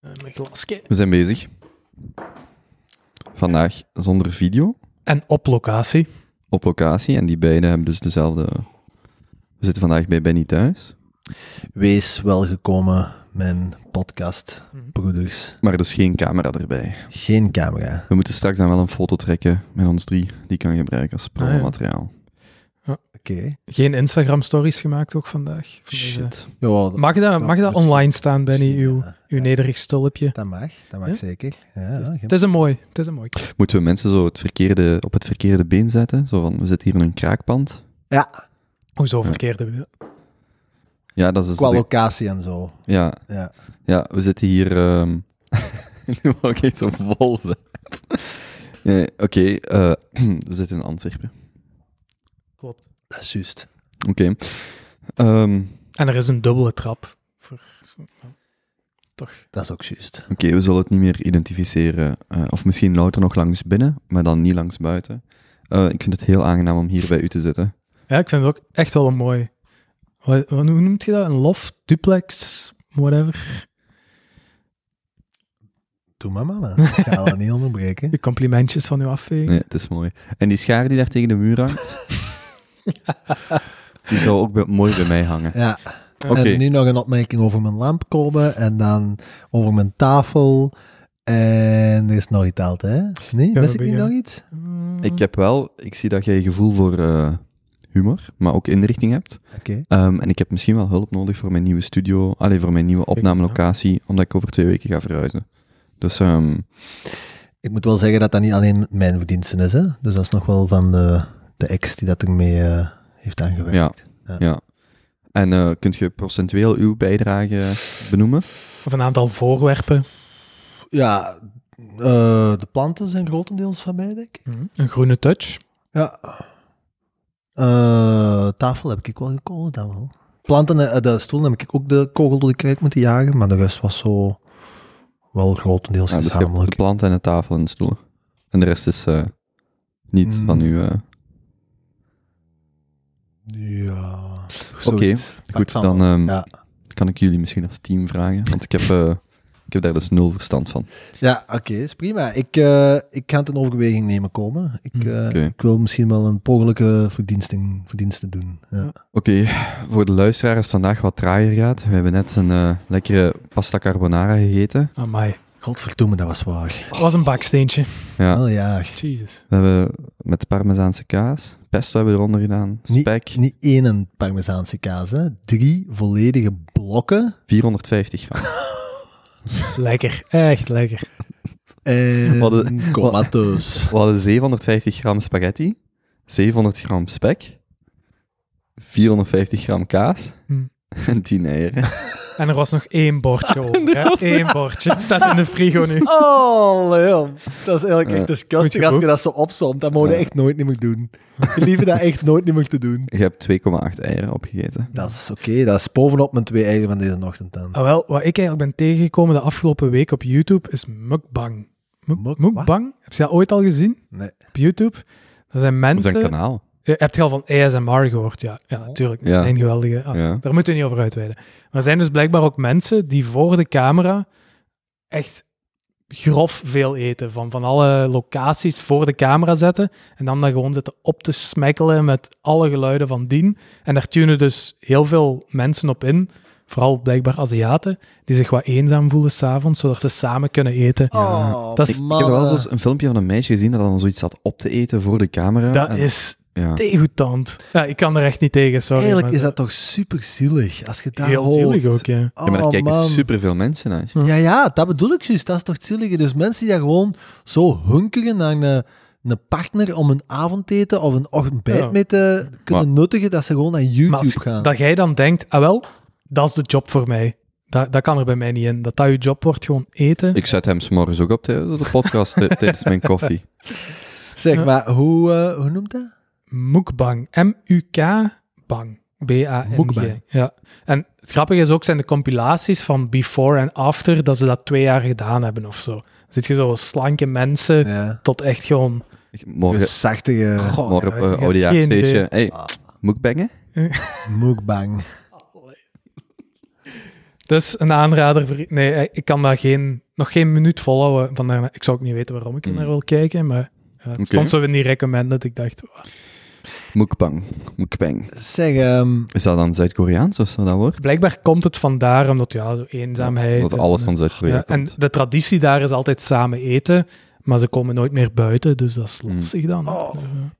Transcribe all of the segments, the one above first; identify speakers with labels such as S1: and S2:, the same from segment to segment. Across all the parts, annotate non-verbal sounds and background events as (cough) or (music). S1: een glasje.
S2: We zijn bezig. Vandaag zonder video,
S1: En op locatie.
S2: op locatie. En die beiden hebben dus dezelfde... We zitten vandaag bij Benny thuis.
S3: Wees welgekomen, mijn Mhm. podcastbroeders.
S2: Maar dus geen camera erbij.
S3: Geen camera.
S2: We moeten straks dan wel een foto trekken met ons drie. Die kan je gebruiken als promomateriaal.
S3: Oké.
S1: Geen Instagram-stories gemaakt ook vandaag. Van deze-
S3: Ja,
S1: Mag dat, mag dat
S3: dus-
S1: online staan, Benny, uw,
S3: Ja,
S1: uw nederig stulpje?
S3: Dat mag, dat mag
S1: Ja?
S3: zeker. Ja, ja,
S1: Het
S3: geen-
S1: is een mooi, het is een mooi.
S2: Moeten we mensen zo het verkeerde, op het verkeerde been zetten? Zo van, we zitten hier in een kraakpand.
S3: ja,
S1: Hoezo verkeerde we?
S2: Ja, dat is...
S3: qua
S2: de-
S3: locatie en zo.
S2: ja,
S3: Ja.
S2: Ja, we zitten hier. ehm (laughs) nu wou ik iets op vol zijn. Nee, Oké, eh, (clears throat) we zitten in Antwerpen.
S1: Klopt.
S3: Dat is juist.
S2: Oké. Ehm,
S1: En er is een dubbele trap. Voor, toch.
S3: Dat is ook juist.
S2: Oké, we zullen het niet meer identificeren. eh, of misschien louter nog langs binnen, maar dan niet langs buiten. Eh, ik vind het heel aangenaam om hier bij u te zitten.
S1: Ja, ik vind het ook echt wel een mooi. Wat, wat- hoe noemt je dat? Een loft, duplex, whatever.
S3: Doe maar,
S1: (laughs)
S3: mannen. Ik ga dat niet onderbreken.
S1: Je complimentjes van uw afvegen.
S2: Nee, het is mooi. En die schaar die daar tegen de muur hangt, die zou ook bij- mooi bij mij hangen.
S3: Ja.
S2: Oké,
S3: En nu nog een opmerking over mijn lampkolben en dan over mijn tafel. En er is nog iets altijd, hè? Nee,
S1: we
S3: wist ik niet
S1: beginnen.
S3: nog iets?
S1: Mm.
S2: ik heb wel, ik zie dat jij gevoel voor eh, humor, maar ook inrichting hebt.
S3: Oké.
S2: Ehm, en ik heb misschien wel hulp nodig voor mijn nieuwe studio, alleen voor mijn nieuwe opnamelocatie, omdat ik over twee weken ga verhuizen. Dus ehm,
S3: Ik moet wel zeggen dat dat niet alleen mijn verdiensten is, hè? Dus dat is nog wel van de, de ex die dat ermee eh, heeft aangewerkt.
S2: ja. En eh, kunt je procentueel uw bijdrage benoemen?
S1: Of een aantal voorwerpen.
S3: Ja, eh, de planten zijn grotendeels van mij, denk ik.
S1: Een groene touch.
S3: Ja. Eh, tafel heb ik wel gekozen, dan wel. Planten, eh, de stoel heb ik ook de kogel door de kruik moeten jagen, maar de rest was zo wel grotendeels
S2: Ja, dus je hebt
S3: gezamenlijk.
S2: de planten en de tafel en de stoelen. En de rest is eh, niet
S3: Mm.
S2: van u. eh.
S3: Ja.
S2: Oké,
S3: zoiets.
S2: goed,
S3: Pakt
S2: dan
S3: wel.
S2: ehm,
S3: Ja.
S2: kan ik jullie misschien als team vragen, want ik heb, eh, ik heb daar dus nul verstand van.
S3: Ja, oké, is prima. Ik, eh, ik ga het in overweging nemen komen. Ik, eh,
S2: Hm, Oké.
S3: ik wil misschien wel een pogelijke verdiensting, verdiensten doen. Ja.
S2: Oké, voor de luisteraars vandaag wat traaier gaat. We hebben net een eh, lekkere pasta carbonara gegeten.
S1: Amai.
S3: Godverdomme, dat was waar.
S1: Dat was een baksteentje.
S2: Ja.
S3: Wel ja.
S1: Jesus.
S2: We hebben met parmezaanse kaas, pesto hebben we eronder gedaan,
S3: Niet-
S2: spek,
S3: Niet één een parmezaanse kaas, hè. Drie volledige blokken.
S2: 450 gram.
S1: Lekker. Echt lekker.
S2: (laughs)
S3: En
S2: Wat een-
S3: comateus.
S2: We hadden 750 gram spaghetti, 700 gram spek, 450 gram kaas
S1: Hm.
S2: en 10 eieren. (laughs)
S1: En er was nog één bordje over. hè. Eén bordje. Staat in de frigo nu.
S3: (laughs) Oh, Leon. Dat is eigenlijk
S2: Ja.
S3: echt
S1: Goed
S3: disgusting
S1: geboekt.
S3: als je dat zo opzomt. Dat moet je
S2: Ja.
S3: echt nooit niet meer doen. Liever dat echt nooit niet meer te doen.
S2: Je hebt 2,8 eieren opgegeten.
S3: Dat is oké. Dat is bovenop mijn twee eieren van deze ochtend dan.
S1: Ah, wel, wat ik eigenlijk ben tegengekomen de afgelopen week op YouTube is mukbang. Muk-
S3: Muk-
S1: mukbang? Heb je dat ooit al gezien
S3: Nee.
S1: op YouTube? Dat zijn
S2: Op zijn
S1: mensen...
S2: kanaal.
S1: Eh, Heb je al van ASMR gehoord? Ja, ja natuurlijk.
S2: Ja.
S1: Een geweldige... ah,
S2: Ja.
S1: Daar moeten we niet over uitweiden. Maar er zijn dus blijkbaar ook mensen die voor de camera echt grof veel eten. Van, van alle locaties voor de camera zetten. En dan daar gewoon zitten op te smekkelen met alle geluiden van dien. En daar tunen dus heel veel mensen op in. Vooral blijkbaar Aziaten. Die zich wat eenzaam voelen s'avonds, zodat ze samen kunnen eten.
S3: Oh,
S1: Dat
S2: Ik,
S1: is-
S2: ik heb
S3: mannen.
S2: wel eens een filmpje van een meisje gezien dat dan zoiets zat op te eten voor de camera.
S1: Dat
S2: En-
S1: is
S2: Ja.
S1: degoutant. Ja, ik kan er echt niet tegen, sorry.
S3: Eigenlijk
S1: maar
S3: is dat toch super zielig als je dat
S1: heel
S3: hoort.
S1: zielig ook, Hm. ja.
S3: Oh,
S2: Ja, maar daar kijken
S3: man.
S2: superveel mensen naar.
S3: Ja, ja, dat bedoel ik juist. Dat is toch het zielige. Dus mensen die daar gewoon zo hunkeren naar een, een partner om een avondeten of een ontbijt
S1: Ja.
S3: mee te kunnen nuttigen, dat ze gewoon naar YouTube
S1: Maar als-
S3: gaan.
S1: dat jij dan denkt, ah wel, dat is de job voor mij. Dat, dat kan er bij mij niet in. Dat dat je job wordt, gewoon eten.
S2: Ik zet hem s'morgens ook op de, de podcast eh, (laughs) tijdens mijn koffie.
S3: Zeg
S1: Ja.
S3: maar, hoe, eh, hoe noemt dat?
S1: Mukbang. M-U-K-bang. B-A-N-G.
S3: Mukbang.
S1: Ja. En het grappige is ook, zijn de compilaties van before en after, dat ze dat twee jaar gedaan hebben of zo. Dan zit je zo slanke mensen
S3: Ja.
S1: tot echt gewoon...
S2: Ik- Morgen,
S3: Zachtige
S1: Goh,
S2: morgen
S1: ja, je
S2: op
S1: hebt
S2: uh,
S1: geen
S2: oudejaarsfeestje.
S1: idee.
S2: Hey, mukbangen?
S1: Oh.
S3: mukbang.
S1: Dus een aanrader voor... Nee, eh, ik kan daar geen nog geen minuut volhouden. Vandaar, ik zou ook niet weten waarom ik er naar
S2: Mm.
S1: wil kijken, maar ja, het
S2: Oké.
S1: stond zo in die recommended. Ik dacht, "Wah,
S2: Mukbang. Mukbang.
S3: Zeg, ehm,
S2: Is dat dan Zuid-Koreaans of zo dat woord?
S1: blijkbaar komt het vandaar, omdat ja, zo eenzaamheid.
S2: Dat
S1: en,
S2: alles
S1: eh,
S2: van Zuid-Korea
S1: ja, En
S2: komt.
S1: de traditie daar is altijd samen eten, maar ze komen nooit meer buiten, dus dat is
S2: Mm.
S1: lastig dan.
S3: Oh.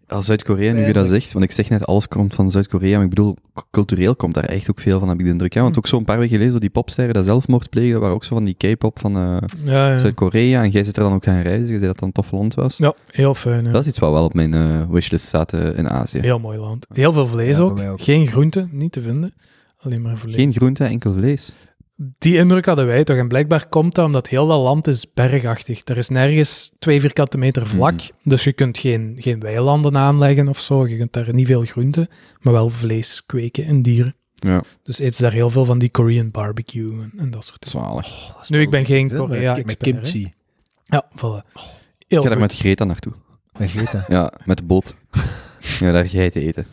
S2: Als Zuid-Korea, nu je dat
S3: Pijnlijk.
S2: zegt, want ik zeg net alles komt van Zuid-Korea, maar ik bedoel, k- cultureel komt daar echt ook veel van, heb ik de indruk. Hè? Want
S1: Hm.
S2: ook zo'n paar weken geleden, zo die popsterren dat zelfmoord plegen, dat waren ook zo van die K-pop van eh,
S1: Ja, ja.
S2: Zuid-Korea. En jij zit er dan ook gaan reizen, je zei dat het een tof land was.
S1: ja heel fijn. ja.
S2: Dat is iets wat wel op mijn eh, wishlist staat eh, in Azië.
S1: Heel mooi land. Heel veel vlees
S3: Ja, bij
S1: ook.
S3: mij ook.
S1: Geen groenten, niet te vinden. Alleen maar vlees.
S2: Geen groente, enkel vlees.
S1: Die indruk hadden wij toch. En blijkbaar komt dat omdat heel dat land is bergachtig. Er is nergens twee vierkante meter
S2: Mhm.
S1: vlak. Dus je kunt geen, geen weilanden aanleggen of zo. Je kunt daar niet veel groenten, maar wel vlees kweken en dieren.
S2: Ja.
S1: Dus eet ze daar heel veel van die Korean barbecue en, en dat soort dingen.
S2: Zalig.
S1: Nu, ik ben geen
S3: zit met, met
S1: Korea-expert. hè.
S3: kimchi. Oh.
S1: Ja, voilà. Heel
S2: ik ga daar
S1: goed.
S2: met Greta naartoe.
S3: Met Greta.
S2: Ja, met de boot. (laughs) ja, daar geiten eten.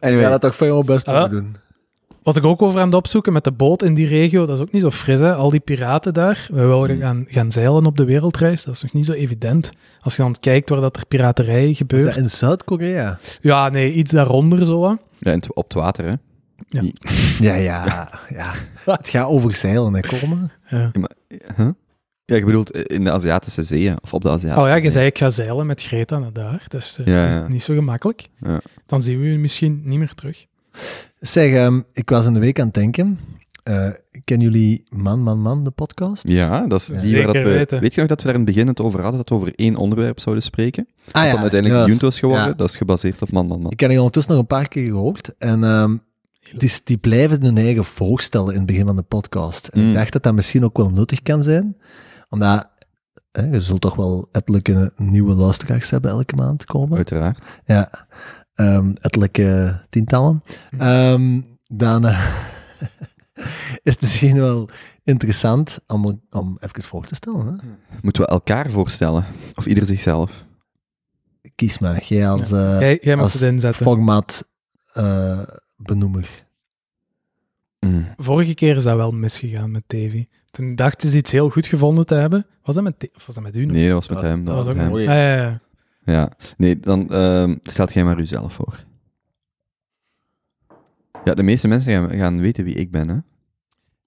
S2: anyway,
S3: Ja, dat toch veel best
S1: Ah.
S3: moeten doen.
S1: Was ik ook over aan het opzoeken met de boot in die regio. Dat is ook niet zo fris, hè? Al die piraten daar. We wilden
S2: Hmm.
S1: gaan, gaan zeilen op de wereldreis. Dat is nog niet zo evident. Als je dan kijkt waar dat er piraterij
S3: Is
S1: gebeurt.
S3: dat in Zuid-Korea?
S1: Ja, nee, iets daaronder zo. hè.
S2: ja, en t- op het water, hè.
S3: Ja, ja, ja. Het gaat over zeilen, hè, komen.
S1: Ja.
S2: Huh? Ja, ik bedoel, in de Aziatische zeeën, of op de Aziatische
S1: oh ja, je
S2: zeeën.
S1: zei ik ga zeilen met Greta naar daar. Dat is eh,
S2: Ja, ja.
S1: niet zo gemakkelijk.
S2: Ja.
S1: Dan zien we je misschien niet meer terug.
S3: Zeg, ehm, ik was in de week aan het denken. Eh, kennen jullie Man, Man, Man, de podcast?
S2: Ja, dat is die
S1: Zeker
S2: waar dat we...
S1: weten.
S2: Weet je nog dat we daar in het begin het over hadden, dat we over één onderwerp zouden spreken?
S3: Ah
S2: dat dan uiteindelijk
S3: juist.
S2: Junto is geworden,
S3: Ja.
S2: dat is gebaseerd op Man Man Man.
S3: Ik heb die ondertussen nog een paar keer gehoord. En ehm, die, die blijven hun eigen voorstellen in het begin van de podcast. En
S2: Mm.
S3: ik dacht dat dat misschien ook wel nuttig kan zijn. Omdat hè, je zult toch wel ettelijke nieuwe luisteraars hebben elke maand komen.
S2: Uiteraard.
S3: Ja, ehm ettelijke tientallen.
S1: Mm.
S3: Ehm, dan eh, (laughs) is het misschien wel interessant om, om even voor te stellen. Hè?
S2: Moeten we elkaar voorstellen? Of ieder zichzelf?
S3: Kies maar, jij als eh,
S1: jij jij mag
S3: als
S1: het inzetten.
S3: format eh, benoemer.
S2: Mm.
S1: Vorige keer is dat wel misgegaan met Davy. Toen dachten ze iets heel goed gevonden te hebben. Was dat met, Da- of was dat met u? nog?
S2: Nee, dat was met hem.
S1: dat was ook
S2: met hem.
S1: mooi. Ah, ja, ja.
S2: Ja. Nee, dan ehm stelt jij maar uzelf voor. Ja, de meeste mensen gaan, gaan weten wie ik ben, hè? Oké.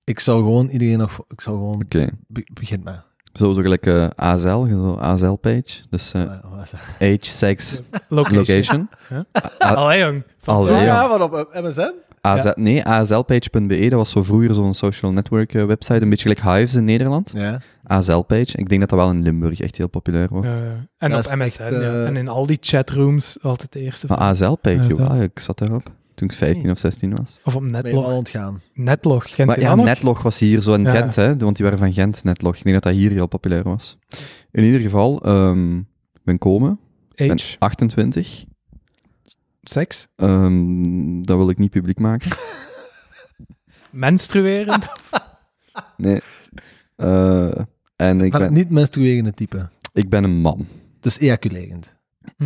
S3: Ik zou gewoon iedereen nog. vo- Ik zou gewoon. be- begin maar.
S2: Zo, zo gelijk eh, AZL, zo AZL-page. Dus eh,
S3: Eh, wat is dat?
S2: age, sex,
S1: Location.
S2: location.
S1: Ja.
S2: A-
S1: Allee, jong. Van-
S2: Allee,
S3: Ah,
S2: jong.
S3: ja, wat op eh, MSN?
S2: AZ, Nee, azlpage.be, E, dat was zo vroeger zo'n social network eh, website, een beetje gelijk Hives in Nederland.
S3: Ja.
S2: AZLpage, ik denk dat dat wel in Limburg echt heel populair wordt.
S1: Eh, en
S3: Dat
S1: op
S3: is
S1: MSN,
S3: echt, eh,
S1: ja. En in al die chatrooms altijd de eerste.
S2: Maar
S1: vraag.
S2: AZLpage,
S1: AZL.
S2: joh, ah, ik zat daarop toen ik 15 of 16 was.
S1: Of op
S3: Ben je
S1: Netlog.
S3: al ontgaan?
S1: Netlog, kent
S2: maar
S1: je
S2: ja,
S1: dat nog?
S2: Netlog was hier zo in
S1: Ja.
S2: Gent, hè, want die waren van Gent, Netlog. Ik denk dat dat hier heel populair was. In ieder geval, ehm, ik ben komen, ik ben
S1: Age,
S2: 28.
S1: seks,
S2: Ehm, dat wil ik niet publiek
S3: (laughs)
S2: maken.
S1: menstruerend.
S2: (laughs) Nee. Eh, en ik
S3: Van het
S2: ben,
S3: niet menstruerende type.
S2: ik ben een man.
S3: Dus ejaculerend.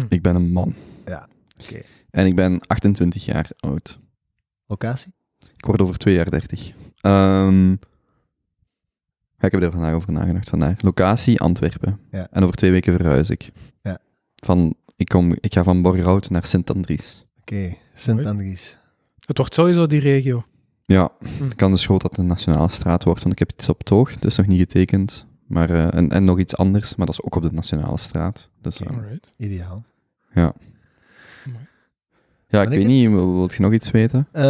S2: Ik ben een man.
S3: Ja, oké.
S2: En ik ben 28 jaar oud.
S3: Locatie?
S2: Ik word over twee jaar 30. Ehm, ja, ik heb er vandaag over nagedacht. Vandaag. Locatie Antwerpen.
S3: Ja.
S2: En over twee weken verhuis ik.
S3: Ja.
S2: Van, ik, kom, ik ga van Borgerhout naar Sint-Andries.
S3: Oké, Sint-Andries.
S1: Het wordt sowieso die regio.
S2: Ja,
S1: Hm.
S2: ik kan dus schoot dat het een nationale straat wordt, want ik heb iets op het oog, dus nog niet getekend. Maar, eh, en, en nog iets anders, maar dat is ook op de nationale straat. Dus, eh,
S1: Alright.
S3: Ideaal.
S2: ja, ik
S3: Ben ik
S2: weet
S3: het?
S2: niet, wil- wilt je nog iets weten?
S3: Eh,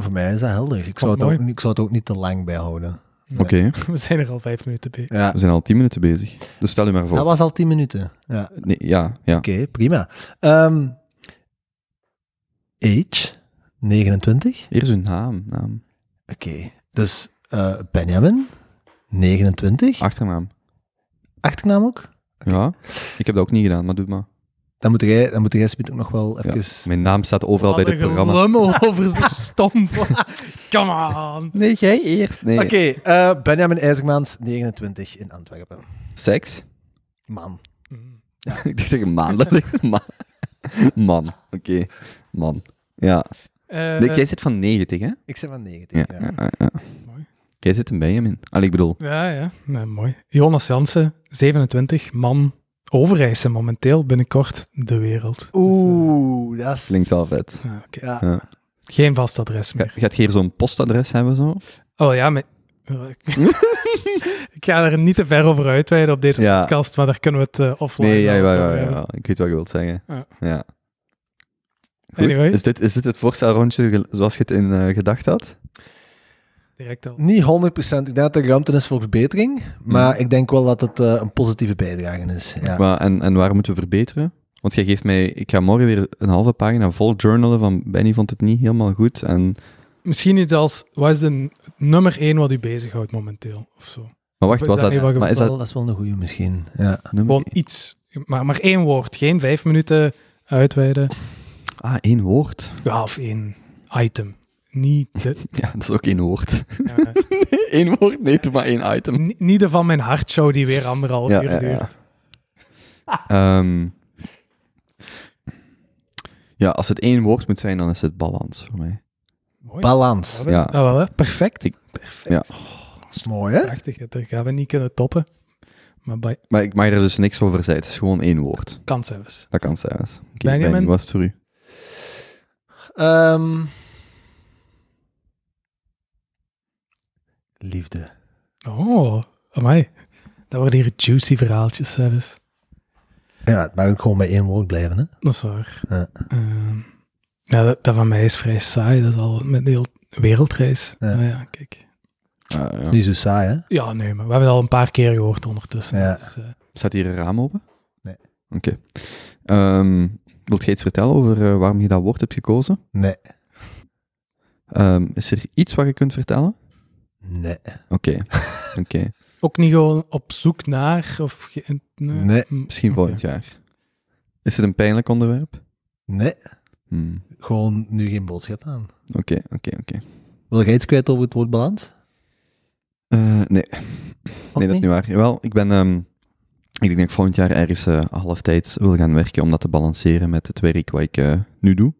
S3: voor mij is dat helder. Ik zou, het
S1: mooi.
S3: ook, ik zou het ook niet te lang bijhouden.
S1: Nee.
S2: Oké,
S1: (laughs) We zijn er al vijf minuten bij.
S3: Ja.
S2: we zijn al tien minuten bezig. Dus stel u maar voor.
S3: Dat was al 10 minuten. Ja. Oké,
S2: Nee, ja, ja.
S3: prima. Ehm age 29.
S2: Hier is uw naam, naam.
S3: Oké. Dus eh, Benjamin 29.
S2: Achternaam.
S3: Achternaam ook?
S2: Ja, ik heb dat ook niet gedaan, maar doe maar.
S3: Dan moet jij, dan moet jij Smit ook nog wel
S2: Ja.
S3: even...
S2: Mijn naam staat overal bij dit programma.
S1: (laughs) Lummel over zo stom. (laughs) Come on.
S2: Nee, jij eerst. Nee.
S3: Oké, eh, Benjamin IJzermans, 29, in Antwerpen.
S2: Seks? (laughs)
S3: Man.
S1: Mm.
S2: ik dacht dat je maan dat ligt. Man. Man. Oké. Man. Ja.
S1: Eh,
S2: Nee, jij zit van 90, hè?
S3: Ik zeg van 19.
S2: Ja.
S3: Ja.
S2: ja, ja, ja.
S1: mooi.
S2: Jij zit in Benjamin. Allee, ik bedoel,
S1: Ja, ja. Nee, mooi. Jonas Jansen, 27, man. Overijssen momenteel, binnenkort de wereld. Dus,
S3: Oeh, dat is...
S2: klinkt wel vet.
S1: Ah, oké.
S3: Ja.
S2: Ja.
S1: Geen vast adres
S2: Ga-
S1: meer.
S2: Gaat je hier zo'n postadres hebben? Zo?
S1: Oh ja, maar...
S2: (laughs)
S1: (laughs) ik ga er niet te ver over uitweiden op deze
S2: Ja.
S1: podcast, maar daar kunnen we het eh, offline
S2: Nee, ja,
S1: wel
S2: ja,
S1: over
S2: ja,
S1: hebben.
S2: ja, ik weet wat je wilt zeggen.
S1: Ja.
S2: Ja. Goed,
S1: Anyway.
S2: is, dit, is dit het voorstelrondje gel- zoals je het in eh, gedacht had?
S1: Direct al.
S3: Niet 100 Ik denk dat er ruimte is voor verbetering. Maar ik denk wel dat het eh, een positieve bijdrage is. Ja.
S2: Mhm. Maar, en, en waar moeten we verbeteren? Want jij geeft mij, ik ga morgen weer een halve pagina vol journalen van Benny vond het niet helemaal goed. En,
S1: Misschien iets als, wat is de n- nummer één wat u bezighoudt momenteel? Of zo.
S2: maar wacht,
S1: Ik
S2: was
S1: weet
S2: dat,
S1: niet wat je
S2: maar is dat
S3: Wel, dat is wel een goede misschien. Ja.
S2: nummer
S1: Gewoon iets. Maar, maar één woord, geen vijf minuten uitweiden.
S2: Ah, één woord. (laughs)
S1: Ja, of één item. Niet de,
S2: Ja, dat is ook één woord.
S1: ja,
S2: Eén woord? (laughs) Nee, doe maar één (laughs) item.
S1: ni- niet de van mijn hartshow die weer anderhalf uur duurt.
S2: Ehm, ja, als het één woord moet zijn, dan is het balans voor mij.
S1: Mooi.
S3: Balans.
S1: Ah,
S2: Ja.
S1: wel, hè? Perfect.
S2: Ik-
S1: Perfect.
S2: ja.
S3: Dat is mooi, hè?
S1: Prachtig, hè. daar gaan we niet kunnen toppen. Maar bij
S2: Maar ik mag er dus niks over zeggen. Het is gewoon één woord.
S1: kans hebben ze.
S2: Dat kan zijn. Oké,
S1: Benjamin?
S2: Benny, wat is het voor u?
S3: Ehm, liefde.
S1: Oh, amai. Dat worden hier juicy verhaaltjes, hè, dus.
S3: Ja, het mag ook gewoon bij één woord blijven, hè?
S1: Dat is waar.
S3: Ja.
S1: Ehm, ja, dat, dat van mij is vrij saai. Dat is al met de hele wereldreis.
S3: Ja.
S1: Nou ja, kijk.
S2: Ah, ja.
S3: Niet zo saai, hè?
S1: Ja, nee, maar we hebben het al een paar keer gehoord ondertussen.
S3: Ja.
S1: Dus, eh,
S2: Staat hier een raam open?
S3: Nee.
S2: Oké. Ehm, wilt jij iets vertellen over eh, waarom je dat woord hebt gekozen?
S3: Nee.
S2: Ehm, is er iets wat je kunt vertellen?
S3: Nee.
S2: Oké. Oké.
S1: ook niet gewoon op zoek naar of... ge-
S3: Nee.
S1: Hm,
S2: Misschien volgend jaar. Is het een pijnlijk onderwerp?
S3: Nee.
S2: Hmm.
S3: Gewoon nu geen boodschap aan.
S2: Oké, oké, oké.
S3: Wil jij iets kwijt over het woord balans?
S2: Eh, nee,
S3: Of
S2: nee, dat is niet waar. Wel, ik ben. ehm, ik denk dat ik volgend jaar ergens eh halftijds wil gaan werken om dat te balanceren met het werk wat ik eh, nu doe.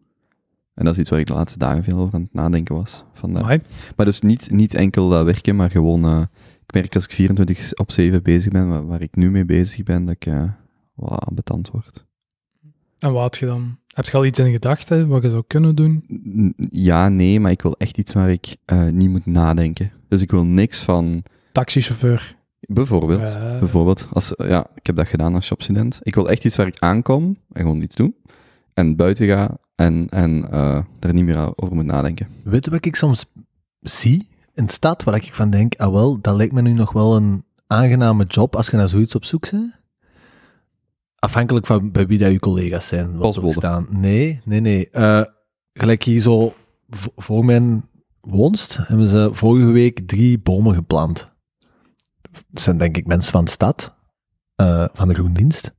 S2: En dat is iets waar ik de laatste dagen veel over aan het nadenken was. Vandaag.
S1: Amai.
S2: Maar dus niet, niet enkel dat werken, maar gewoon... eh, ik merk als ik 24 op 7 bezig ben, waar, waar ik nu mee bezig ben, dat ik eh wat ambetant word.
S1: En wat had je dan? Heb je al iets in gedachten wat je zou kunnen doen?
S2: N- Ja, nee, maar ik wil echt iets waar ik eh, niet moet nadenken. Dus ik wil niks van...
S1: Taxichauffeur.
S2: Bijvoorbeeld...
S1: Eh,
S2: Bijvoorbeeld, als, ja, ik heb dat gedaan als shopstudent. Ik wil echt iets waar ik aankom en gewoon iets doe. En buiten ga en, en eh, daar niet meer over moet nadenken.
S3: Weet je wat ik soms zie in de stad, waar ik van denk, ah wel, dat lijkt me nu nog wel een aangename job als je naar zoiets op zoek bent? Afhankelijk van bij wie dat je collega's zijn. Wat er
S2: Postbode.
S3: staan. Nee, nee, nee. Eh, gelijk hier zo v- voor mijn woonst hebben ze vorige week drie bomen geplant. Dat zijn denk ik mensen van de stad, eh, van de groendienst.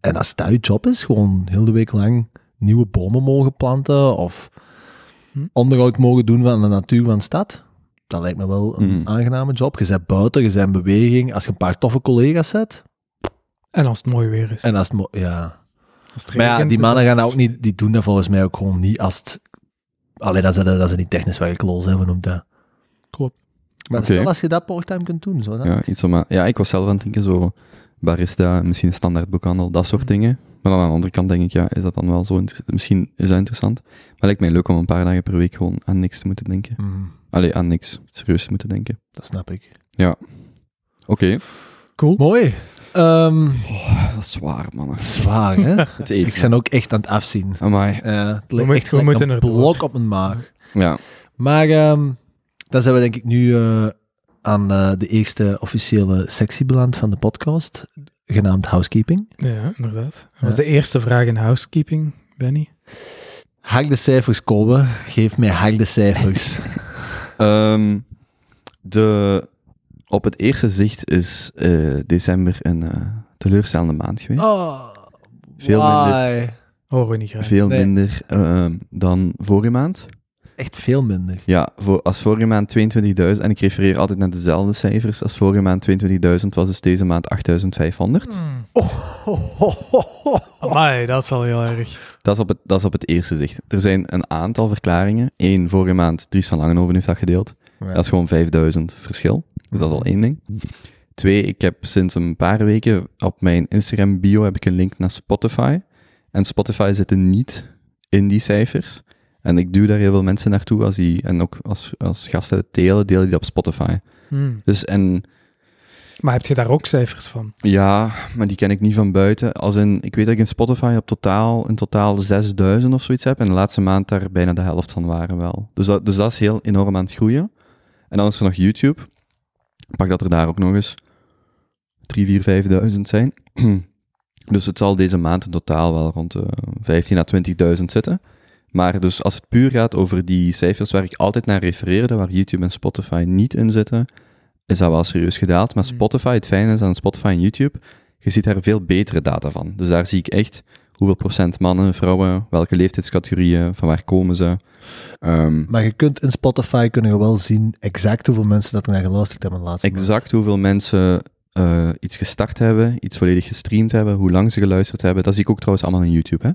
S3: En als dat je job is, gewoon heel de week lang nieuwe bomen mogen planten of
S1: Hm.
S3: onderhoud mogen doen van de natuur van de stad. Dat lijkt me wel een
S2: Mm.
S3: aangename job. Je bent buiten, je bent in beweging. Als je een paar toffe collega's hebt.
S1: En als het mooi weer is.
S3: En als het mo- ja.
S1: Als het
S3: Maar ja,
S1: regent,
S3: die mannen
S1: dan-
S3: gaan dat ook niet, die doen dat volgens mij ook gewoon niet als het... Alleen dat ze, dat ze niet technisch werkloos hebben, noemt dat.
S1: Klopt.
S3: Maar
S2: Oké.
S3: stel als je dat part-time kunt doen, zo dan.
S2: Ja, iets om, aan- ja, ik was zelf aan het denken, zo barista, misschien een standaard boekhandel, dat soort
S1: Mm.
S2: dingen. Maar dan aan de andere kant denk ik, ja, is dat dan wel zo interessant? Misschien is dat interessant. Maar lijkt mij leuk om een paar dagen per week gewoon aan niks te moeten denken.
S3: Mm,
S2: Allee, aan niks. Serieus te moeten denken.
S3: dat snap ik.
S2: Oké.
S1: Cool.
S3: Mooi. Ehm,
S2: Ah, Dat is zwaar, man.
S3: zwaar, hè?
S2: (laughs) Het eten.
S3: ik ben ook echt aan het afzien.
S2: Amai.
S3: Eh, het
S1: moet-
S3: lijkt echt
S1: we
S3: gelijk
S1: moeten
S3: een
S1: erdoor.
S3: blok op mijn maag.
S2: Ja.
S3: Maar ehm, dan zijn we denk ik nu eh, aan eh, de eerste officiële sectie beland van de podcast, genaamd Housekeeping.
S1: Ja, inderdaad. Dat was de eerste vraag in housekeeping, Benny.
S3: Harde cijfers, Kobe. Geef mij harde
S2: (laughs)
S3: cijfers.
S2: Ehm, de, op het eerste zicht is eh, december een eh, teleurstellende maand geweest.
S3: oh,
S2: Veel
S3: why?
S1: Horen we niet graag.
S2: Veel
S3: nee.
S2: minder ehm, dan vorige maand.
S3: Echt veel minder.
S2: Ja, voor, als vorige maand 22.000, en ik refereer altijd naar dezelfde cijfers, als vorige maand 22.000 was dus deze maand 8.500.
S1: Hmm.
S3: Oh, ho, ho, ho.
S1: Amai, dat is wel heel erg.
S2: Dat, is op het, dat is op het eerste zicht. Er zijn een aantal verklaringen. Eén, vorige maand, Dries van Langenhoven heeft dat gedeeld.
S3: Ja.
S2: Dat is gewoon 5000 verschil. Dus dat is al één ding. Twee, ik heb sinds een paar weken op mijn Instagram bio heb ik een link naar Spotify. En Spotify zit er niet in die cijfers. En ik duw daar heel veel mensen naartoe als die, en ook als, als gasten het delen, delen die dat op Spotify.
S1: Hmm.
S2: Dus en
S1: Maar heb je daar ook cijfers van?
S2: ja, maar die ken ik niet van buiten. Als in, ik weet dat ik in Spotify op totaal, in totaal 6000 of zoiets heb. En de laatste maand daar bijna de helft van waren wel. Dus dat, dus dat is heel enorm aan het groeien. En dan is er nog YouTube. Ik Pak dat er daar ook nog eens 3, 4, 5000 zijn. (clears throat) dus het zal deze maand in totaal wel rond de 15 à 20.000 zitten. Maar dus als het puur gaat over die cijfers waar ik altijd naar refereerde, waar YouTube en Spotify niet in zitten, is dat wel serieus gedaald. Maar
S1: Mm.
S2: Spotify, het fijne is aan Spotify en YouTube, je ziet daar veel betere data van. Dus daar zie ik echt hoeveel procent mannen, vrouwen, welke leeftijdscategorieën, van waar komen ze. Ehm,
S3: Maar je kunt in Spotify kunnen je wel zien exact hoeveel mensen dat er naar geluisterd hebben de laatste maand.
S2: exact hoeveel mensen eh, iets gestart hebben, iets volledig gestreamd hebben, hoe lang ze geluisterd hebben. Dat zie ik ook trouwens allemaal in YouTube. Hè?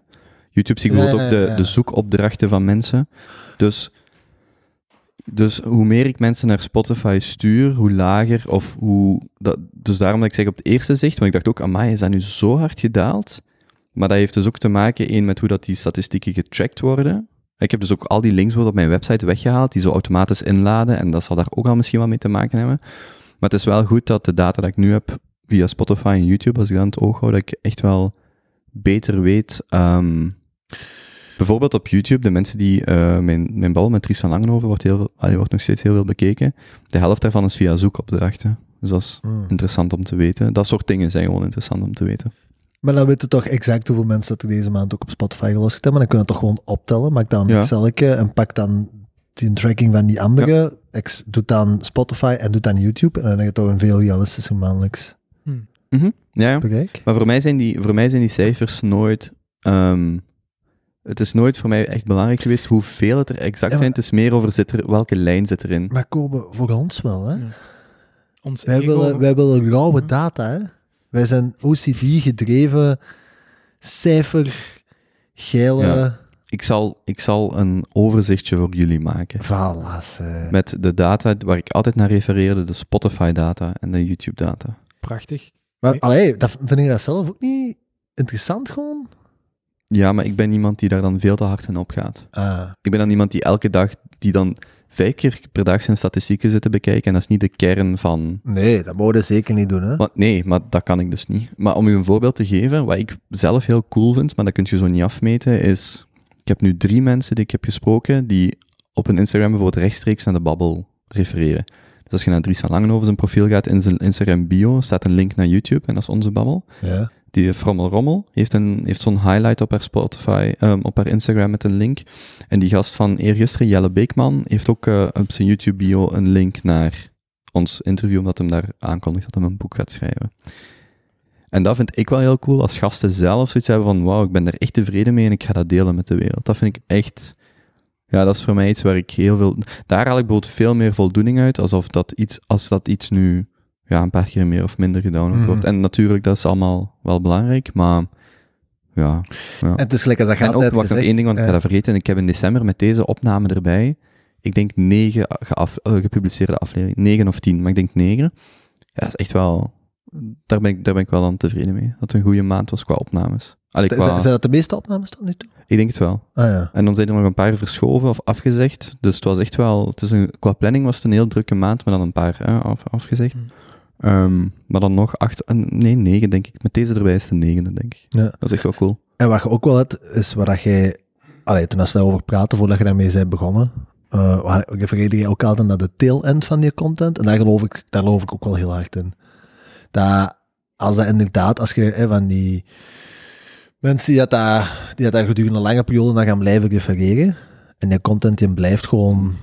S2: YouTube zie ik
S3: Ja,
S2: bijvoorbeeld
S3: ja,
S2: ook de,
S3: ja.
S2: de zoekopdrachten van mensen. Dus, dus hoe meer ik mensen naar Spotify stuur, hoe lager of hoe... Dat, dus daarom dat ik zeg op het eerste zicht, want ik dacht ook, amai, is dat nu zo hard gedaald? Maar dat heeft dus ook te maken, één, met hoe dat die statistieken getrackt worden. Ik heb dus ook al die links bijvoorbeeld op mijn website weggehaald, die zo automatisch inladen, en dat zal daar ook al misschien wat mee te maken hebben. Maar het is wel goed dat de data die ik nu heb via Spotify en YouTube, als ik dat in het oog hou, dat ik echt wel beter weet. ehm, bijvoorbeeld op YouTube, de mensen die, eh, mijn, mijn babbel met Dries van Langenhoven wordt, heel, veel- ah, die wordt nog steeds heel veel bekeken. De helft daarvan is via zoekopdrachten. Dus dat is
S3: Hmm.
S2: interessant om te weten. Dat soort dingen zijn gewoon interessant om te weten.
S3: Maar dan weten we toch exact hoeveel mensen dat er deze maand ook op Spotify geluisterd hebben. Dan kunnen we het toch gewoon optellen. Maak dan een
S2: Ja.
S3: Excelke en pak dan die tracking van die andere. Ex- doet dan Spotify en doet dan YouTube. En dan heb je toch een veel realistischer maandelijks
S2: Ja, ja.
S3: bereik.
S2: Maar voor mij zijn die, voor mij zijn die cijfers nooit. ehm, het is nooit voor mij echt belangrijk geweest hoeveel het er exact
S3: maar-
S2: zijn. Het is meer over zit er, welke lijn zit erin.
S3: Maar Kobe, voor ons wel, hè?
S1: Ja. Ons
S3: Wij
S1: ego-
S3: willen, wij willen rauwe
S1: Mhm.
S3: data, hè? Wij zijn OCD-gedreven, cijfer, geile
S2: Ja. Ik zal, ik zal een overzichtje voor jullie maken.
S3: valas. hè.
S2: Met de data waar ik altijd naar refereerde, de Spotify-data en de YouTube-data.
S1: Prachtig.
S3: Maar allee, dat vind ik dat zelf ook niet interessant gewoon?
S2: Ja, maar ik ben iemand die daar dan veel te hard in opgaat.
S3: Ah,
S2: Ik ben dan iemand die elke dag, die dan vijf keer per dag zijn statistieken zit te bekijken. En dat is niet de kern van
S3: nee, dat mogen we zeker niet doen, hè?
S2: Maar nee, maar dat kan ik dus niet. Maar om u een voorbeeld te geven, wat ik zelf heel cool vind, maar dat kun je zo niet afmeten, is... Ik heb nu drie mensen die ik heb gesproken, die op hun Instagram bijvoorbeeld rechtstreeks naar de babbel refereren. Dus als je naar Dries van Langenhoven zijn profiel gaat, in zijn Instagram bio staat een link naar YouTube, en dat is onze babbel.
S3: Ja.
S2: Die Frommel Rommel heeft, een, heeft zo'n highlight op haar Spotify, ehm, op haar Instagram met een link. En die gast van eergisteren, Jelle Beekman, heeft ook eh, op zijn YouTube-bio een link naar ons interview, omdat hem daar aankondigt dat hij een boek gaat schrijven. En dat vind ik wel heel cool, als gasten zelf zoiets hebben van wauw, ik ben daar echt tevreden mee en ik ga dat delen met de wereld. Dat vind ik echt... Ja, dat is voor mij iets waar ik heel veel... Daar haal ik bijvoorbeeld veel meer voldoening uit, alsof dat iets, als dat iets nu ja, een paar keer meer of minder gedownload
S3: Mhm.
S2: wordt. En natuurlijk, dat is allemaal wel belangrijk, maar ja.
S3: En het is gelijk als dat eh, gaat
S2: En ook,
S3: net
S2: wacht, nog één ding, want ik
S3: ja.
S2: ga dat vergeten. En ik heb in december met deze opname erbij, ik denk negen geaf- eh, gepubliceerde afleveringen. Negen of tien, maar ik denk negen. Ja, dat is echt wel... Daar ben, ik, daar ben ik wel dan tevreden mee. Dat het een goede maand was qua opnames. Allee,
S3: Z-
S2: qua-
S3: Zijn dat de meeste opnames tot nu toe?
S2: Ik denk het wel.
S3: Ah ja.
S2: En dan zijn er nog een paar verschoven of afgezegd. Dus het was echt wel, het is een, qua planning was het een heel drukke maand, maar dan een paar hè, af, afgezegd.
S1: Mm.
S2: Ehm, maar dan nog acht, eh, nee, negen denk ik. Met deze erbij is het de negende, denk ik.
S3: Ja.
S2: Dat is echt wel cool.
S3: En wat je ook wel hebt, is waar dat jij... Allee, toen als we daarover praten, voordat je daarmee bent begonnen, eh waar- refereerde je ook altijd naar de tail-end van je content. En daar geloof, ik, daar geloof ik ook wel heel hard in. Dat, als dat inderdaad, als je hè, van die mensen die dat, daar, die dat daar gedurende lange periode naar gaan blijven refereren, en je content die blijft gewoon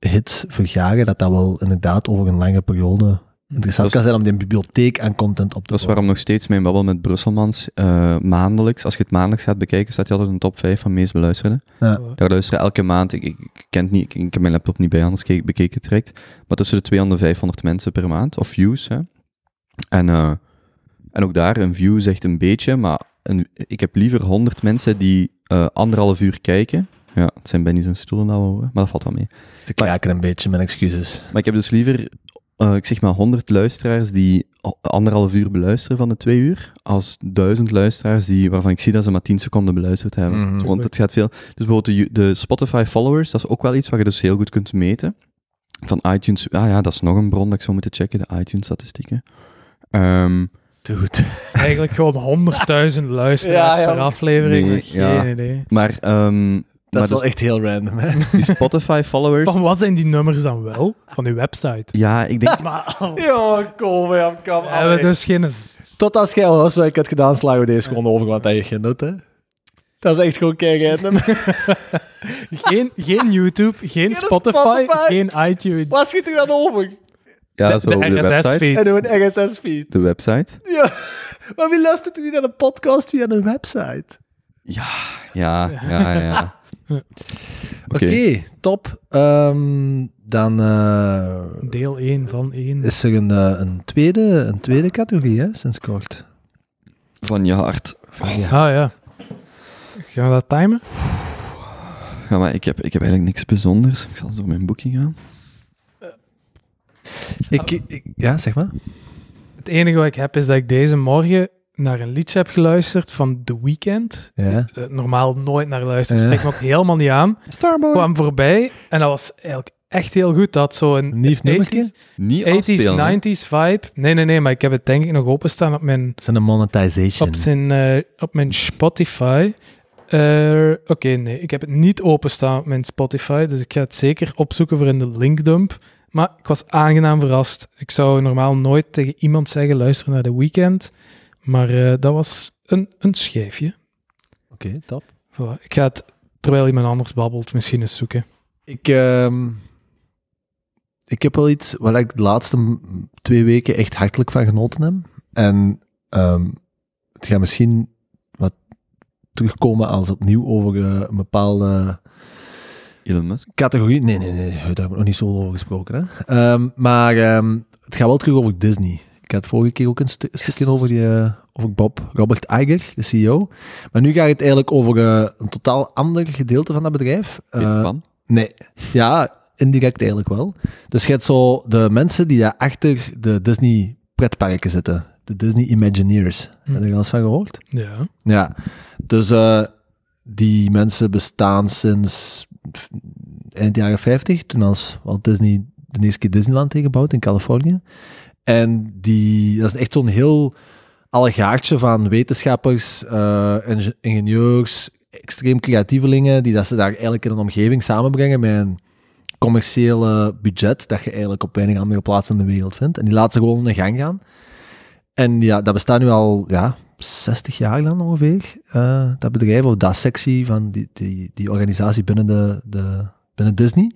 S3: hits vergaren, dat dat wel inderdaad over een lange periode interessant
S2: Dat
S3: kan zijn om die bibliotheek aan content op te
S2: Dat is
S3: bouwen.
S2: waarom nog steeds mijn babbel met Brusselmans eh, maandelijks, als je het maandelijks gaat bekijken, staat hij altijd in de top 5 van meest beluisterde.
S1: Voilà.
S2: Daar luisteren elke maand, ik, ik, ik ken het niet, ik, ik heb mijn laptop niet bij, anders keek- bekeken het direct. Maar tussen de 200 en 500 mensen per maand, of views. Hè. En, eh, en ook daar, een view zegt een beetje, maar een, ik heb liever 100 mensen die eh, anderhalf uur kijken, Ja, het zijn Benny's en stoelen nou, hoor, maar dat valt wel mee.
S3: Ze kraken een beetje, mijn excuses.
S2: Maar ik heb dus liever, eh, ik zeg maar, 100 luisteraars die a- anderhalf uur beluisteren van de twee uur, als duizend luisteraars die, waarvan ik zie dat ze maar 10 seconden beluisterd hebben.
S1: Mm,
S3: Mhm.
S2: Want het gaat veel. Dus bijvoorbeeld de, Ju- de Spotify followers, dat is ook wel iets waar je dus heel goed kunt meten. Van iTunes, ah ja, dat is nog een bron dat ik zou moeten checken, de iTunes-statistieken. Ehm,
S3: Te goed.
S1: Eigenlijk gewoon 100.000 luisteraars
S3: Ja, ja.
S1: per aflevering.
S2: Nee,
S1: Geen
S2: ja.
S1: idee.
S2: maar ehm,
S3: Dat
S2: maar
S3: is wel
S2: dus
S3: echt heel random, hè? (laughs)
S2: die Spotify-followers,
S1: Van wat zijn die nummers dan wel? Van uw website.
S2: ja, ik denk,
S1: Maar
S3: Oh. Ja, kom, man, kom.
S1: we hebben dus geen...
S3: Tot als jij al huiswerk had gedaan, slagen we deze gewoon over, want dat heeft geen nut, hè? Dat is echt gewoon kei random. (laughs)
S1: Geen, geen YouTube, geen, Spotify,
S3: Spotify.
S1: geen iTunes.
S3: Waar schiet ik dan over?
S2: ja, dat is
S1: de
S2: wel op de website.
S1: RSS-feed.
S3: En doe een RSS-feed.
S2: De website.
S3: Ja, maar wie luistert er niet naar een podcast via een website?
S2: Ja, ja, ja.
S1: (laughs) Ja.
S2: Oké.
S3: Oké, top. Ehm, dan eh,
S1: Deel 1 van 1.
S3: is er een, eh, een, tweede, een tweede categorie, hè, sinds kort.
S2: Van je hart.
S1: Ah ja. Gaan we dat timen?
S2: Ja, maar ik heb, ik heb eigenlijk niks bijzonders. Ik zal eens door mijn boekje gaan.
S3: Ik, ik- ja, zeg maar.
S1: Het enige wat ik heb is dat ik deze morgen naar een liedje heb geluisterd van The Weeknd.
S3: Ja.
S1: Eh, Normaal nooit naar luisteren,
S3: Ja.
S1: spreekt me ook helemaal niet aan.
S2: Starboy.
S1: kwam voorbij en dat was eigenlijk echt heel goed. Dat had zo'n
S3: Een lief nummertje.
S1: 80s,
S2: Niet
S1: 80s,
S2: afspelen. hè.
S1: 90s vibe. Nee, nee, nee, maar ik heb het denk ik nog openstaan op mijn,
S3: Het is een monetization.
S1: op zijn, eh, op mijn Spotify. Eh, Oké, nee, ik heb het niet openstaan op mijn Spotify, dus ik ga het zeker opzoeken voor in de linkdump. Maar ik was aangenaam verrast. Ik zou normaal nooit tegen iemand zeggen, luister naar The Weeknd. Maar eh, dat was een, een schijfje.
S3: Oké, top.
S1: Voilà. Ik ga het, terwijl iemand anders babbelt, misschien eens zoeken.
S3: Ik, ehm, ik heb wel iets waar ik de laatste m- twee weken echt hartelijk van genoten heb. En ehm, het gaat misschien wat terugkomen als opnieuw over eh, een bepaalde
S2: Elon Musk.
S3: categorie. Nee, nee, nee, daar hebben we nog niet zo over gesproken. Hè? Ehm, maar ehm, het gaat wel terug over Disney. Ik had vorige keer ook een stu- stukje over, die, eh, over Bob, Robert Iger, de CEO. Maar nu gaat het eigenlijk over eh, een totaal ander gedeelte van dat bedrijf.
S2: Peter
S3: Eh,
S2: Pan.
S3: Nee. Ja, indirect eigenlijk wel. Dus je hebt zo de mensen die daar achter de Disney pretparken zitten. De Disney Imagineers.
S1: Hm.
S3: Heb je er al eens van gehoord?
S1: Ja.
S3: Ja. Dus eh, die mensen bestaan sinds f- eind jaren 50, toen als Walt Disney de eerste keer Disneyland heeft gebouwd in Californië. En die, dat is echt zo'n heel allegaartje van wetenschappers, eh, enge- ingenieurs, extreem creatievelingen, die dat ze daar eigenlijk in een omgeving samenbrengen met een commerciële budget dat je eigenlijk op weinig andere plaatsen in de wereld vindt. En die laten ze gewoon in de gang gaan. En ja, dat bestaat nu al ja, 60 jaar lang ongeveer, eh, dat bedrijf of dat sectie van die, die, die organisatie binnen, de, de, binnen Disney.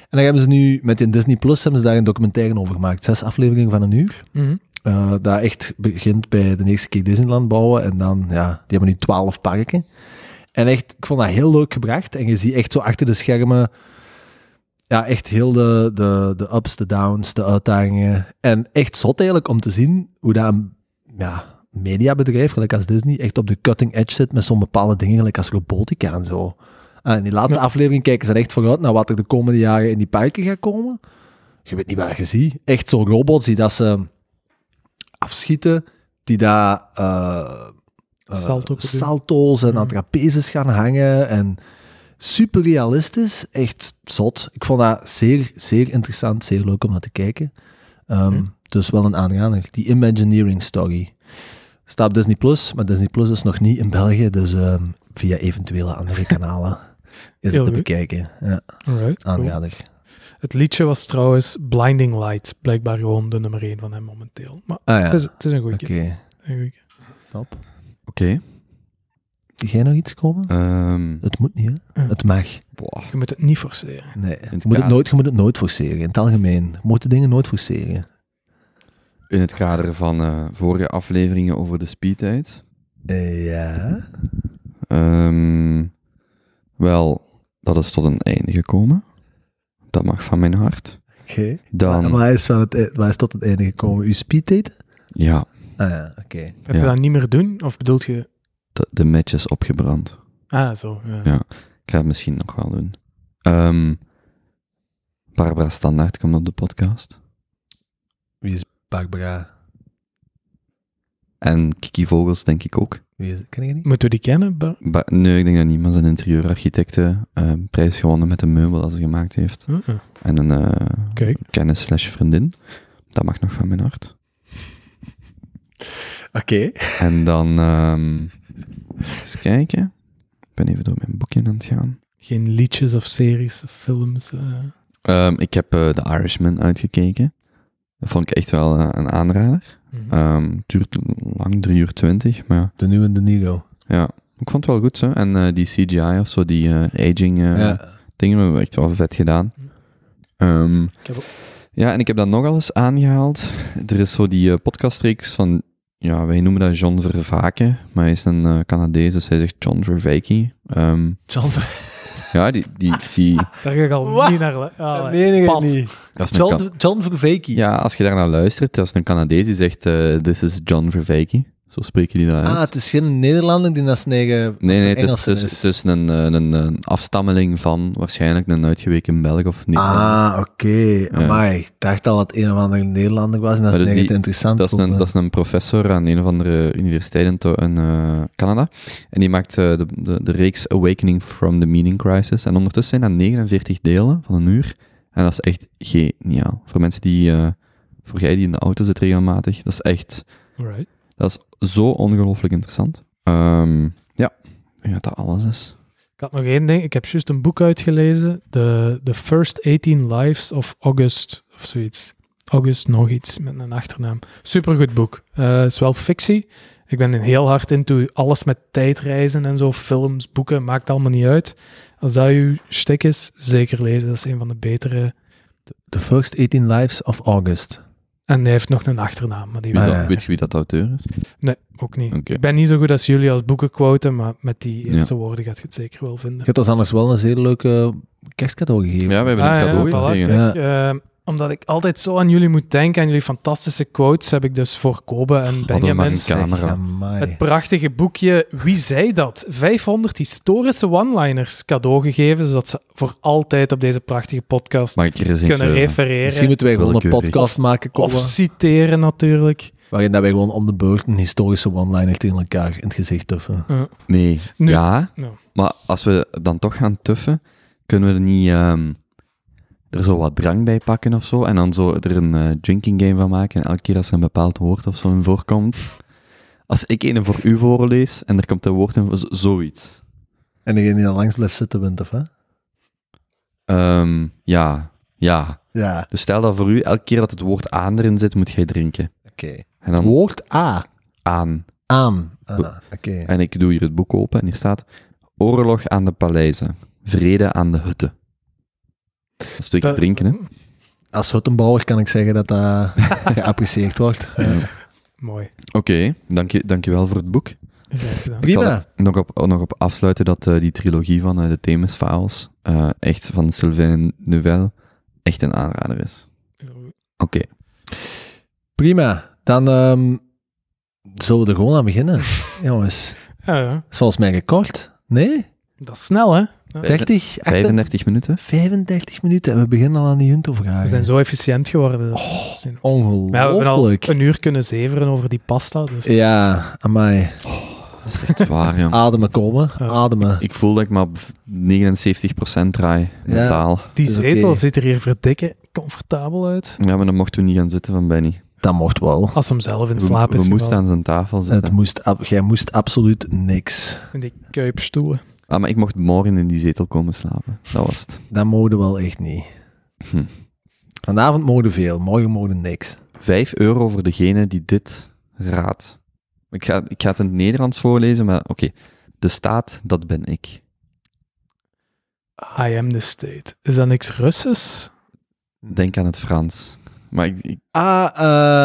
S3: En daar hebben ze nu, met in Disney Plus, hebben ze daar een documentaire over gemaakt. Zes afleveringen van een uur.
S1: Mhm.
S3: Eh, dat echt begint bij de eerste keer Disneyland bouwen. En dan, ja, die hebben nu twaalf parken. En echt, ik vond dat heel leuk gebracht. En je ziet echt zo achter de schermen, ja, echt heel de, de, de ups, de downs, de uitdagingen. En echt zot eigenlijk om te zien hoe dat een ja, mediabedrijf, gelijk als Disney, echt op de cutting edge zit met zo'n bepaalde dingen, gelijk als robotica en zo. Ah, in die laatste aflevering kijken ze echt vooruit naar wat er de komende jaren in die parken gaat komen. Je weet niet waar je ziet. Echt zo'n robots die dat ze afschieten, die daar eh, eh,
S1: Salto kunnen doen.
S3: salto's en
S1: Mhm.
S3: aan trapezes gaan hangen. En super realistisch, echt zot. Ik vond dat zeer, zeer interessant, zeer leuk om naar te kijken. Ehm,
S1: Oké.
S3: Dus wel een aanrader. Die Imagineering Story. Staat op Disney Plus, maar Disney Plus is nog niet in België, dus ehm, via eventuele andere kanalen is
S1: Heel
S3: het te
S1: goed.
S3: bekijken. Ah, Ja,
S1: Alright, cool.
S3: aanrader.
S1: Het liedje was trouwens Blinding Lights, blijkbaar gewoon de nummer 1 van hem momenteel. Maar
S3: Ah ja,
S1: het, is,
S3: oké.
S1: het is een goeie. Een goeie.
S3: Top.
S2: Oké.
S3: Zie jij nog iets komen?
S2: Ehm,
S3: Het moet niet, hè?
S1: Ja.
S3: Het mag.
S2: boah.
S1: Je moet het niet forceren.
S3: Nee.
S2: het
S3: Je moet, het
S2: kader-
S3: nooit, je moet het nooit forceren, in het algemeen. Je moet de dingen nooit forceren.
S2: In het kader van eh, vorige afleveringen over de speedtijd.
S3: Eh, ja.
S2: Ehm, wel, dat is tot een einde gekomen. Dat mag van mijn hart.
S3: Oké. Maar,
S2: Dan,
S3: maar hij is van het, e- maar hij is tot het einde gekomen. Uw speed daten?
S2: ja,
S3: Ah ja, oké.
S1: Gaat je
S2: Ja.
S1: dat niet meer doen? Of bedoelt je...
S2: de, de match is opgebrand.
S1: Ah, zo. Ja.
S2: Ja. Ik ga het misschien nog wel doen. Ehm, Barbara Standaard komt op de podcast.
S3: Wie is Barbara?
S2: En Kiki Vogels, denk ik ook.
S3: Wie is, ken je niet?
S1: Moeten we die kennen? Bar-
S2: Ba- nee, ik denk dat niet, maar zijn interieurarchitecten eh, prijs gewonnen met een meubel dat ze gemaakt heeft.
S1: Uh-uh. Oké.
S2: En een eh, kennis slash vriendin. Dat mag nog van mijn hart.
S3: Oké.
S2: En dan... ehm, eens kijken. Ik ben even door mijn boekje aan het gaan.
S1: Geen liedjes of series of films. eh.
S2: Ehm, ik heb eh, The Irishman uitgekeken. Dat vond ik echt wel eh, een aanrader.
S1: Mhm.
S2: Ehm, Het duurt lang, 3 uur 20, maar
S3: De nieuwe De Niro.
S2: ja. Ik vond het wel goed, zo. En eh, die CGI of zo, die eh, aging eh,
S3: ja.
S2: dingen, hebben we echt wel vet gedaan. Ehm,
S1: Ik heb ook-
S2: ja, en ik heb dat nogal eens aangehaald. Er is zo die eh, podcastreeks van, ja, wij noemen dat John Vervaken, maar hij is een eh, Canadees, dus hij zegt John Vervaken. Ehm,
S3: John
S2: ja, die, die, die,
S3: (laughs)
S1: Daar ga ik al
S3: Wat?
S1: niet naar... lu- (laughs) Allee,
S3: Dat meen ik
S1: pas.
S3: niet.
S2: dat is een Can-
S3: John, John Verveke.
S2: Ja, als je daarnaar luistert, dat is een Canadees die zegt, eh, this is John Vervaken. Zo spreken die dat uit.
S3: Ah, dus. het is geen Nederlander die naast negen...
S2: Nee, nee, het is,
S3: Engelsen
S2: het is,
S3: is.
S2: het is een, eh, een, een afstammeling van waarschijnlijk een uitgeweken Belg of niet.
S3: Ah, oké. Amai, ik dacht al dat het een of andere Nederlander was en dat
S2: Maar dus
S3: is negen
S2: die-
S3: te interessant.
S2: Dat is, een,
S3: vonden.
S2: dat is een professor aan een of andere universiteit in, to- in, eh, Canada. En die maakt eh, de, de, de reeks Awakening from the Meaning Crisis. En ondertussen zijn dat 49 delen van een uur. En dat is echt geniaal. Voor mensen die, eh, voor jij die in de auto zit regelmatig, dat is echt,
S1: Alright.
S2: dat is zo ongelooflijk interessant. Ehm, ja, ik denk dat dat alles is.
S1: Ik had nog één ding. Ik heb juist een boek uitgelezen. The, the First 18 Lives of August. Of zoiets. August nog iets met een achternaam. Supergoed boek. Eh, Het is wel fictie. Ik ben heel hard into alles met tijdreizen en zo. Films, boeken, maakt allemaal niet uit. Als dat uw stik is, zeker lezen. Dat is een van de betere.
S3: The First 18 Lives of August.
S1: En hij heeft nog een achternaam. Maar die
S2: Wie
S1: weet
S3: Ah,
S2: dat-
S1: ik
S3: ja.
S2: Weet je wie dat auteur is?
S1: Nee, ook niet.
S2: Oké.
S1: Ik ben niet zo goed als jullie als boeken quoten, maar met die
S2: Ja.
S1: eerste woorden gaat je het zeker wel
S3: Je
S1: vinden.
S3: hebt ons anders wel een zeer leuke kerstcadeau gegeven.
S2: Ja, we hebben een
S1: Ah, ja,
S2: cadeau
S1: voilà,
S2: gekregen.
S1: kijk,
S3: Ja.
S1: ehm, omdat ik altijd zo aan jullie moet denken, aan jullie fantastische quotes, heb ik dus voor Kobe en
S2: maar
S1: Benjamin
S2: een camera.
S3: Amai.
S1: het prachtige boekje Wie zei dat? 500 historische one-liners cadeau gegeven, zodat ze voor altijd op deze prachtige podcast
S2: Mag ik er eens eentje- eh,
S1: kunnen
S3: Misschien
S1: refereren.
S3: moeten wij gewoon een
S2: Willekeurig.
S3: podcast maken,
S1: Of
S3: Koba,
S1: citeren natuurlijk.
S3: waarin dat wij gewoon om de beurt een historische one-liner tegen elkaar in het gezicht duffen.
S2: Nee.
S1: Nu.
S2: Ja,
S1: Ja.
S2: maar als we dan toch gaan tuffen, kunnen we er niet ehm, er zo wat drang bij pakken of zo, en dan zo er een eh, drinking game van maken, en elke keer als er een bepaald woord of zo in voorkomt, als ik een voor u voorlees, en er komt een woord in, z- zoiets.
S3: En degene die dan langs blijft zitten wint, of hè?
S2: Ehm, ja, ja.
S3: Ja,
S2: Dus stel dat voor u, elke keer dat het woord aan erin zit, moet jij drinken.
S3: oké.
S2: En dan
S3: Woord A.
S2: aan.
S3: Aan. Ah, oké.
S2: En ik doe hier het boek open, en hier staat oorlog aan de paleizen, vrede aan de hutten. Dat is twee keer
S1: Dat-
S2: drinken, hè?
S1: (laughs)
S3: Als huttenbouwer kan ik zeggen dat
S2: (laughs)
S3: dat geapprecieerd wordt. Eh, Ja.
S1: Mooi.
S2: Oké, dank je, dankjewel voor het boek.
S1: Graag gedaan.
S2: Ik zal
S3: Prima.
S2: er nog op, nog op afsluiten dat eh, die trilogie van eh, de Themis Files, eh, echt van Sylvain Nouvel, echt een aanrader is. Oké,
S3: Prima. Dan ehm, zullen we er gewoon aan
S2: (laughs)
S3: beginnen, jongens.
S1: Ja, ja.
S3: Zoals mij gekort. Nee?
S1: Dat is snel, hè?
S3: 30, 38,
S2: 35 minuten.
S3: 35 minuten. En we beginnen al aan die junto vragen.
S1: We zijn zo efficiënt geworden. Dat
S2: Oh.
S1: is niet
S3: Ongelooflijk.
S1: Maar ja, we hebben al een uur kunnen zeveren over die pasta. Dus
S3: Ja, amai.
S2: Dat is echt waar, (laughs) jong.
S3: Ademen komen,
S1: Ja.
S3: ademen.
S2: Ah. Ik voel dat ik maar op 79% draai mentaal.
S1: die
S3: is oké.
S1: zetel ziet er hier verdikken comfortabel uit.
S2: Ja, maar dan mochten we niet gaan zitten van Benny.
S3: Dat mocht wel.
S1: Als hem zelf in
S2: We,
S1: slaap is.
S2: we moesten
S1: gevallen.
S2: aan zijn tafel
S3: Het
S2: zitten.
S3: moest, ab- jij moest absoluut niks.
S1: In die kuipstoelen.
S2: Ah, maar ik mocht morgen in die zetel komen slapen. Dat was het.
S3: Dat mogen we wel echt niet.
S2: Hm.
S3: Vanavond mogen we veel, morgen mogen we niks.
S2: 5 euro voor degene die dit raadt. Ik ga, ik ga het in het Nederlands voorlezen, maar oké. De staat, dat ben ik.
S1: I am the state. Is dat niks Russisch?
S3: Hm.
S2: Denk aan het Frans. Maar ik, ik-
S3: Ah,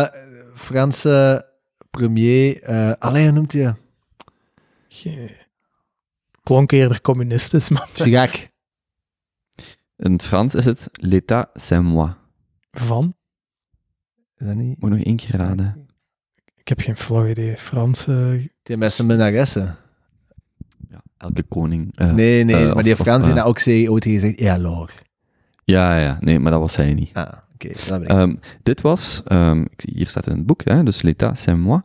S3: eh, Franse premier, eh alleen hoe noemt hij dat?
S1: Ge- Klonk eerder communistisch, (laughs) maar
S3: Chirac.
S2: in het Frans is het l'état c'est moi.
S1: van?
S3: Is dat niet?
S2: Moet nog één keer raden.
S1: Ik heb geen flauw idee. Frans. eh,
S3: Die mensen met arresten.
S2: elke koning. eh,
S3: Nee, nee,
S2: eh,
S3: maar
S2: of-
S3: die
S2: of,
S3: Afghaanse die
S2: eh,
S3: naar ook zei, ooit heeft gezegd, ja, log.
S2: Ja, ja, nee, maar dat was hij niet.
S3: Ah, oké, dat ben ik.
S2: Ehm, dit was, ehm, ik zie- hier staat in het boek, hè, dus L'État, c'est moi,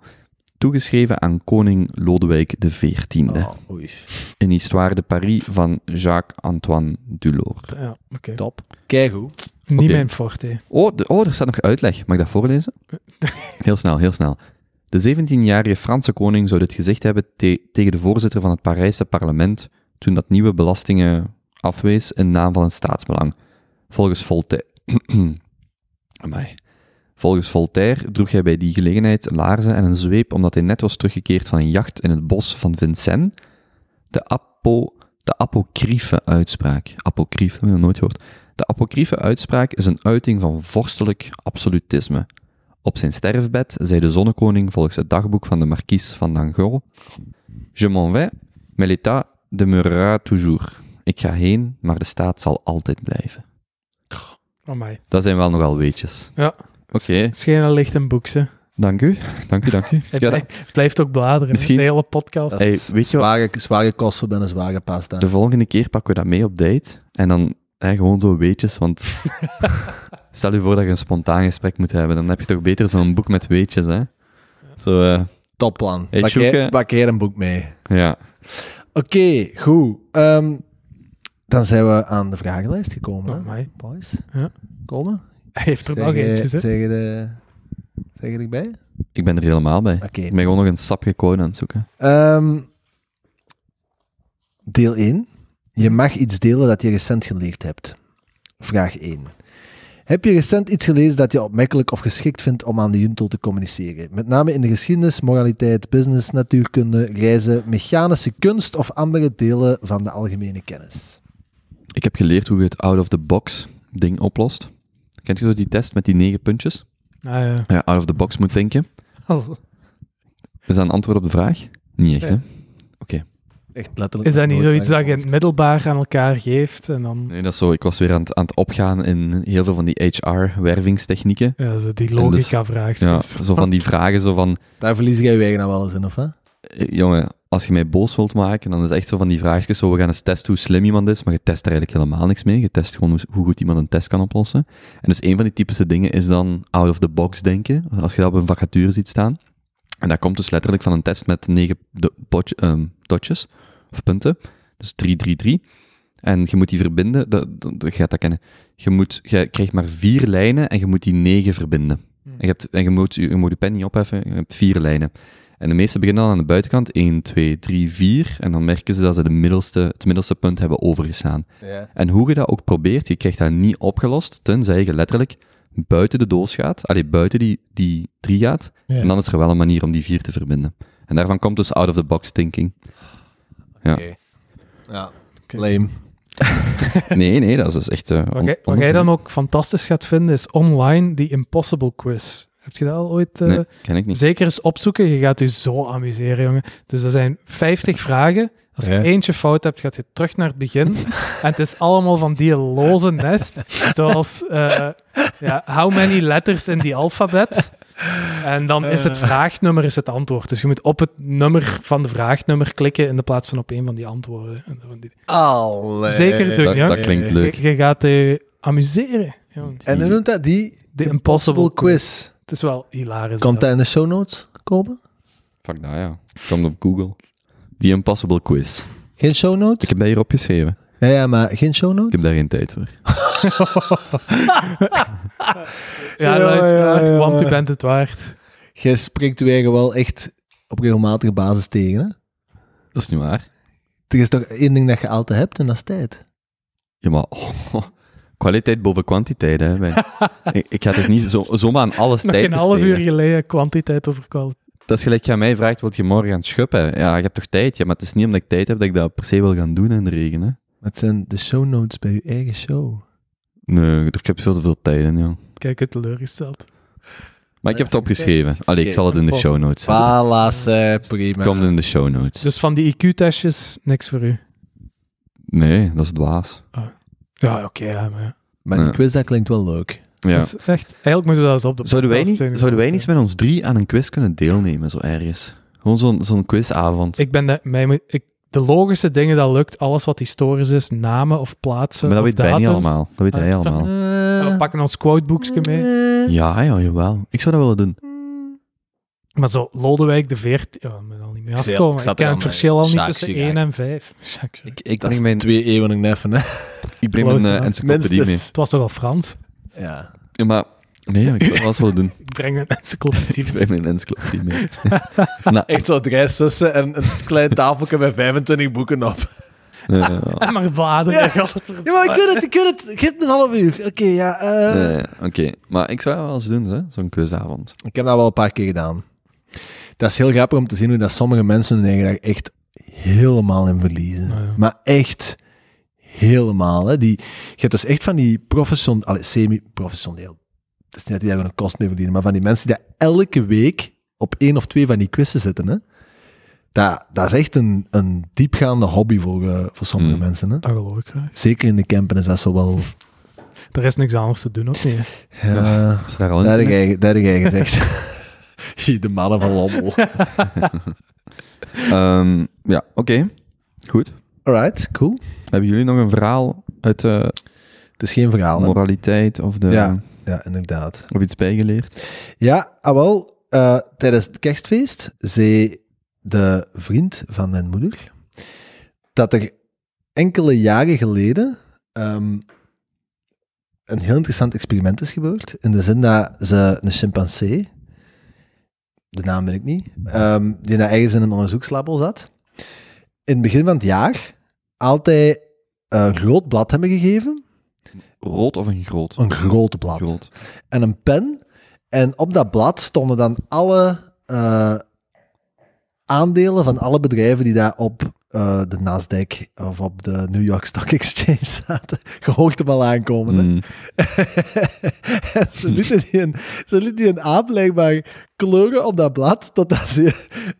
S2: toegeschreven aan koning Lodewijk XIV.
S3: Oh, oei.
S2: In Histoire de Paris van Jacques-Antoine Dulor.
S1: Ja, oké.
S3: Top. Keigoed.
S1: Niet
S2: Oké.
S1: mijn forte.
S2: Oh, de- oh, er staat nog uitleg. Mag ik dat voorlezen? Heel snel, heel snel. De 17-jarige Franse koning zou dit gezegd hebben te- tegen de voorzitter van het Parijse parlement toen dat nieuwe belastingen afwees in naam van het staatsbelang. Volgens Voltaire... (clears throat) Amai. Volgens Voltaire droeg hij bij die gelegenheid laarzen en een zweep omdat hij net was teruggekeerd van een jacht in het bos van Vincennes. De, apo, de apocryfe uitspraak. Apocryf, dat heb ik nog nooit gehoord. De apocryfe uitspraak is een uiting van vorstelijk absolutisme. Op zijn sterfbed zei de zonnekoning volgens het dagboek van de markies van Dangon: Je m'en vais, mais l'état demeurera toujours. Ik ga heen, maar de staat zal altijd blijven.
S1: Oh my.
S2: Dat zijn wel nogal weetjes.
S1: Ja.
S2: Oké,
S1: Schenen licht en boeks, hè.
S2: dank u. Dank u, dank u.
S1: Hij
S2: Ja,
S1: blij- blijft ook bladeren.
S2: Misschien-
S1: De hele podcast.
S3: Dat
S2: Hey,
S3: is
S2: weet je wat-
S3: zware, zware kosten bij een zware pasta.
S2: De volgende keer pakken we dat mee op date. En dan hè, gewoon zo weetjes, want... Stel je voor dat je een spontaan gesprek moet hebben. Dan heb je toch beter zo'n boek met weetjes, hè? Zo, eh,
S3: Topplan.
S2: Hey,
S3: Pak
S2: Sjoeke.
S3: jij- Pak jij een boek mee.
S2: ja.
S3: Oké, goed. Ehm, dan zijn we aan de vragenlijst gekomen. hè,
S1: Oh my.
S3: Boys,
S1: Ja.
S3: komen.
S1: Hij heeft er
S3: Zeg
S1: nog
S3: je-
S2: eh,
S1: eentjes, hè.
S3: Zeg je, de, zeg je erbij?
S2: Ik ben er helemaal bij.
S3: Oké.
S2: Ik ben gewoon nog een sapje code aan het zoeken.
S3: Ehm, deel 1. Je mag iets delen dat je recent geleerd hebt. Vraag 1. Heb je recent iets gelezen dat je opmerkelijk of geschikt vindt om aan de junto te communiceren? Met name in de geschiedenis, moraliteit, business, natuurkunde, reizen, mechanische kunst of andere delen van de algemene kennis.
S2: Ik heb geleerd hoe je het out-of-the-box ding oplost. Kent je zo die test met die negen puntjes?
S1: Ah,
S2: (laughs)
S1: ja.
S2: Ja, out-of-the-box moet denken. Oh, Is dat een antwoord op de vraag? Niet echt, hè?
S3: Echt letterlijk.
S1: Is dat
S3: nog
S1: niet
S3: nooit
S1: zoiets dat je in
S3: aangehoord.
S1: het middelbaar aan elkaar geeft en dan...
S2: Nee, dat is zo. Ik was weer aan het, aan het opgaan in heel veel van die HR-wervingstechnieken.
S1: Ja, zo die
S2: En dus-
S1: logica-vraag.
S2: Ja, zo van die vragen, zo van...
S3: Daar verlies jij je eigen nou wel eens in, of hè?
S2: eh, Jongen, als je mij boos wilt maken, dan is echt zo van die vraagjes zo... We gaan eens testen hoe slim iemand is, maar je test er eigenlijk helemaal niks mee. Je test gewoon hoe, hoe goed iemand een test kan oplossen. En dus een van die typische dingen is dan out-of-the-box denken. Als je dat op een vacature ziet staan. En dat komt dus letterlijk van een test met negen do- botje- ehm, dotjes, of punten. Dus 3, 3, 3. En je moet die verbinden, dat, dat, dat- je gaat dat kennen. Je, moet, je krijgt maar vier lijnen en je moet die negen verbinden. En je, hebt, en je, moet, je moet je pen niet opheffen, je hebt vier lijnen. En de meeste beginnen dan aan de buitenkant, 1, 2, 3, 4. En dan merken ze dat ze de middelste, het middelste punt hebben overgeslaan.
S3: Ja.
S2: En hoe je dat ook probeert, je krijgt dat niet opgelost, tenzij je letterlijk buiten de doos gaat, allee, buiten die, die drie gaat,
S3: Ja.
S2: en dan is er wel een manier om die vier te verbinden. En daarvan komt dus out-of-the-box
S1: (laughs)
S2: thinking. Ja.
S3: ja.
S1: Oké.
S3: Lame.
S2: Nee, nee, dat is dus echt... eh, on-
S1: Wat jij, wat jij
S2: onopgemerkt.
S1: dan ook fantastisch gaat vinden, is online die Impossible Quiz. Heb je dat al ooit... eh,
S2: Nee, ken ik niet.
S1: Zeker eens opzoeken, je gaat je zo amuseren, jongen. Dus er zijn 50 vragen. Als je
S3: Ja.
S1: eentje fout hebt, gaat je terug naar het begin.
S2: (laughs)
S1: en het is allemaal van die loze nest. Zoals, eh, ja, how many letters in die alfabet? En dan is
S2: Eh.
S1: het vraagnummer is het antwoord. Dus je moet op het nummer van de vraagnummer klikken in de plaats van op een van die antwoorden. En van die-
S3: Allee.
S1: Zeker doen,
S2: Dat,
S1: ja. Eh,
S2: dat klinkt leuk.
S1: Je, je gaat je amuseren. jongen.
S3: En hoe noemt dat die?
S1: De Impossible
S3: Possible
S1: Quiz.
S3: quiz.
S1: Het is wel hilarisch.
S3: Komt
S1: dat.
S3: dat in de show notes komen?
S2: Fuck dat, ja. Komt op Google. The Impossible Quiz.
S3: Geen show
S2: Ik
S3: notes?
S2: heb dat hier opgeschreven.
S3: Ja, ja, maar geen show
S2: Ik
S3: notes?
S2: heb daar geen tijd voor.
S1: Ja,
S3: Ja,
S1: luisteraar,
S3: ja, ja.
S1: want u bent het waard.
S3: Jij spreekt je eigen wel echt op regelmatige basis tegen, hè?
S2: Dat is niet waar.
S3: Er is toch één ding dat je altijd hebt en dat is tijd.
S2: Ja, maar... oh, kwaliteit boven kwantiteit, hè. wij. ik, ik ga toch niet zo, zomaar aan alles
S1: Nog
S2: tijd
S1: een half uur
S2: besteden?
S1: geleden kwantiteit over kwaliteit.
S2: Dat is gelijk, je aan mij vraagt, wil je morgen gaan schuppen? Ja, ik heb toch tijd? Ja, maar het is niet omdat ik tijd heb dat ik dat per se wil gaan doen in de regen, hè.
S3: Het zijn de show notes bij je eigen show.
S2: Nee, ik heb veel te veel tijd in, joh.
S1: Kijk, het teleurgesteld.
S2: Maar ik heb het opgeschreven. Allee, ik zal het in de show notes zetten.
S3: Voilà, ze, prima.
S2: Het komt in de show notes.
S1: Dus van die IQ-testjes, niks voor u.
S2: Nee, dat is dwaas.
S1: Ja, oké. ja, maar... ja.
S3: Maar die
S2: Ja.
S3: quiz, dat klinkt wel leuk.
S2: Ja.
S1: Dat is echt, eigenlijk moeten we dat eens op de
S2: Zouden wij,
S1: podcast
S2: niet,
S1: doen.
S2: zouden wij niet met ons drie aan een quiz kunnen deelnemen, zo ergens? Gewoon zo'n zo'n quizavond.
S1: Ik ben dat... Mij, moet- ik de logische dingen, dat lukt. Alles wat historisch is, namen of plaatsen
S2: Maar dat
S1: of
S2: weet Benny
S1: datums.
S2: allemaal. Dat weet
S1: Ah,
S2: hij
S1: dat is
S2: allemaal.
S3: Eh,
S1: En we pakken ons quoteboekje mee.
S2: Ja, ja, jawel. Ik zou dat willen doen.
S1: Maar zo, Lodewijk de 14, ja, ik ben al niet meer
S3: Ik zei- ik
S1: afgekomen. Ik,
S3: zat er
S1: ken
S3: al
S1: het
S3: mee.
S1: verschil al niet
S3: Jacques
S1: tussen
S3: Chirac.
S1: 1 en 5. Jacques Chirac.
S2: Ik, ik
S3: Dat is
S2: breng mijn,
S3: twee eeuwen neffen, hè.
S2: ik breng mijn
S1: close
S2: eh,
S1: enough.
S2: encyclopedie mee.
S3: Minstens.
S1: Het was toch wel Frans?
S3: Ja.
S2: Ja, maar nee, ik wil wel eens willen
S3: (laughs)
S2: doen.
S1: Ik breng (laughs) mijn
S2: (laughs)
S1: encyclopedie.
S2: Ik breng mijn encyclopedie mee.
S3: Echt zo drie zussen en een klein tafeltje met 25 boeken op.
S2: Eh,
S1: Ah, maar bladeren.
S3: Ja.
S1: gadverdamme.
S3: Ja, maar ik weet het, ik weet het. Geef me een half uur. Oké, ja. eh.
S2: eh, Oké, maar ik zou dat wel eens doen, hè, zo'n quizavond.
S3: Ik heb dat wel een paar keer gedaan. Dat is heel grappig om te zien hoe dat sommige mensen hun eigen dag echt helemaal in verliezen.
S1: Ja.
S3: Maar echt helemaal. Hè. Die, je hebt dus echt van die professioneel, semi-professioneel. Het is niet dat die daar een kost mee verdienen, maar van die mensen die elke week op één of twee van die quizzen zitten. Hè. Dat, dat is echt een, een diepgaande hobby voor, eh, voor sommige
S2: Mm.
S3: mensen. Hè.
S1: Dat geloof ik graag.
S3: Zeker in de campen is dat zo wel...
S1: Er is niks anders te doen, ook niet.
S3: Ja.
S2: Is daar al
S3: Dat
S2: in?
S3: heb jij, dat heb jij gezegd. (laughs) de mannen van Lommel.
S2: Ehm, ja, oké. Goed.
S3: Alright, cool.
S2: Hebben jullie nog een verhaal uit de
S3: Het is geen verhaal. hè?
S2: moraliteit of, de,
S3: Ja. Ja, inderdaad.
S2: of iets bijgeleerd?
S3: Ja, ah, wel, eh, tijdens het kerstfeest zei de vriend van mijn moeder dat er enkele jaren geleden ehm, een heel interessant experiment is gebeurd. In de zin dat ze een chimpansee, de naam weet ik niet, ehm, die daar ergens in een onderzoekslabo zat, in het begin van het jaar altijd een groot blad hebben gegeven.
S2: Rood of een groot?
S3: Een groot blad.
S2: Groot.
S3: en een pen. En op dat blad stonden dan alle eh, aandelen van alle bedrijven die daar op eh, de Nasdaq of op de New York Stock Exchange (laughs) zaten. Je hoort hem al aankomen. hè.
S2: Mm.
S3: En (laughs) ze lieten die een, ze lieten die een aap blijkbaar kleuren op dat blad, totdat ze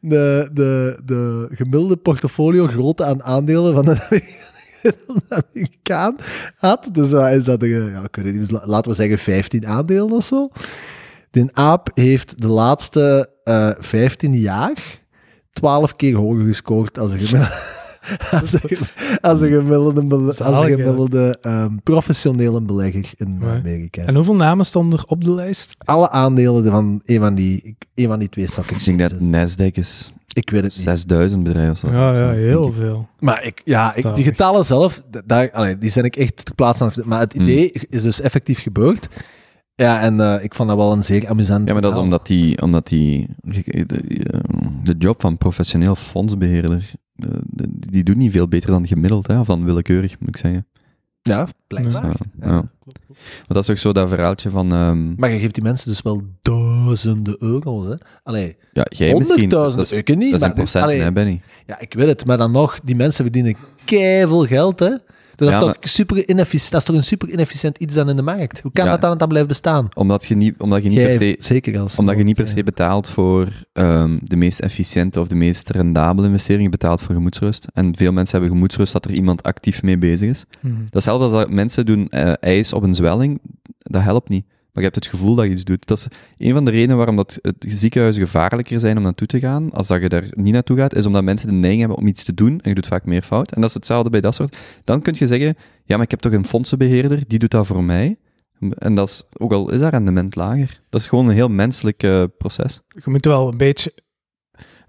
S3: de, de, de gemiddelde portfolio grootte aan aandelen van een (laughs) Amerikaan had. Dus wat is dat? Er, eh, ja, ik weet het niet, la- laten we zeggen 15 aandelen of zo. De aap heeft de laatste eh 15 jaar 12 keer hoger gescoord als de gemiddelde. (laughs) Als de, gem- als de gemiddelde, bele- als de
S1: Zalig, hè?
S3: gemiddelde ehm, professionele belegger in
S1: Ja.
S3: Amerika.
S1: En hoeveel namen stonden er op de lijst?
S3: Alle aandelen van een van die, een van die twee stock
S2: Ik denk dat
S3: exchanges.
S2: Nasdaq is
S3: Ik weet het niet.
S2: 6000 bedrijven of zo.
S1: Ja, ja,
S2: Zo,
S1: heel
S2: denk ik.
S1: veel.
S3: Maar ik, ja, ik, die
S1: Zalig.
S3: getallen zelf, d- daar, allee, die zijn ik echt ter plaatse aan. het- Maar het
S2: Hmm.
S3: idee is dus effectief gebeurd. Ja, en eh, ik vond dat wel een zeer amusant
S2: Ja, maar dat is
S3: verhaal.
S2: omdat die, omdat die de, eh, de job van professioneel fondsbeheerder, eh, de- die doet niet veel beter dan gemiddeld, hè, of dan willekeurig, moet ik zeggen.
S3: Ja, blijkbaar.
S2: Ja,
S3: Ja.
S2: ja. Want dat is ook zo dat verhaaltje van... ehm,
S3: Maar je geeft die mensen dus wel duizenden euro's, hè. Allee,
S2: ja, jij misschien. Dat is,
S3: honderdduizenden, ik niet.
S2: dat
S3: maar
S2: zijn
S3: dus-
S2: procenten,
S3: allee,
S2: hè, Benny?
S3: Ja, ik weet het, maar dan nog, die mensen verdienen keiveel geld, hè. Dus
S2: Ja,
S3: dat, is
S2: maar-
S3: toch super ineffici- dat is toch een super inefficiënt iets dan in de markt? Hoe kan
S2: Ja.
S3: dat dan, dan blijven bestaan?
S2: Omdat je niet, omdat je niet per se...
S3: Jij- zeker als
S2: Omdat je niet per se betaalt voor ehm, de meest efficiënte of de meest rendabele investeringen, je betaalt voor gemoedsrust. En veel mensen hebben gemoedsrust dat er iemand actief mee bezig is.
S1: Hm.
S2: Datzelfde als dat mensen doen eh, ijs op een zwelling, dat helpt niet. Maar je hebt het gevoel dat je iets doet. Dat is een van de redenen waarom dat het ziekenhuizen gevaarlijker zijn om naartoe te gaan, als dat je daar niet naartoe gaat, is omdat mensen de neiging hebben om iets te doen, en je doet vaak meer fout. En dat is hetzelfde bij dat soort. Dan kun je zeggen, ja, maar ik heb toch een fondsenbeheerder, die doet dat voor mij. En dat is, ook al is dat rendement lager, dat is gewoon een heel menselijk eh, proces.
S1: Je moet wel een beetje...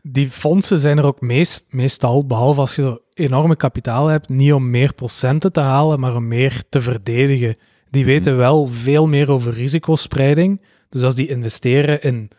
S1: Die fondsen zijn er ook meest, meestal, behalve als je zo enorme kapitaal hebt, niet om meer procenten te halen, maar om meer te verdedigen. Die
S2: Mhm.
S1: weten wel veel meer over risicospreiding. Dus als die investeren in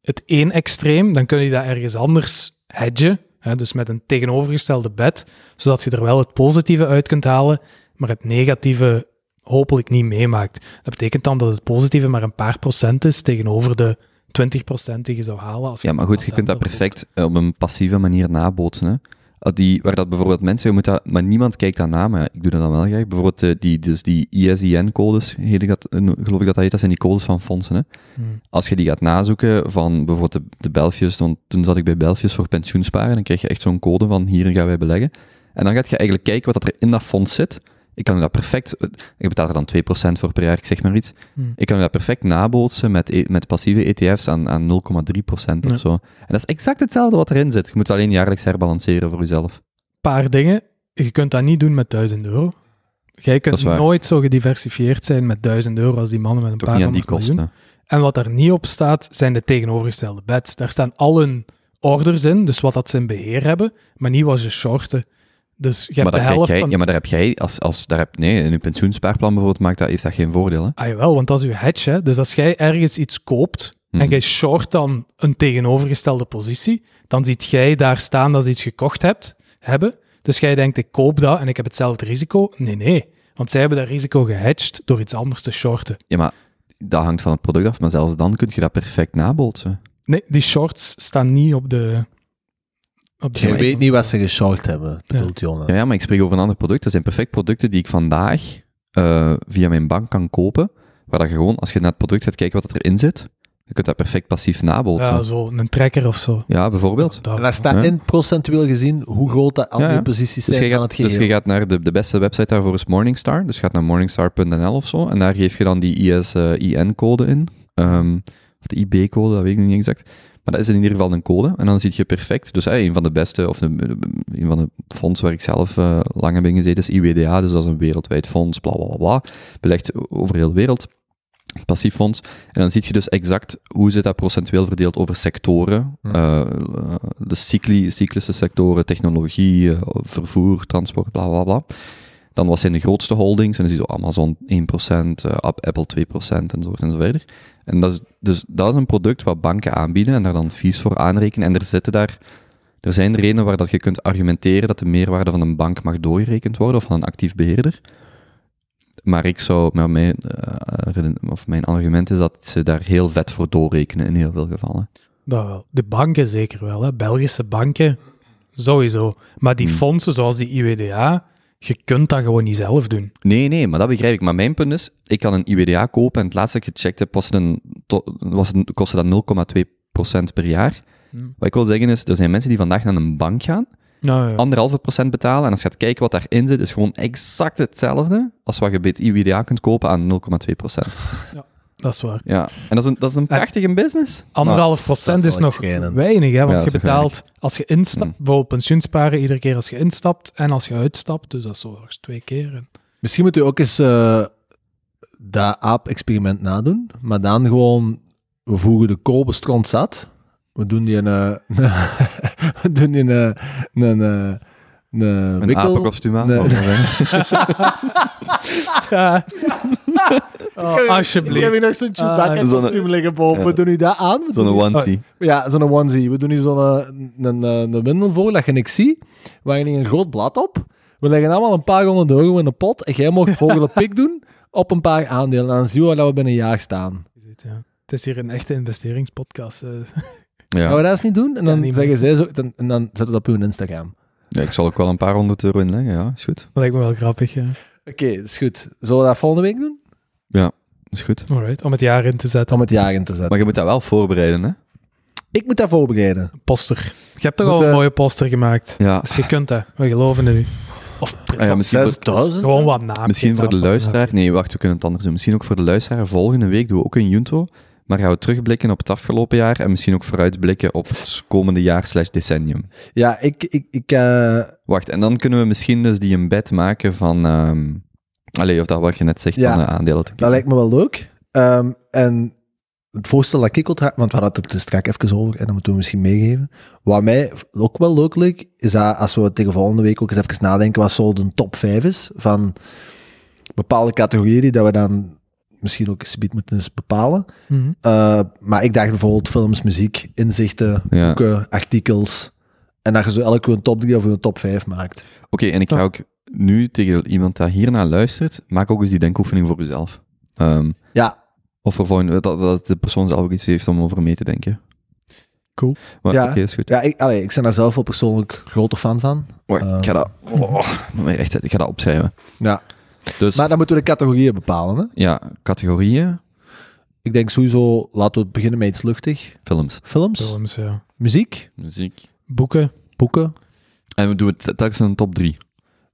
S1: het één extreem, dan kun je dat ergens anders hedgen. Hè, dus met een tegenovergestelde bed, zodat je er wel het positieve uit kunt halen, maar het negatieve hopelijk niet meemaakt. Dat betekent dan dat het positieve maar een paar procent is tegenover de 20% die je zou halen. Als
S2: Ja, maar goed, je kunt dat perfect eh, op een passieve manier nabootsen. Hè? Uh, Die, waar dat bijvoorbeeld mensen, je moet dat, maar niemand kijkt daar na, maar ik doe dat dan wel graag. Bijvoorbeeld eh, die, dus die ISIN-codes, heet ik dat, eh, geloof ik dat dat heet, dat zijn die codes van fondsen. Hè?
S1: Hmm.
S2: Als je die gaat nazoeken van bijvoorbeeld de, de Belfius, want toen zat ik bij Belfius voor pensioensparen, dan krijg je echt zo'n code van hier gaan wij beleggen. En dan gaat je eigenlijk kijken wat dat er in dat fonds zit. Ik kan dat perfect, eh, ik betaal er dan 2% voor per jaar, ik zeg maar iets.
S1: Hmm.
S2: Ik kan dat perfect nabootsen met, e- met passieve ETF's aan, aan 0,3% of
S1: Ja.
S2: zo. En dat is exact hetzelfde wat erin zit. Je moet alleen jaarlijks herbalanceren voor jezelf.
S1: paar dingen. Je kunt dat niet doen met 1000 euro. Jij
S2: Dat
S1: kunt
S2: is waar.
S1: nooit zo gediversifieerd zijn met 1000 euro als die mannen met een
S2: Toch
S1: paar
S2: niet aan die
S1: honderd miljoen.
S2: kosten.
S1: En wat daar niet op staat, zijn de tegenovergestelde bets. Daar staan al hun orders in, dus wat dat ze in beheer hebben, maar niet wat ze shorten. Dus je
S2: Maar,
S1: hebt de
S2: daar krijg
S1: helft
S2: jij,
S1: van...
S2: ja, maar daar heb jij, als, als, daar heb, nee, in je pensioenspaarplan bijvoorbeeld, maakt dat, heeft dat geen voordeel. Hè?
S1: Ah jawel, want dat is je hedge. Hè? Dus als jij ergens iets koopt
S2: Mhm.
S1: en jij short dan een tegenovergestelde positie, dan ziet jij daar staan dat ze iets gekocht hebt, hebben. Dus jij denkt, ik koop dat en ik heb hetzelfde risico. Nee, nee. Want zij hebben dat risico gehedged door iets anders te shorten.
S2: Ja, maar dat hangt van het product af, maar zelfs dan kun je dat perfect nabootsen.
S1: Nee, die shorts staan niet op de... Op de
S3: Je weet niet wat ze geshort hebben, bedoelt Jona.
S2: Ja, ja, maar ik spreek over een ander product. Dat zijn perfect producten die ik vandaag eh, via mijn bank kan kopen, waar dat je gewoon, als je naar het product gaat kijken wat dat erin zit, je kunt dat perfect passief nabootsen.
S1: Ja,
S2: Ja,
S1: zo een trekker of zo.
S2: bijvoorbeeld.
S1: Dat-
S3: En daar staat
S2: Ja.
S3: in procentueel gezien hoe groot dat al
S2: Ja,
S3: die
S2: ja.
S3: posities
S2: Dus
S3: zijn
S2: je,
S3: van
S2: gaat,
S3: het
S2: dus
S3: geheel.
S2: je gaat naar de, de beste website daarvoor is Morningstar. Dus je gaat naar morningstar.nl of zo. En daar geef je dan die ISIN-code in. Ehm, of de IB-code, dat weet ik nog niet exact. Maar dat is in ieder geval een code. En dan zie je perfect. Dus eh, een van de beste, of de, de- een van de fondsen waar ik zelf eh, lang heb in gezeten, is IWDA. Dus dat is een wereldwijd fonds, bla bla bla. bla. Belegd over heel de wereld. Passief fonds. En dan zie je dus exact hoe zit dat procentueel verdeeld over sectoren.
S3: Hmm.
S2: Eh, de cycli, cyclische sectoren, technologie, eh, vervoer, transport, bla bla bla. Dan wat zijn de grootste holdings? En dan zie je zo Amazon 1%, eh, App- Apple 2% enzovoort enzovoort. En dat is, dus dat is een product wat banken aanbieden en daar dan fees voor aanrekenen. En er zitten daar, er zijn redenen waar dat je kunt argumenteren dat de meerwaarde van een bank mag doorgerekend worden of van een actief beheerder. Maar ik zou, maar mijn, eh, reden- of mijn argument is dat ze daar heel vet voor doorrekenen in heel veel gevallen.
S1: Dat wel. De banken zeker wel, hè. Belgische banken sowieso. Maar die
S3: Mhm.
S2: Hmm.
S1: fondsen zoals die IWDA, je kunt dat gewoon niet zelf doen.
S2: Nee, nee, maar dat begrijp ik. Maar mijn punt is, ik kan een IWDA kopen en het laatste dat ik gecheckt heb, was het een, to- was het, een- kostte dat 0,2% per jaar.
S1: Hmm.
S2: Wat ik wil zeggen is, er zijn mensen die vandaag naar een bank gaan,
S1: Nou, ja.
S2: anderhalve procent betalen, en als je gaat kijken wat daarin zit, is gewoon exact hetzelfde als wat je bij het IWDA kunt kopen aan 0,2%.
S1: dat is waar.
S2: Ja, en dat is een, dat is een prachtige business.
S1: Anderhalf
S3: dat is
S1: procent is
S3: wel
S1: nog
S3: iets schrijnend.
S1: weinig, hè,
S2: Ja,
S1: want
S2: dat
S1: je
S2: is ook
S1: betaalt als je instapt,
S2: Hmm.
S1: bijvoorbeeld pensioensparen, iedere keer als je instapt en als je uitstapt. Dus dat is zo nog eens twee keer. En-
S3: Misschien moet u ook eens eh, dat aap-experiment nadoen, maar dan gewoon, we voegen de koolbestrand zat, we doen die een, eh, (laughs) we doen die een, eh, een, eh, een,
S2: Een
S3: wikkel-
S2: apenkostuum aan.
S3: Nee.
S2: Oh, dat is-
S1: Ja. (laughs) Oh,
S3: (laughs) Ik heb
S1: alsjeblieft.
S3: hier nog zo'n
S1: Ah,
S2: zo'n- eh,
S3: Chewbacca-kostuum liggen boven. We doen nu dat aan. We
S2: Zo'n
S3: doen
S1: (laughs)
S3: nu-
S2: onesie.
S3: Ja, zo'n onesie. We doen nu zo'n eh, een, een, een windel voor dat je niks ziet. We leggen hier een groot blad op. We leggen allemaal een paar honderd euro in een pot. En jij mag
S2: (laughs)
S3: volgende pik doen op een paar aandelen. En dan zien we waar we binnen een jaar staan.
S1: Ja. Het is hier een echte investeringspodcast. eh. (laughs)
S3: Gaan
S2: Ja.
S3: we dat eens niet doen? En
S1: Ja,
S3: dan
S1: niet
S3: zeggen
S1: meer.
S3: zij zo... Dan, en dan zetten we dat op hun Instagram.
S2: ja, ik zal ook wel een paar honderd euro inleggen, ja, is goed.
S1: Dat lijkt me wel grappig. Ja.
S3: Oké, dat is goed. Zullen we dat volgende week doen?
S2: Is goed.
S1: Alright, om het jaar in te zetten.
S3: Om het jaar in te zetten.
S2: Maar je moet dat wel voorbereiden, hè?
S3: Ik moet dat voorbereiden.
S1: Poster. Je hebt toch
S3: Moet,
S1: al een
S3: eh,
S1: mooie poster gemaakt.
S2: Ja.
S1: Dus je kunt dat. We geloven in u. Of
S2: Ah ja, misschien voor-
S3: 6000?
S1: gewoon wat naam.
S2: Misschien voor de luisteraar. Nee, wacht, we kunnen het anders doen. Misschien ook voor de luisteraar. Volgende week doen we ook een Junto. Maar gaan we terugblikken op het afgelopen jaar. En misschien ook vooruitblikken op het komende jaar slash decennium.
S3: Ja, ik... ik, ik eh,
S2: Wacht, en dan kunnen we misschien dus die een bed maken van... ehm allee, of dat wat je net zegt,
S3: Ja.
S2: van de aandelen te
S3: Dat
S2: kiezen.
S3: lijkt me wel leuk. Ehm, en het voorstel dat ik onthoud, want we hadden het er dus straks even over en dat moeten we misschien meegeven. Wat mij ook wel leuk leek, is dat als we tegen volgende week ook eens even nadenken wat zo de top 5 is van bepaalde categorieën, die dat we dan misschien ook eens gebied moeten eens bepalen.
S1: Mhm.
S3: Eh, maar ik dacht bijvoorbeeld films, muziek, inzichten,
S2: Ja. Oké,
S3: boeken, artikels. En dat je zo elke een top 3 of een top 5 maakt.
S2: en ik ga ook nu tegen iemand dat hiernaar luistert, maak ook eens die denkoefening voor jezelf. Ehm,
S3: Ja,
S2: of voor volgende, dat, dat de persoon zelf ook iets heeft om over mee te denken.
S1: Cool.
S2: Maar,
S3: Ja.
S2: Oké, is goed.
S3: ja ik, allee, ik ben daar zelf wel persoonlijk grote fan van.
S2: Wacht, ik ga dat...
S3: Ehm.
S2: oh, echt, ik ga dat opschrijven.
S3: Ja.
S2: Dus,
S3: Maar dan moeten we de categorieën bepalen. Hè?
S2: ja, categorieën.
S3: Ik denk sowieso, laten we beginnen met iets luchtig.
S2: Films.
S3: Films,
S1: Films, ja.
S3: muziek,
S2: Muziek.
S1: Boeken.
S3: boeken,
S2: En we doen het telkens in een top drie.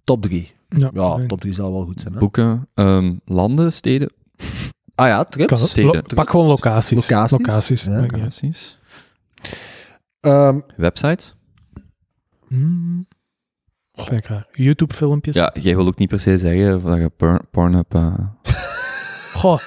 S3: top 3.
S1: Ja,
S3: Ja, top 3 zal wel goed zijn. Hè?
S2: Boeken, ehm, landen, steden,
S3: Ah ja, trips.
S1: Kan het?
S2: Steden.
S1: Lo- pak gewoon locaties.
S3: Locaties? Ja.
S1: maakt niet uit.
S2: locaties,
S3: Ehm,
S2: websites.
S1: Hmm. Vind ik raar. YouTube-filmpjes.
S2: Ja, jij wil ook niet per se zeggen dat je porn, Pornhub... eh,
S1: Goh,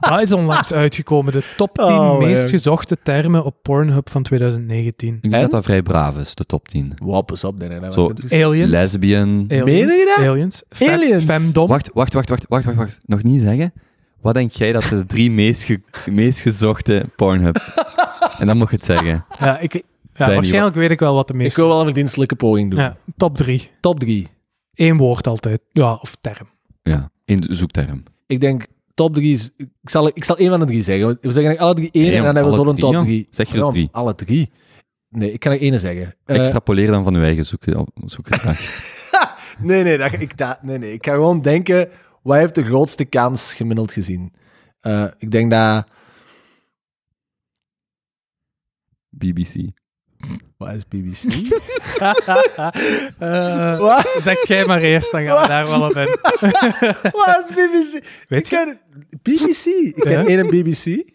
S1: dat is onlangs uitgekomen. De top 10
S3: Oh, man.
S1: meest gezochte termen op Pornhub van 2019.
S2: ik denk
S3: En?
S2: dat dat vrij braaf is, de top 10.
S3: Wow, pas op. Nee, nee, nee,
S2: Zo.
S3: maar-
S1: Aliens.
S2: Lesbian...
S1: aliens.
S3: Meen je dat?
S1: Aliens. Fe-
S3: Aliens.
S1: Femdom.
S2: Wacht, wacht, wacht, wacht, wacht, wacht, wacht. Nog niet zeggen. Wat denk jij dat de drie (laughs) meest, ge- meest gezochte Pornhub...
S1: (laughs)
S2: en dan mag je het zeggen.
S1: Ja, ik, ja,
S2: niet
S1: waarschijnlijk weet ik wel wat de
S3: Ik
S1: meest...
S3: wil wel een verdienstelijke poging doen.
S1: Ja, top 3.
S3: Top 3.
S1: Eén woord altijd. Ja, of
S3: (laughs)
S1: term.
S2: Ja, in de zoekterm.
S3: Ik denk top 3 is... Ik zal, ik zal één van de drie zeggen. want We zeggen eigenlijk alle drie één
S2: Nee,
S3: en dan hebben we
S2: alle
S3: zo'n
S2: drie,
S3: top
S2: jong.
S3: 3.
S2: Zeg er eens drie.
S3: Alle drie. Nee, ik kan er één zeggen. Eh,
S2: Extrapoleer dan van uw eigen zoeken, Ah, zoekgedrag.
S3: (laughs) nee, nee, dat, ik, dat, nee, nee, ik ga gewoon denken, wat heeft de grootste kans gemiddeld gezien? Eh, ik denk dat...
S2: BBC.
S3: Wat is BBC?
S1: (laughs) Eh,
S3: wat?
S1: zeg jij maar eerst, dan gaan we daar wel op in.
S3: (laughs) wat is BBC?
S1: Weet
S3: Ik ken- BBC? Ik ken
S1: Ja?
S3: één BBC.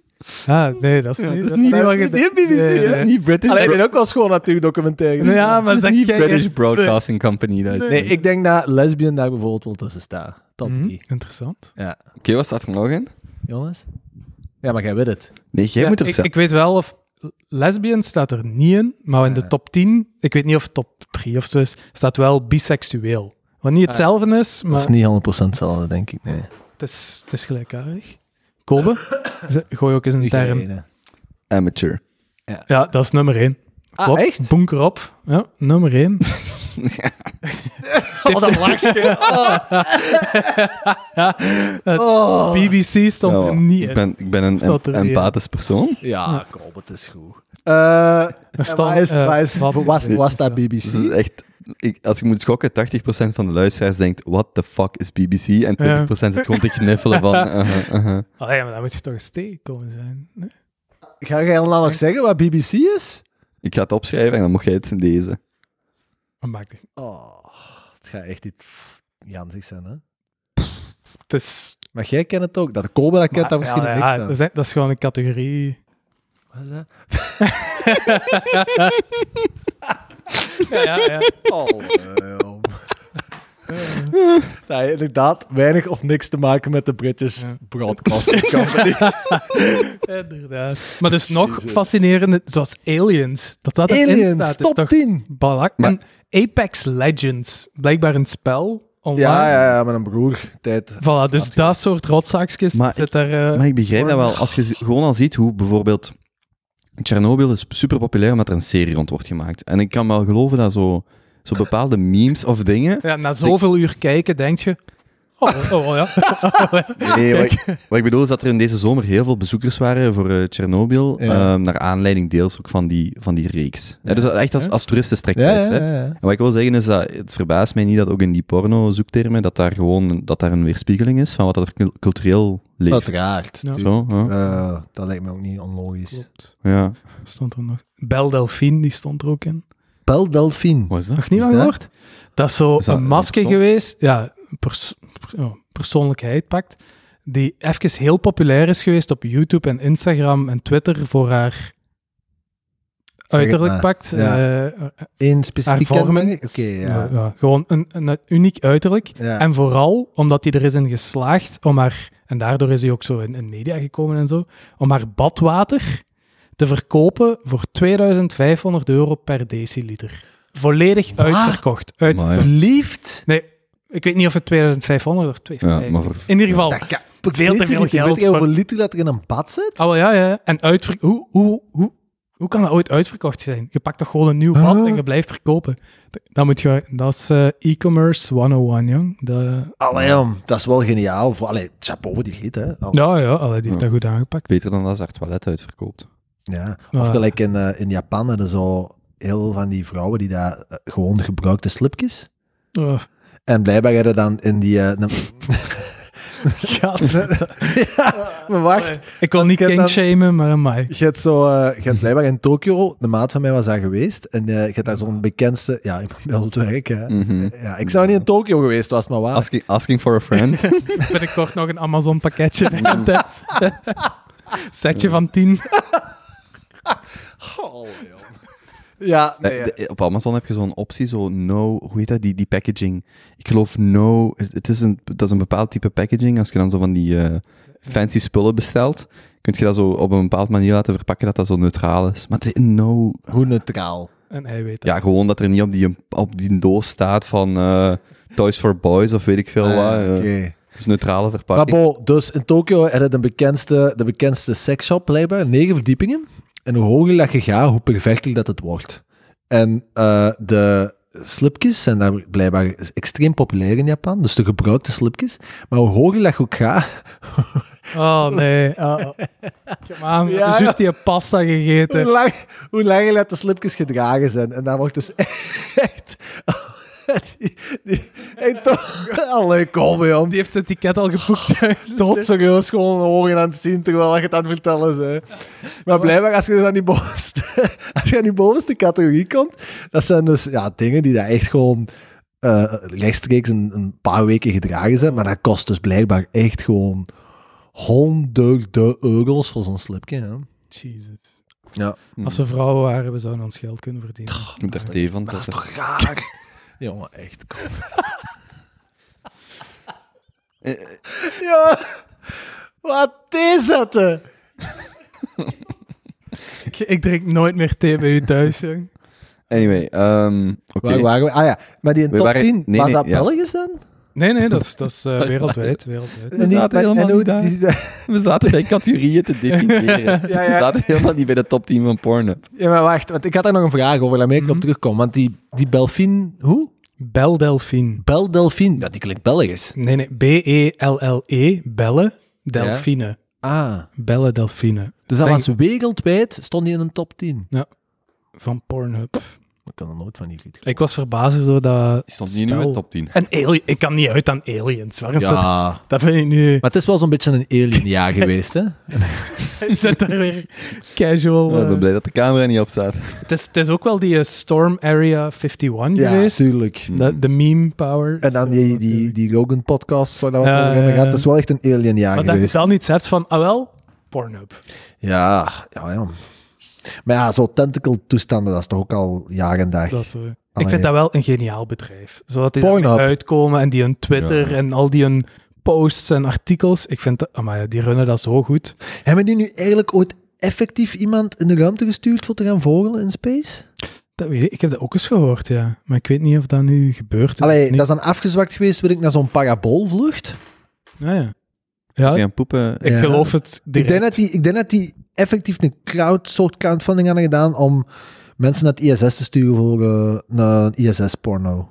S1: Ah, nee, dat is niet...
S2: dat is niet-
S1: wat
S3: dat
S1: je
S3: is
S1: denkt.
S3: niet BBC,
S1: Nee,
S3: hè?
S1: nee.
S3: Dat
S2: niet British,
S3: Alleen, ik ben ook wel schoon natuurlijk documentaire.
S1: Ja, maar zeg jij
S2: British
S1: eerst-
S2: Broadcasting Company. dat is-
S3: Nee, ik denk dat lesbian daar bijvoorbeeld wel tussen staat. Top
S1: Mhm,
S3: 3.
S1: Interessant.
S3: Ja.
S2: Oké, wat staat er nog in?
S3: Jongens? Ja, maar jij weet het.
S2: Nee, jij
S1: Ja,
S2: moet er
S1: ik,
S2: zelf-
S1: ik weet wel of... Lesbian staat er niet in, maar in de
S3: Ja.
S1: top 10, ik weet niet of top 3 of zo is, staat wel biseksueel. Wat niet hetzelfde is, maar
S3: Dat is niet 100% hetzelfde, denk ik. Nee.
S1: het is, het is gelijkaardig. Kobe, ze- gooi ook eens een term.
S3: Diegene.
S2: Amateur.
S1: Ja, dat is nummer 1.
S3: Ah,
S1: Klopt.
S3: echt?
S1: Bunker op. Ja, nummer 1.
S3: (laughs) Oh, dat (laughs) lachje. Oh. Oh.
S1: BBC stond
S2: (laughs) Ja,
S1: er niet
S2: ik,
S1: in.
S2: ben, ik ben een
S1: Staat er
S2: em-
S1: niet in.
S2: empathisch persoon.
S3: Ja, kom, het is goed. Eh
S1: Er
S3: en
S1: stond,
S3: waar is,
S1: eh,
S3: waar is,
S1: wat-
S3: was, was dat
S2: Dus dat is
S3: BBC?
S2: echt, ik, als ik moet gokken, 80% van de luisteraars denkt, what the fuck is BBC? En 20% zit gewoon te kniffelen
S1: (laughs)
S2: van... uh-huh, uh-huh.
S1: Oh ja, maar daar moet je toch eens tegenkomen zijn. Nee?
S3: Ga jij dan nog zeggen wat BBC is?
S2: Ik ga het opschrijven en dan mocht jij het lezen.
S1: Wat maakt het?
S3: Oh, het gaat echt niet janzig zijn, hè?
S1: Het is...
S3: Maar jij kent het ook. Dat Kobe dat kent, dat misschien
S1: ja,
S3: ik
S1: ja,
S3: dan.
S1: dat, is, dat is gewoon een categorie.
S3: Wat is dat?
S1: Ja, ja, ja. (laughs)
S3: Oh, eeuw. Dat heeft inderdaad weinig of niks te maken met de
S1: (laughs)
S3: British
S1: Ja.
S3: Broadcasting Company.
S1: Inderdaad. Maar dus nog
S3: Jezus.
S1: fascinerende, zoals Aliens. Dat dat erin
S3: Aliens,
S1: staat, is
S3: top
S1: toch
S3: 10.
S1: balak.
S2: Maar-
S1: En Apex Legends, blijkbaar een spel online.
S3: Ja, ja, ja, met een broer. Tijd.
S1: Voilà, dus dat soort rotzaakjes
S2: Maar
S1: zit daar... eh,
S2: Maar ik begrijp dat wel. Als je z- gewoon al ziet hoe bijvoorbeeld... Chernobyl is super populair omdat er een serie rond wordt gemaakt. En ik kan wel geloven dat zo, zo bepaalde memes of dingen...
S1: ja, na zoveel uur kijken, denk je... Oh, oh, oh (laughs) ja.
S3: (laughs)
S2: Nee, wat ik, wat ik bedoel is dat er in deze zomer heel veel bezoekers waren voor eh Tsjernobyl.
S3: Ja.
S2: ehm, naar aanleiding deels ook van die, van die reeks. Hè, dus dat echt als,
S1: Ja.
S2: als
S3: Ja,
S2: toeristenstreklijst.
S3: ja,
S2: hè.
S3: ja, ja.
S2: En wat ik wil zeggen is dat het verbaast mij niet dat ook in die porno-zoektermen dat daar gewoon dat daar een weerspiegeling is van wat er cul- cultureel leeft.
S3: Uiteraard.
S1: Ja.
S3: tuurlijk.
S2: Zo, ja.
S3: Eh, dat lijkt me ook niet onlogisch.
S1: Klopt.
S2: ja.
S1: Stond er nog. Bel Delphine, die stond er ook in.
S3: Pel Delphine.
S2: Wat is dat?
S1: Nog niet
S3: Is
S1: van
S3: dat-
S1: gehoord? Dat is zo
S2: Is dat
S1: een
S2: een
S1: masker
S2: persoon?
S1: geweest, ja, een pers- pers- ja, persoonlijkheid pakt, die even heel populair is geweest op YouTube en Instagram en Twitter voor haar
S3: het
S1: uiterlijk
S3: maar.
S1: pakt.
S3: Ja.
S1: eh,
S3: In
S1: Haar
S3: specifiek
S1: vormen.
S3: kenmerk? Oké, ja.
S1: eh, ja, gewoon een, een uniek uiterlijk.
S3: Ja.
S1: En vooral omdat hij er is in geslaagd om haar, en daardoor is hij ook zo in, in media gekomen en zo, om haar badwater te verkopen voor 2500 euro per deciliter. Volledig
S3: Waar?
S1: uitverkocht. Uit,
S2: Maar ja.
S3: Beliefd?
S1: Nee, ik weet niet of het 2500 of 2500
S2: Ja, maar voor-
S1: is. In ieder geval.
S3: Dat kan-
S1: veel te
S3: Weet je
S1: veel
S3: niet,
S1: geld.
S3: Weet je hoeveel
S1: voor-
S3: liter dat er in een pad zit?
S1: Ah, wel, ja, ja. En uitver... hoe, hoe, hoe, hoe kan dat ooit uitverkocht zijn? Je pakt toch gewoon een nieuw pad
S3: Huh?
S1: en je blijft verkopen. Dat, moet je... dat is eh, e-commerce 101, jong. De...
S3: Allee, jong, dat is wel geniaal. Voor- Allee, chapeau voor die giet, hè. Al-
S1: Ja, ja, allee, die heeft
S2: Ja.
S1: dat goed aangepakt.
S2: Beter dan dat ze haar toilet uitverkoopt.
S3: Ja.
S1: Ja.
S3: Of gelijk in, eh, in Japan hadden zo heel veel van die vrouwen die daar eh, gewoon gebruikte slipjes.
S1: Oh,
S3: En blijkbaar hadden dan in die... eh, ne-
S1: gaat.
S3: (laughs) ja, maar wacht.
S1: Ik wil niet
S3: ken dat-
S1: kinkshamen, maar mij.
S3: Je hebt, zo, eh, je hebt blijkbaar in Tokio, de maat van mij was daar geweest, en eh, je hebt daar zo'n bekendste... Ja, ik ben wel op het werk, hè.
S2: Mhm.
S3: Ja, ik zou niet in Tokio geweest, was maar waar.
S2: Asking, asking for a
S3: (laughs)
S1: (laughs)
S2: friend. Eh,
S1: Binnenkort nog een Amazon (laughs) pakketje. thuis. Setje van 10.
S3: Goh, joh. Ja,
S2: Eh, de- Op Amazon heb je zo'n optie, zo no, hoe heet dat, die, die packaging. Ik geloof no, het het is een, dat is een bepaald type packaging. Als je dan zo van die eh, fancy spullen bestelt, kun je dat zo op een bepaalde manier laten verpakken dat dat zo neutraal is. Maar het- no,
S3: Hoe neutraal.
S1: En hij weet dat.
S2: ja, gewoon dat er niet op die, op die doos staat van eh, Toys for Boys of weet ik veel wat.
S3: Ah,
S2: eh.
S3: oké.
S2: Het is neutrale
S3: Maar
S2: verpakking.
S3: bo, dus in Tokio had het de bekendste, de bekendste seksshop blijkbaar, negen verdiepingen. En hoe hoger dat je gaat, hoe perfecter dat het wordt. En eh, de slipjes zijn daar blijkbaar extreem populair in Japan, dus de gebruikte slipjes. Maar hoe hoger dat je ook gaat,
S1: Oh nee. Oh, (laughs) oh. Come on,
S3: Ja,
S1: juist die pasta
S3: (laughs) hoe,
S1: gegeten.
S3: lang, hoe langer dat de slipjes gedragen zijn. En daar wordt dus (laughs) echt... (laughs) Die, die, echt toch... Allee, kom joh.
S1: Die heeft zijn ticket al geboekt. (laughs)
S3: Tot serieus gewoon ogen aan het zien terwijl je het aan het vertellen bent. Maar blijkbaar, als je dus aan die bovenste, (laughs) als je aan die bovenste categorie komt, dat zijn dus ja, dingen die daar echt gewoon eh, rechtstreeks een, een paar weken gedragen zijn. Maar dat kost dus blijkbaar echt gewoon honderden euro's voor zo'n slipje. Hè?
S1: Jesus.
S3: Ja.
S1: Als we vrouwen waren, we zouden ons geld kunnen verdienen.
S2: Ik moet daar thee van zetten.
S3: toch raar? (laughs) Jongen, echt. Kom.
S2: Eh, eh,
S3: Ja, wat is dat? hè?
S1: Ik, ik drink nooit meer thee bij u thuis, jong.
S2: Anyway, ehm, oké.
S3: Waar waren we? Ah ja, maar die in
S2: We
S3: top
S2: waren-
S3: 10,
S2: nee,
S3: was
S2: nee,
S3: dat
S2: ja.
S3: Belgisch dan?
S1: Nee, nee, dat is, dat is eh, wereldwijd, wereldwijd.
S2: We zaten
S3: en
S2: helemaal
S3: hoe-
S2: niet daar.
S3: die-
S2: We zaten bij categorieën te definiëren.
S3: (laughs) Ja, ja.
S2: We zaten helemaal niet bij de top 10 van Pornhub.
S3: (laughs) Ja, maar wacht, want ik had daar nog een vraag over, waarmee ik
S1: Mhm.
S3: op terugkom. Want die, die Belfin, hoe?
S1: Beldelfin.
S3: Bel Delfin, ja, die klinkt Belgisch.
S1: Nee, E nee, B-E-L-L-E, bellen, delfine.
S3: Ah,
S1: Bellen, delfine.
S3: dus dat
S1: Denk-
S3: was wereldwijd, stond die in een top 10.
S1: Van Pornhub.
S3: Ik kan er nooit van die lied.
S1: Ik was verbaasd door dat
S2: Stond
S1: niet nu in de top
S2: 10.
S1: En alien, ik kan niet uit aan aliens. Waarom
S3: Ja,
S1: staat-
S3: maar
S1: dat vind ik (laughs) nu...
S3: het is wel zo'n beetje een alien
S1: (laughs)
S3: jaar geweest, hè?
S1: Zet daar weer casual...
S2: ik
S1: eh.
S2: ben blij dat de camera niet op staat.
S1: het, is, het is ook wel die eh, Storm Area 51 geweest.
S3: tuurlijk.
S1: De, de meme power.
S3: En dan
S1: is, eh,
S3: die, die,
S1: natuurlijk.
S3: die Rogan-podcast, waar dat we
S1: Ja,
S3: het over hebben
S1: ja,
S3: gehad,
S1: ja.
S3: dat is wel echt een alien jaar
S1: Maar dat je
S3: geweest.
S1: dan iets hebt van, ah wel, Pornhub.
S3: Ja, ja, ja. Maar ja, zo'n tentacle-toestanden, dat is toch ook al jaar en dag.
S1: Dat is, eh, ik
S3: Allee.
S1: vind dat wel een geniaal bedrijf. Zodat die daarmee
S3: Ah, Pornhub.
S1: uitkomen en die hun Twitter en al die hun posts en artikels. Ik vind dat, amai, die runnen dat zo goed.
S3: Hebben die nu eigenlijk ooit effectief iemand in de ruimte gestuurd voor te gaan vogelen in space?
S1: Dat weet ik, ik heb dat ook eens gehoord, ja. Maar ik weet niet of dat nu gebeurt. is
S3: Allee,
S1: of niet.
S3: dat is dan afgezwakt geweest, wil ik naar zo'n paraboolvlucht.
S1: Ja, Ah, ja. Ja,
S2: Ik gaan poepen.
S1: ik
S3: Ja.
S1: geloof het
S3: Ik
S1: direct.
S3: denk, dat die, ik denk dat die effectief een crowd, soort crowdfunding hadden gedaan om mensen naar het ISS te sturen voor eh, naar een ISS-porno.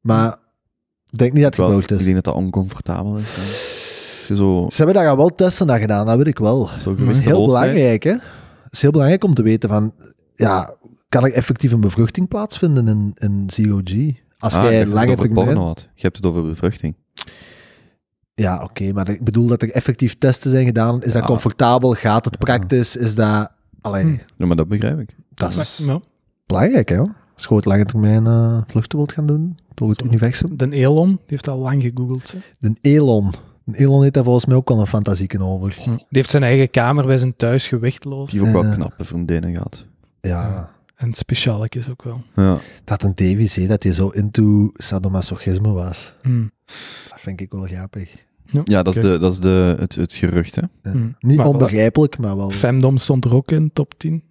S3: Maar ik denk niet dat
S2: Wel,
S3: het
S2: ik
S3: gebeurd is.
S2: denk dat dat oncomfortabel is. hè. Als je Zo,
S3: Ze hebben daar al wel testen naar gedaan, dat weet ik wel. Dat
S2: zo
S3: is heel belangrijk, hè. Het is heel belangrijk om te weten van, ja, kan er effectief een bevruchting plaatsvinden in, in zero-g? Als
S2: Ah,
S3: jij lange termijn...
S2: porno had. Je hebt het over bevruchting.
S3: Ja, oké, maar ik bedoel dat er effectief testen zijn gedaan. Is
S2: Ja.
S3: dat comfortabel? Gaat het praktisch? Is dat... Allee,
S1: Hm.
S2: Ja, maar dat begrijp ik.
S3: dat
S1: Maar,
S3: is
S1: ja,
S3: belangrijk, hè. hoor. Als je gewoon lange termijn eh, vluchten wilt gaan doen door het
S1: Zo.
S3: universum.
S1: Den Elon, die heeft al lang gegoogeld. hè.
S3: Een Elon. Een Elon heeft daar volgens mij ook al een fantasieken over.
S1: Die heeft zijn eigen kamer bij zijn thuis, gewichtloos.
S2: Die heeft ook wel
S3: Eh.
S2: knappe vriendinnen gehad.
S3: Ja,
S1: En specialetjes ook wel.
S2: Ja.
S3: dat een DVC, dat hij zo into sadomasochisme was.
S1: Hm.
S3: Dat vind ik wel grappig.
S2: Ja, dat is,
S1: Oké.
S2: de, dat is de, het, het gerucht, hè.
S3: Ja.
S1: Hm.
S3: Niet
S1: Maar voilà.
S3: onbegrijpelijk, maar wel
S1: Femdom stond er ook in, top 10.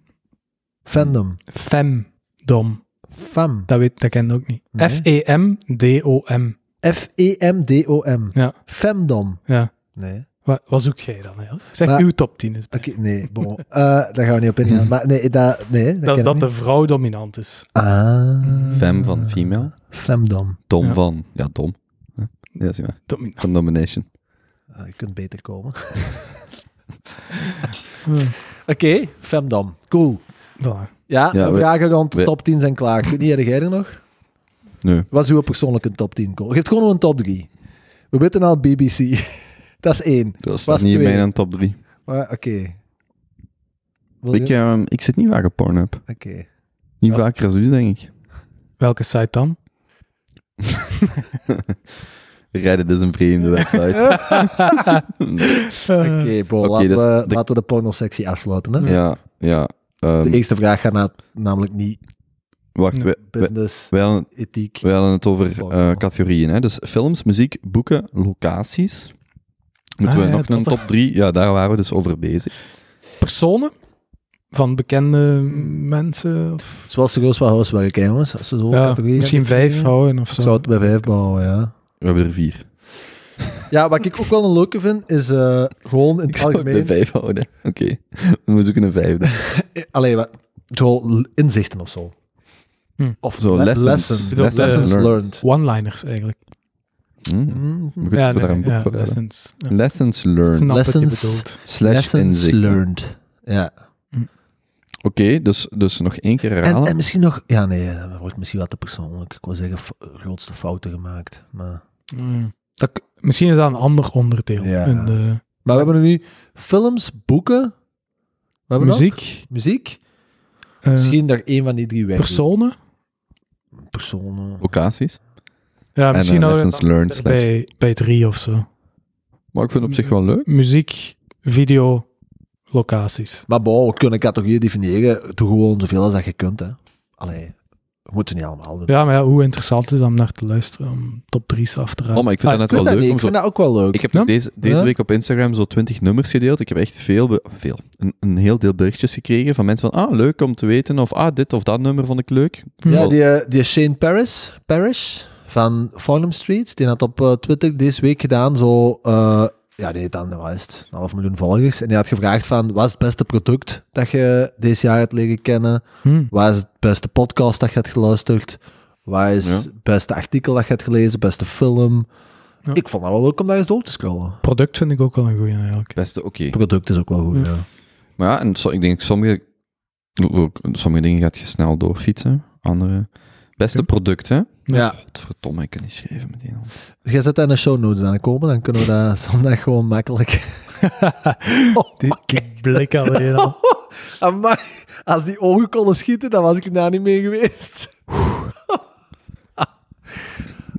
S3: fandom.
S1: Femdom,
S3: Fam.
S1: dat, weet, dat kende ook niet. E
S3: Nee.
S1: F-E-M-D-O-M.
S3: E F-E-M-D-O-M.
S1: Ja.
S3: Femdom.
S1: Ja.
S3: Nee.
S1: Wat, wat zoek jij dan eigenlijk? Zeg,
S3: Maar-
S1: uw top 10 is. bij.
S3: Oké, nee, bon. Eh, daar gaan we niet
S1: (laughs)
S3: op ingaan. Maar nee, dat, nee, dat,
S1: dat is
S3: ken
S1: dat
S3: ik
S1: de vrouw dominant is.
S3: niet. Ah.
S2: Fem van female.
S3: Femdom.
S2: Dom
S1: Ja.
S2: van... Ja, dom. Huh? Ja, zie maar.
S1: Dominant.
S2: Van domination.
S3: Ah, je kunt beter
S2: (laughs)
S3: komen. Oké,
S1: Hm.
S3: femdom. Cool.
S1: Voilà.
S3: Ja,
S2: Ja,
S3: de
S2: we-
S3: vragen rond de
S2: we-
S3: top 10 zijn klaar. Kun jij er nog?
S2: Nee.
S3: Wat is uw persoonlijke top 10? Cool. Je hebt gewoon nog een top 3. We weten al BBC. (laughs) dat is één.
S2: Dat staat
S3: Was
S2: niet in
S3: twee.
S2: mijn top 3.
S3: Maar oké. Wil
S2: Ik,
S3: je-
S2: ehm, ik zit niet vaak op Pornhub.
S3: Oké.
S2: Niet
S1: Ja.
S2: vaker als u, denk ik.
S1: Welke site dan?
S2: Reddit is een vreemde website. Nee.
S3: Oké,
S1: Eh,
S3: bo,
S2: Oké,
S3: laten,
S2: dus
S3: we,
S2: de-
S3: laten we de porno-sectie afsluiten. Hè?
S2: ja, ja. ehm,
S3: De eerste vraag gaat na- namelijk niet
S2: Wacht, we, we,
S3: Business,
S2: we, hadden,
S3: ethiek.
S2: we hadden het over
S3: Oh,
S2: eh,
S3: ja.
S2: categorieën. Hè? Dus films, muziek, boeken, locaties. Moeten
S1: Ah,
S2: we
S1: ja,
S2: nog een
S1: dat-
S2: top 3? Ja, daar waren we dus over bezig.
S1: Personen van bekende mensen. Of,
S3: Zoals de Ghostbusters House werken, hè, jongens. Als we zo
S1: ja,
S3: categorie
S1: misschien
S3: hebben.
S1: vijf houden of zo.
S3: Ik zou het bij vijf bouwen, ja.
S2: We hebben er vier.
S3: Ja, wat ik ook wel een leuke vind, is eh, gewoon in
S2: Ik
S3: het
S2: (laughs) zou het bij
S3: algemeen...
S2: vijf houden. Oké, (laughs) we zoeken een vijfde.
S3: Eh, Allee, wat, zo l- inzichten of zo.
S1: Hm.
S3: Of
S2: Zo,
S3: le-
S2: lessons. eh,
S3: lessons.
S1: bedoel,
S3: Lessons
S1: lessons
S3: learned.
S1: One-liners eigenlijk.
S2: Hm?
S3: Mm.
S2: Maar goed, dat we daar een boek voor hebben.
S1: lessons. Ja.
S2: Lessons learned.
S1: Snap wat je
S3: Lessons.
S1: bedoelt.
S2: Slash inzichten.
S3: learned. Ja.
S2: Oké, dus, dus nog één keer
S3: En,
S2: herhalen.
S3: en misschien nog... Ja, nee, eh, dat wordt misschien wel te persoonlijk. Ik wil zeggen, f- grootste fouten gemaakt. Maar,
S1: Ja. Dat, k- misschien is dat een ander onderdeel.
S3: Ja.
S1: in de
S3: maar we hebben er nu films, boeken... Wat hebben we nog?
S1: muziek,
S3: Muziek.
S1: eh,
S3: Misschien daar één van die drie weg.
S1: personen.
S3: Personen.
S2: Locaties.
S1: Ja,
S2: En eh,
S1: misschien houden we
S2: lessons
S1: het
S2: learned.
S1: dan
S2: slash-
S1: bij, bij drie of zo.
S2: Maar ik vind het op zich wel leuk.
S1: Muziek, video, locaties.
S3: Maar bon, we kunnen categorieën definiëren. Doe gewoon zoveel als dat je kunt, hè. Allee, we moeten niet allemaal dus. doen.
S1: Ja, maar ja, hoe interessant is het om naar te luisteren, om top drie's af te raken.
S2: Oh, maar ik vind
S1: Ah,
S2: dat
S3: Ik
S2: net
S3: weet
S2: wel leuk.
S3: dat niet,
S2: om
S3: ik
S2: zo-
S3: vind dat ook wel leuk.
S2: Ik heb
S1: Ja?
S2: deze, deze
S3: Ja?
S2: week op Instagram zo 20 nummers gedeeld. Ik heb echt veel, be- veel een, een heel deel berichtjes gekregen van mensen van ah, leuk om te weten, of ah, dit of dat nummer vond ik leuk.
S1: Hm.
S3: Ja,
S2: Wel-
S3: die, eh, die Shane Parrish, Parrish van Farnham Street, die had op eh, Twitter deze week gedaan zo... eh, ja, die heeft dan wat is het, een half miljoen volgers. En die had gevraagd van, wat is het beste product dat je deze jaar hebt leren kennen?
S1: Hm.
S3: Wat is het beste podcast dat je hebt geluisterd? Wat is
S2: Ja.
S3: het beste artikel dat je hebt gelezen? Beste film?
S1: Ja.
S3: Ik vond dat wel leuk om daar eens door te scrollen.
S1: Product vind ik ook wel een goeie eigenlijk.
S2: Beste, oké.
S3: Product is ook wel goed,
S1: Ja.
S3: ja.
S2: Maar ja, en zo, ik denk sommige, ook- sommige dingen gaat je snel doorfietsen. Andere. Beste
S1: Ja.
S2: producten.
S3: Ja.
S2: Godverdomme, ik kan niet schrijven met die hand.
S3: Jij zet dat in de show notes aan komen, dan kunnen we dat (laughs) zondag gewoon makkelijk. (laughs)
S1: Die, die blik alleen al.
S3: Oh, Amai, als die ogen konden schieten, dan was ik daar niet mee geweest.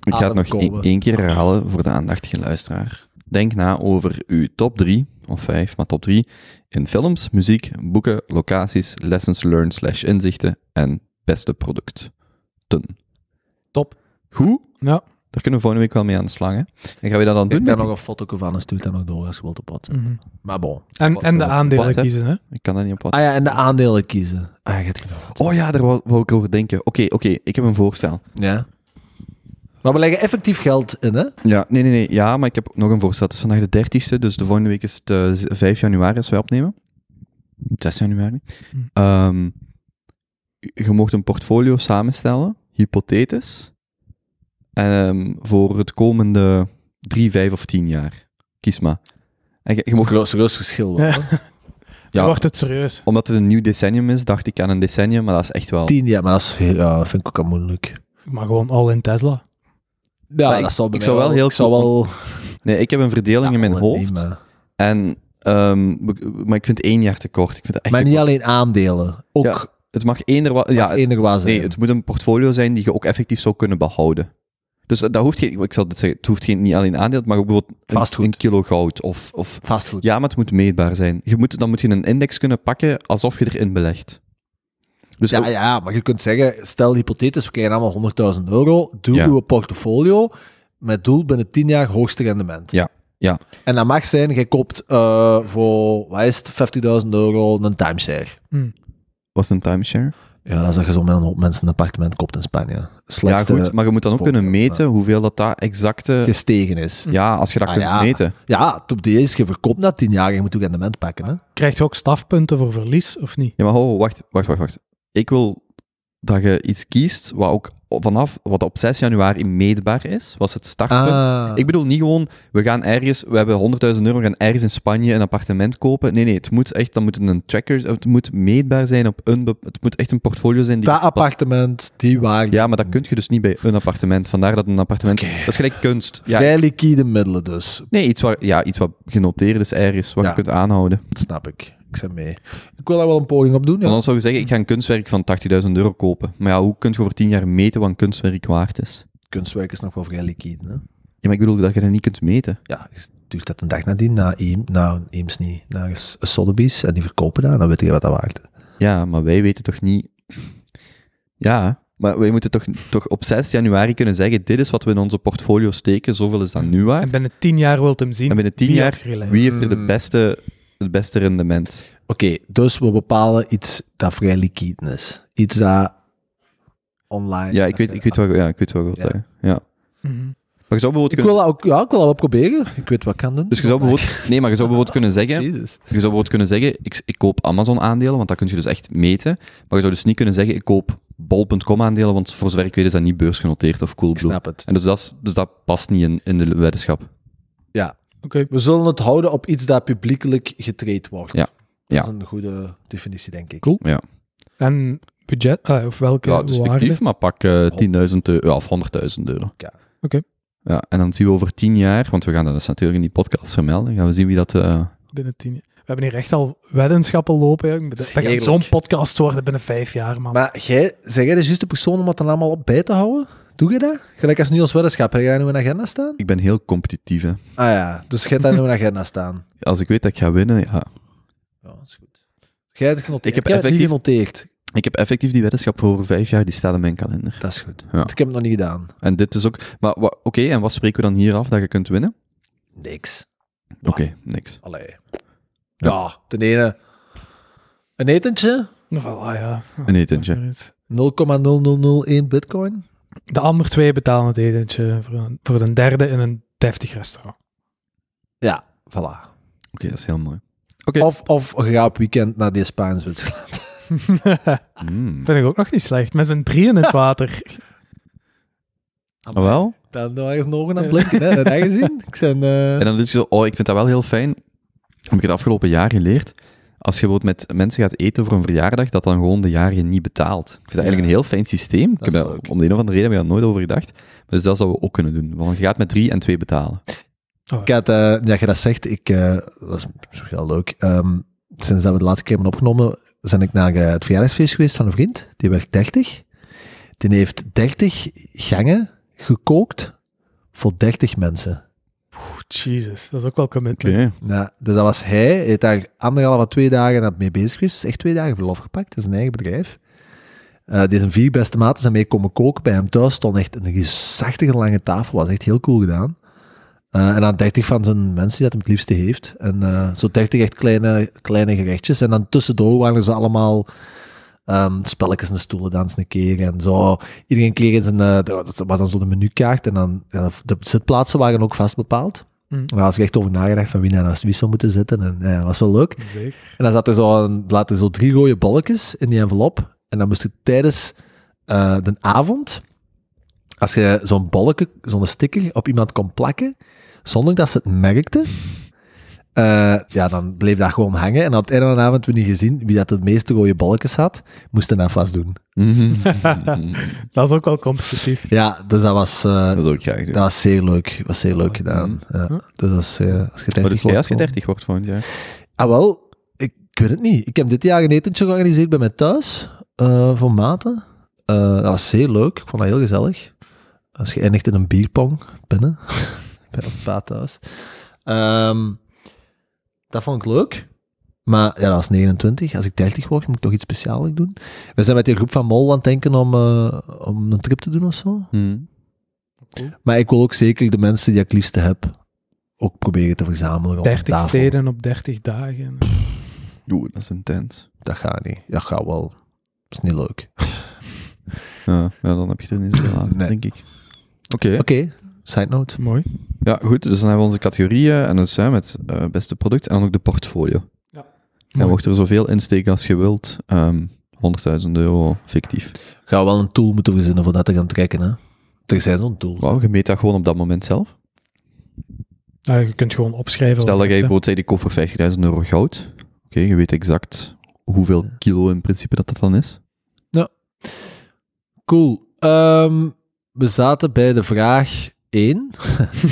S2: Ik ga het nog
S3: Ademkolen.
S2: één- één keer herhalen voor de aandachtige luisteraar. Denk na over uw top 3, of 5, maar top 3, in films, muziek, boeken, locaties, lessons learned slash inzichten en beste producten.
S1: Top.
S2: Goed,
S1: Ja.
S2: daar kunnen we volgende week wel mee aan de slag. Hè? En gaan we dat dan doen?
S3: Ik heb
S2: met
S3: nog een foto van en stuur dat nog door als je wilt op WhatsApp.
S1: Mhm.
S3: Mm. Maar bon.
S1: En,
S3: Wat
S1: en de
S3: is er?
S1: aandelen
S2: Wat, hè?
S1: kiezen, hè?
S2: die- Ik kan dat niet op wat.
S3: Ah ja, en de aandelen kiezen. Ah, je hebt geen WhatsApp.
S2: Oh ja, daar wou, wou ik over denken. Oké, oké, ik heb een voorstel.
S3: Ja. Maar we leggen effectief geld in, hè?
S2: Ja, nee, nee, nee. Ja, maar ik heb nog een voorstel. Het is vandaag de 30ste, dus de volgende week is het eh, z- 5 januari als wij opnemen. 6 januari.
S1: Hm.
S2: Ehm, je mocht een portfolio samenstellen, hypothetisch, ehm, voor het komende 3, 5 of 10 jaar. Kies maar. En je, je mocht,
S3: Groot,
S1: (laughs)
S3: groot verschil wel.
S1: Ja.
S3: hè?
S1: Dan
S2: ja,
S1: wordt het serieus.
S2: omdat het een nieuw decennium is, dacht ik aan een decennium, maar dat is echt wel...
S3: Tien jaar, maar dat, is, ja, dat vind ik ook al moeilijk.
S1: Maar gewoon al in Tesla.
S3: Ja,
S2: Maar ik-
S3: dat zou bij
S2: ik
S3: mij
S2: zou wel heel
S3: ik zou
S2: goed-
S3: wel
S2: Nee, ik heb een verdeling in mijn
S3: Ja, wel
S2: hoofd.
S3: niet, maar-
S2: En, ehm, be- maar ik vind één jaar te kort. Ik vind dat echt
S3: Maar
S2: te
S3: niet
S2: kort.
S3: alleen aandelen. Ook
S2: Ja, Het mag eender wat... Ja,
S3: ja,
S2: het-
S3: enige waar zijn.
S2: Nee, het moet een portfolio zijn die je ook effectief zou kunnen behouden. Dus dat dat hoeft geen, ik zal het zeggen, het hoeft geen, niet alleen aandeel, maar ook bijvoorbeeld een,
S3: Vastgoed.
S2: een kilo goud. Of, of,
S3: Vastgoed.
S2: ja, maar het moet meetbaar zijn. Je moet, dan moet je een index kunnen pakken alsof je erin belegt. Dus
S3: Ja,
S2: ook-
S3: ja, maar je kunt zeggen, stel hypothetisch, we krijgen allemaal 100.000 euro, doe
S2: Ja.
S3: uw portfolio met doel binnen 10 jaar hoogste rendement.
S2: Ja, ja.
S3: En dat mag zijn, je koopt eh, voor, wat is het, 50.000 euro een timeshare.
S2: was het een timeshare?
S3: Ja, dat is dat je zo met een hoop mensen een appartement koopt in Spanje. Slechtste
S2: ja, goed, maar je moet dan ook kunnen
S3: voorbeeld,
S2: meten hoeveel dat, dat exacte... Hm.
S3: gestegen is.
S2: Ja, als je dat
S3: Ah,
S2: kunt
S3: ja.
S2: meten.
S3: Ja, op die is, je verkoopt na 10 jaar, je moet je rendement pakken. Hè?
S1: Krijg je ook strafpunten voor verlies, of niet?
S2: Ja, maar ho, wacht, wacht, wacht, wacht. Ik wil dat je iets kiest wat ook vanaf, wat op 6 januari meetbaar is, was het startpunt.
S3: Ah,
S2: Ik bedoel niet gewoon, we gaan ergens, we hebben 100.000 euro, we gaan ergens in Spanje een appartement kopen. Nee, nee, het moet echt, dan moet het een tracker, het moet meetbaar zijn op een, be- het moet echt een portfolio zijn. Die
S3: dat appartement, die waarde.
S2: Ja, maar dat kun je dus niet bij een appartement. Vandaar dat een appartement, dat is gelijk kunst. Ja,
S3: Vrij liquide middelen dus.
S2: nee, iets wat, ja, iets wat genoteerd is ergens, wat
S3: Ja.
S2: je kunt aanhouden.
S3: Dat snap ik. Ik ben mee. Ik wil daar wel een poging op doen.
S2: Want
S3: Ja.
S2: anders zou je zeggen, ik ga een kunstwerk van 80.000 euro kopen. Maar ja, hoe kun je over 10 jaar meten wat een kunstwerk waard is?
S3: Kunstwerk is nog wel vrij liquide. Hè?
S2: Ja, maar ik bedoel dat je dat niet kunt meten.
S3: Ja, je stuurt dat een dag nadien naar Eem, nou, Eems niet, naar S- Sotheby's en die verkopen dat en dan weet je wat dat waard is.
S2: Ja, maar wij weten toch niet. Ja, maar we moeten toch, toch op 6 januari kunnen zeggen, dit is wat we in onze portfolio steken, zoveel is dat nu waard.
S1: En binnen tien jaar wilt hem zien.
S2: En binnen 10
S1: wie
S2: jaar,
S1: had gelijk?
S2: wie heeft er de
S3: Mm.
S2: beste, het beste rendement?
S3: Oké, dus we bepalen iets dat vrij liquide is. Iets dat online...
S2: Ja, ik weet, ik weet wat, ja, ik weet wat ik wil
S3: Ja.
S2: zeggen. Ja.
S1: Mhm.
S2: Maar je zou bijvoorbeeld
S3: Ik
S2: kunnen...
S3: wil dat ook, ja, ik wil dat wel proberen. Ik weet wat ik kan doen.
S2: Dus je zou bijvoorbeeld, nee, maar je zou bijvoorbeeld kunnen zeggen, je
S3: Jezus.
S2: zou bijvoorbeeld kunnen zeggen ik, ik koop Amazon-aandelen, want dat kun je dus echt meten. Maar je zou dus niet kunnen zeggen, ik koop bol.com-aandelen, want voor zover ik weet is dat niet beursgenoteerd of
S3: Ik
S2: Coolblue.
S3: snap het.
S2: En dus dat, is- dus dat past niet in, in de weddenschap.
S3: Ja.
S1: Oké.
S3: We zullen het houden op iets dat publiekelijk getraind wordt.
S2: Ja.
S3: Dat
S2: Ja.
S3: is een goede definitie, denk ik.
S1: Cool.
S2: Ja,
S1: En budget, eh, of welke
S2: ja het is
S1: waarde?
S2: fictief, maar pak eh 10.000 euro ja, of 100.000 euro.
S3: Ja.
S1: Oké.
S2: Ja, en dan zien we over 10 jaar, want we gaan dat dus natuurlijk in die podcast vermelden, gaan we zien wie dat... eh,
S1: Binnen tien jaar. We hebben hier echt al weddenschappen lopen. hè. Dat
S3: is
S1: gaat
S3: heerlijk.
S1: zo'n podcast worden binnen vijf jaar, man.
S3: Maar jij, zeg jij de juiste persoon om dat dan allemaal op bij te houden? Doe je dat? Gelijk als nu als weddenschap. Heb jij dat nu in een agenda staan?
S2: ik ben heel competitief, hè.
S3: Ah ja, dus jij hebt dat nu in een agenda staan.
S2: Als ik weet dat ik ga winnen, ja.
S3: Ja, dat is goed. Jij hebt het
S2: Ik
S3: genoteerd.
S2: heb
S3: het niet
S2: effectief-
S3: genoteerd.
S2: Ik heb effectief die weddenschap voor over vijf jaar, die staat in mijn kalender.
S3: Dat is goed.
S2: Ja.
S3: Want Ik heb het nog niet gedaan.
S2: En dit is ook... Maar wa- oké, en wat spreken we dan hier af dat je kunt winnen?
S3: Niks.
S2: Oké, niks.
S3: Allee.
S2: Ja.
S3: Ja, ten ene. Een etentje,
S1: Nou, voilà, ja.
S2: Een etentje.
S3: 0,0001 bitcoin.
S1: De andere twee betalen het etentje voor een, voor een derde in een deftig restaurant.
S3: Ja, voilà.
S2: Oké, dat is heel mooi. Oké.
S3: Of, of we gaan op weekend naar die Spaans (laughs) Zwitserland.
S1: Ah.
S2: Mm.
S1: Vind ik ook nog niet slecht. Met z'n drieën in het water.
S2: Ah, Wel?
S3: Dan nog eens nog aan het blinken, hè. Dat heb je gezien? (laughs) Ik zijn, eh,
S2: En dan doet je zo, oh, ik vind dat wel heel fijn. Heb ik het afgelopen jaar geleerd. Als je bijvoorbeeld met mensen gaat eten voor een verjaardag, dat dan gewoon de jarige niet betaalt. Ik vind dat eigenlijk een heel fijn systeem. Ik
S3: is
S2: heb daar,
S3: leuk.
S2: om de een of andere reden heb ik daar nooit over gedacht. Maar dus dat zouden we ook kunnen doen. Want je gaat met drie en twee betalen.
S1: Oh,
S3: Ik had, eh, ja, je dat zegt, ik, eh, dat is misschien wel leuk. Ehm, sinds dat we de laatste keer hebben opgenomen, ben ik naar eh, het verjaardagsfeest geweest van een vriend. Die werd 30. Die heeft 30 gangen gekookt voor 30 mensen.
S1: Oh, Jesus, dat is ook wel commitment.
S3: Ja, dus dat was hij. Hij heeft daar anderhalf à twee dagen aan mee bezig geweest. Dus echt twee dagen verlof gepakt. Dat is een eigen bedrijf. Eh die zijn vier beste maten zijn mee komen koken. Bij hem thuis stond echt een gezachtige lange tafel. was echt heel cool gedaan. Eh, en dan 30 van zijn mensen die dat hem het liefste heeft. En eh, zo 30 echt kleine, kleine gerechtjes. En dan tussendoor waren ze allemaal ehm, spelletjes en stoelen dansen een keer. En zo. Iedereen kreeg eens een... eh, dat was dan zo de menukaart. En dan, ja, de zitplaatsen waren ook vast bepaald.
S1: Mm.
S3: Daar was ik echt over nagedacht van wie nou naast wie zou moeten zitten. En ja, dat was wel leuk.
S1: Zeker.
S3: En dan zat er zo, een, laten zo drie rode balkjes in die envelop. En dan moest je tijdens eh, de avond, als je zo'n balkje, zo'n sticker op iemand kon plakken, zonder dat ze het merkten, eh, ja, dan bleef dat gewoon hangen. En op het einde van de avond werd niet gezien wie dat het meeste rode balkjes had, moesten dat vastdoen.
S1: Dat is ook wel competitief.
S3: Ja, dus dat was,
S2: (laughs)
S3: eh,
S2: dat Hm. zou ik graag doen.
S3: dat was zeer leuk. was zeer leuk gedaan. Ja. Dus als, eh, als je
S2: Wat
S3: 30
S2: doe dus jij
S3: wordt,
S2: als je
S3: dan-
S2: 30 wordt volgend jaar?
S3: Ah, wel, ik, ik weet het niet. Ik heb dit jaar een etentje georganiseerd bij mij thuis, eh, voor maten. Eh, dat was zeer leuk, ik vond dat heel gezellig. Als je eindigt in een bierpong binnen, (laughs) bij ons pa thuis. Ehm, dat vond ik leuk. Maar ja, dat was 29. Als ik 30 word, moet ik toch iets speciaals doen. We zijn met die groep van Mol aan het denken om, eh, om een trip te doen of zo.
S2: Hmm.
S3: Maar ik wil ook zeker de mensen die ik het liefste heb, ook proberen te verzamelen. rond de
S1: 30
S3: tafel.
S1: steden op 30 dagen.
S2: Oeh, dat is intens.
S3: Dat gaat niet. Dat gaat wel. Dat is niet leuk.
S2: Ja, ja, dan heb je er niet zoveel aan,
S3: Nee.
S2: denk ik. Oké.
S3: Oké, side note.
S1: Mooi.
S2: Ja, goed. Dus dan hebben we onze categorieën en dat zijn met eh, beste product en dan ook de portfolio.
S1: Mooi.
S2: En mocht er zoveel insteken als je wilt, ehm 100.000 euro fictief.
S3: Gaan we wel een tool moeten verzinnen voor dat te gaan trekken, hè? Er zijn zo'n tools.
S2: Wauw, je meet dat gewoon op dat moment zelf.
S1: Nou, je kunt gewoon opschrijven.
S2: Stel dat
S1: wat
S2: jij
S1: je hebt,
S2: bijvoorbeeld zei, ik koop voor 50.000 euro goud. Oké, je weet exact hoeveel kilo in principe dat dat dan is.
S3: Cool. Ehm, we zaten bij de vraag 1.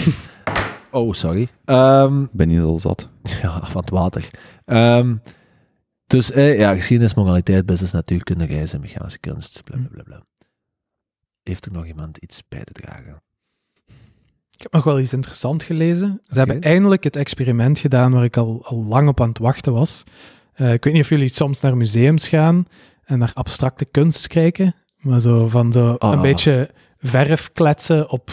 S3: (laughs) oh, sorry. Ehm,
S2: Ik Ben je al zat?
S3: ja, van het water. Ehm, dus eh, ja, geschiedenis, moraliteit, business, natuurkunde, reizen, mechanische kunst, bla bla bla. bla. Heeft er nog iemand iets bij te dragen?
S1: hè. Ik heb nog wel iets interessants gelezen. Ze hebben
S3: Oké.
S1: eindelijk het experiment gedaan waar ik al, al lang op aan het wachten was. Eh, ik weet niet of jullie soms naar museums gaan en naar abstracte kunst kijken. Maar zo van zo een
S3: Ah.
S1: beetje verf kletsen op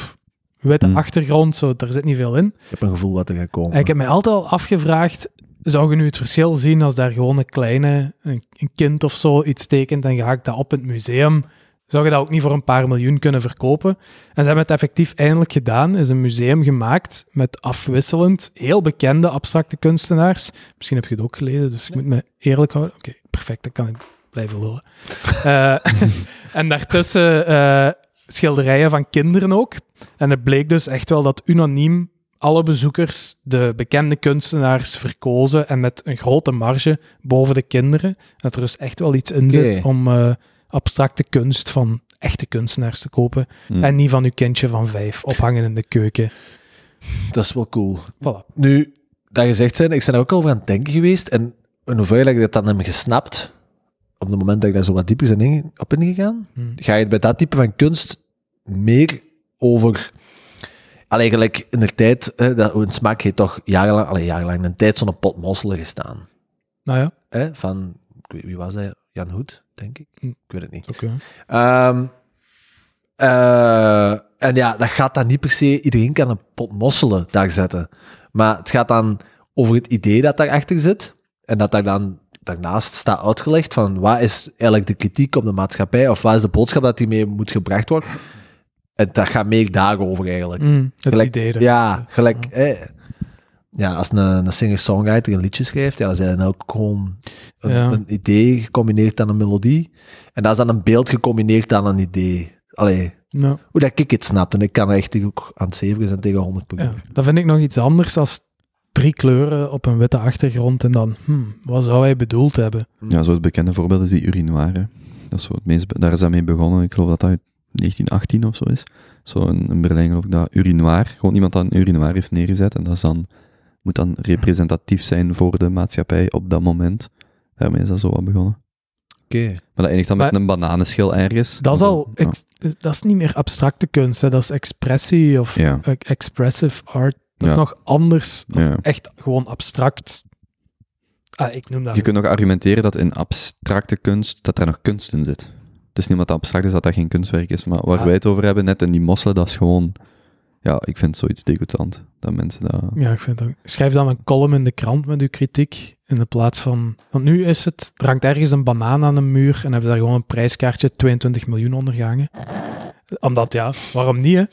S1: witte
S2: Hmm.
S1: achtergrond, zo, daar zit niet veel in.
S3: Ik heb een gevoel dat er gaat komen.
S1: En ik heb mij altijd al afgevraagd, zou je nu het verschil zien als daar gewoon een kleine, een, een kind of zo iets tekent en je haakt dat op in het museum? Zou je dat ook niet voor een paar miljoen kunnen verkopen? En ze hebben het effectief eindelijk gedaan, is een museum gemaakt met afwisselend heel bekende abstracte kunstenaars. Misschien heb je het ook gelezen, dus ik moet me eerlijk houden. Oké, perfect, dan kan ik blijven lullen. Eh, (laughs) en daartussen eh, schilderijen van kinderen ook. En het bleek dus echt wel dat unaniem alle bezoekers de bekende kunstenaars verkozen en met een grote marge boven de kinderen. Dat er dus echt wel iets in
S3: Oké.
S1: zit om eh, abstracte kunst van echte kunstenaars te kopen
S2: Hm.
S1: en niet van uw kindje van vijf ophangen in de keuken.
S3: Dat is wel cool.
S1: Voilà.
S3: Nu, dat gezegd zijn, ik ben daar ook al over aan het denken geweest. En in hoeverre heb ik dat dan hem gesnapt? Op het moment dat ik daar zo wat dieper zijn inge- op ingegaan,
S1: Hm.
S3: ga je het bij dat type van kunst meer over. Al eigenlijk in de tijd, hè, dat een smaak heeft toch jarenlang, allee, jarenlang een tijd zo'n pot mosselen gestaan.
S1: Nou ja,
S3: Hè? Van, ik weet- wie was dat? Jan Hoed, denk ik.
S1: Hm.
S3: Ik weet het niet.
S1: oké.
S3: Ehm, eh, en ja, dat gaat dan niet per se. Iedereen kan een pot mosselen daar zetten. Maar het gaat dan over het idee dat daarachter zit. En dat daar dan daarnaast staat uitgelegd van wat is eigenlijk de kritiek op de maatschappij of wat is de boodschap dat hiermee moet gebracht worden. En dat gaat meer daarover eigenlijk.
S1: Mm, het
S3: Gelijk-
S1: idee. dat-
S3: Ja, gelijk. eh, ja, als een, een singer-songwriter een liedje schrijft, ja, dan zijn dan ook gewoon een,
S1: Ja.
S3: een idee gecombineerd aan een melodie. En dat is dan een beeld gecombineerd aan een idee. Allee,
S1: Nou,
S3: hoe dat ik het snap. En ik kan er echt ook aan het zeven zijn tegen 100
S1: ja.
S3: punten.
S1: Dat vind ik nog iets anders als drie kleuren op een witte achtergrond en dan, hmm, wat zou hij bedoeld hebben?
S2: Ja, zo het bekende voorbeeld is die urinoire. Dat is zo het meest, be- daar is dat mee begonnen. Ik geloof dat dat uit 1918 of zo is. Zo in, in Berlijn geloof ik dat urinoir, gewoon iemand dat een urinoir heeft neergezet. En dat is dan, moet dan representatief zijn voor de maatschappij op dat moment. Daarmee is dat zo wat begonnen.
S3: Oké.
S2: Maar dat eindigt dan met
S1: Maar-
S2: een bananenschil ergens.
S1: Dat is
S2: En
S1: al,
S2: dan- ja.
S1: ex- dat is niet meer abstracte kunst, hè. dat is expressie of
S2: Ja.
S1: eh, expressive art. Dat is
S2: Ja.
S1: nog anders. Dat
S2: Ja.
S1: is echt gewoon abstract. Ah, ik noem dat.
S2: Je kunt ook argumenteren dat in abstracte kunst, dat daar nog kunst in zit. Het is niet omdat het abstract is dat dat geen kunstwerk is, maar waar
S1: Ja.
S2: wij het over hebben, net in die mosselen, dat is gewoon... Ja, ik vind zoiets degoutant, dat mensen dat...
S1: Ja, ik vind dat. Schrijf dan een column in de krant met uw kritiek. In de plaats van. Want nu is het. Er hangt ergens een banaan aan een muur. En hebben ze daar gewoon een prijskaartje 22 miljoen ondergangen. Omdat ja, waarom niet? Hè?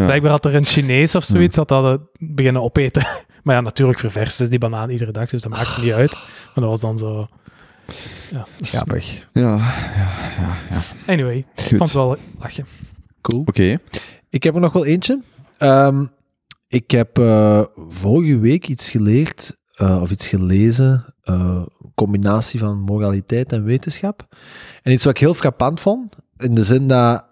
S2: Ja.
S1: Blijkbaar had er een Chinees of zoiets dat dat eh, beginnen opeten. (laughs) Maar ja, natuurlijk verversen ze die banaan iedere dag. Dus dat maakt niet uit. Maar dat was dan zo. Ja.
S3: Grappig.
S2: Ja, ja, ja, ja.
S1: Anyway, ik
S2: Goed.
S1: vond het wel lachen.
S3: Cool.
S2: Oké,
S3: Ik heb er nog wel eentje. Ehm, ik heb eh, vorige week iets geleerd eh, of iets gelezen. eh, combinatie van moraliteit en wetenschap. En iets wat ik heel frappant vond. In de zin dat.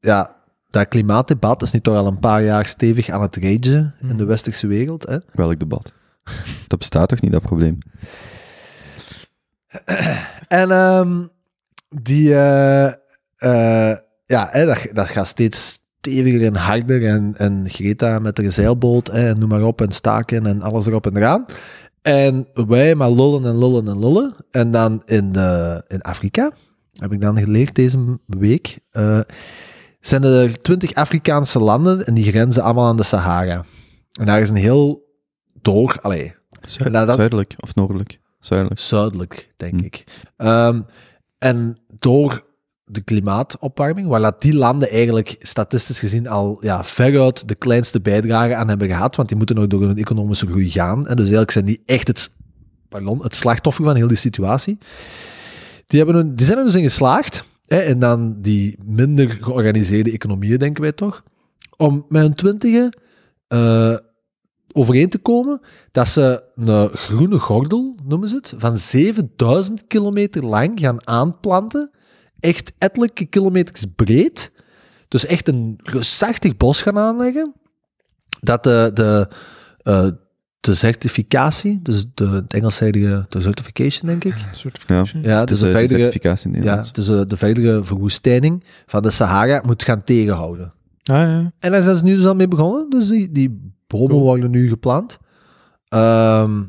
S3: Ja, dat klimaatdebat is nu toch al een paar jaar stevig aan het ragen in de
S1: Mhm.
S3: westerse wereld. Hè?
S2: welk debat? Dat bestaat toch niet, dat probleem?
S3: En ehm, die, eh, eh, ja, hè, dat, dat gaat steeds steviger en harder. En, en Greta met haar zeilboot, hè, en noem maar op, en staken en alles erop en eraan. En wij maar lullen en lullen en lullen. En dan in, de, in Afrika, heb ik dan geleerd deze week, eh, zijn er twintig Afrikaanse landen en die grenzen allemaal aan de Sahara. En daar is een heel door, allee,
S2: Zuid-
S3: Nou, dat-
S2: Zuidelijk of noordelijk? Zuidelijk.
S3: Zuidelijk, denk
S2: Hm.
S3: ik. Ehm, en door de klimaatopwarming, waar dat die landen eigenlijk statistisch gezien al ja, veruit de kleinste bijdrage aan hebben gehad, want die moeten nog door hun economische groei gaan. En dus eigenlijk zijn die echt het, pardon, het slachtoffer van heel die situatie. Die, hebben hun- die zijn er dus in geslaagd, hè, en dan die minder georganiseerde economieën, denken wij toch, om met hun twintigen eh, overeen te komen dat ze een groene gordel, noemen ze het, van 7000 kilometer lang gaan aanplanten. Echt ettelijke kilometers breed. Dus echt een reusachtig bos gaan aanleggen. Dat de, de, eh, de certificatie, dus de, het Engelszijdige de certification, denk ik.
S1: Certification.
S3: Ja,
S2: Het is
S3: dus
S2: een
S3: de verdere,
S2: certificatie in
S3: ja,
S2: Nederland.
S3: dus de, de verdere verwoestijning van de Sahara moet gaan tegenhouden.
S1: Ah, ja.
S3: En daar zijn ze nu dus al mee begonnen. Dus die, die bomen
S1: Cool.
S3: worden nu geplant. Ehm,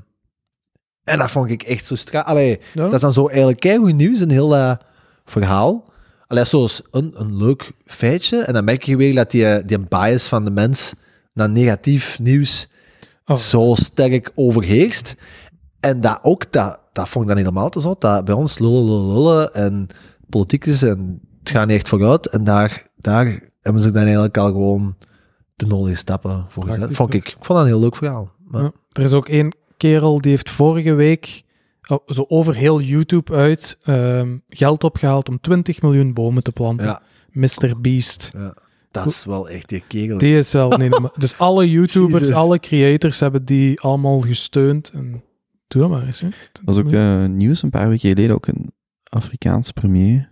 S3: en dat vond ik echt zo stra... Allee,
S1: Ja.
S3: dat is dan zo eigenlijk keigoed nieuws in heel dat eh, verhaal. Allee, zo is een, een leuk feitje. En dan merk je weer dat die, eh, die bias van de mens naar negatief nieuws
S1: Oh.
S3: zo sterk overheerst. En dat ook, dat, dat vond ik dan niet normaal te zot. Dat bij ons lullen, lullen, lullen en politiek is en het gaat niet echt vooruit. En daar, daar hebben ze dan eigenlijk al gewoon de nul in stappen voor gezet.
S1: Praktisch,
S3: Vond ik, ik vond dat een heel leuk verhaal. Maar,
S1: Ja. Er is ook één kerel die heeft vorige week oh, zo over heel YouTube uit ehm, geld opgehaald om 20 miljoen bomen te planten.
S3: Ja.
S1: Mr. Beast.
S3: ja, dat is wel echt die kerel.
S1: Die is wel niet normaal. Dus alle YouTubers,
S3: Jezus.
S1: alle creators hebben die allemaal gesteund. En doe dat maar eens. Hè.
S2: Dat was ook eh, nieuws een paar weken geleden, ook een Afrikaanse premier.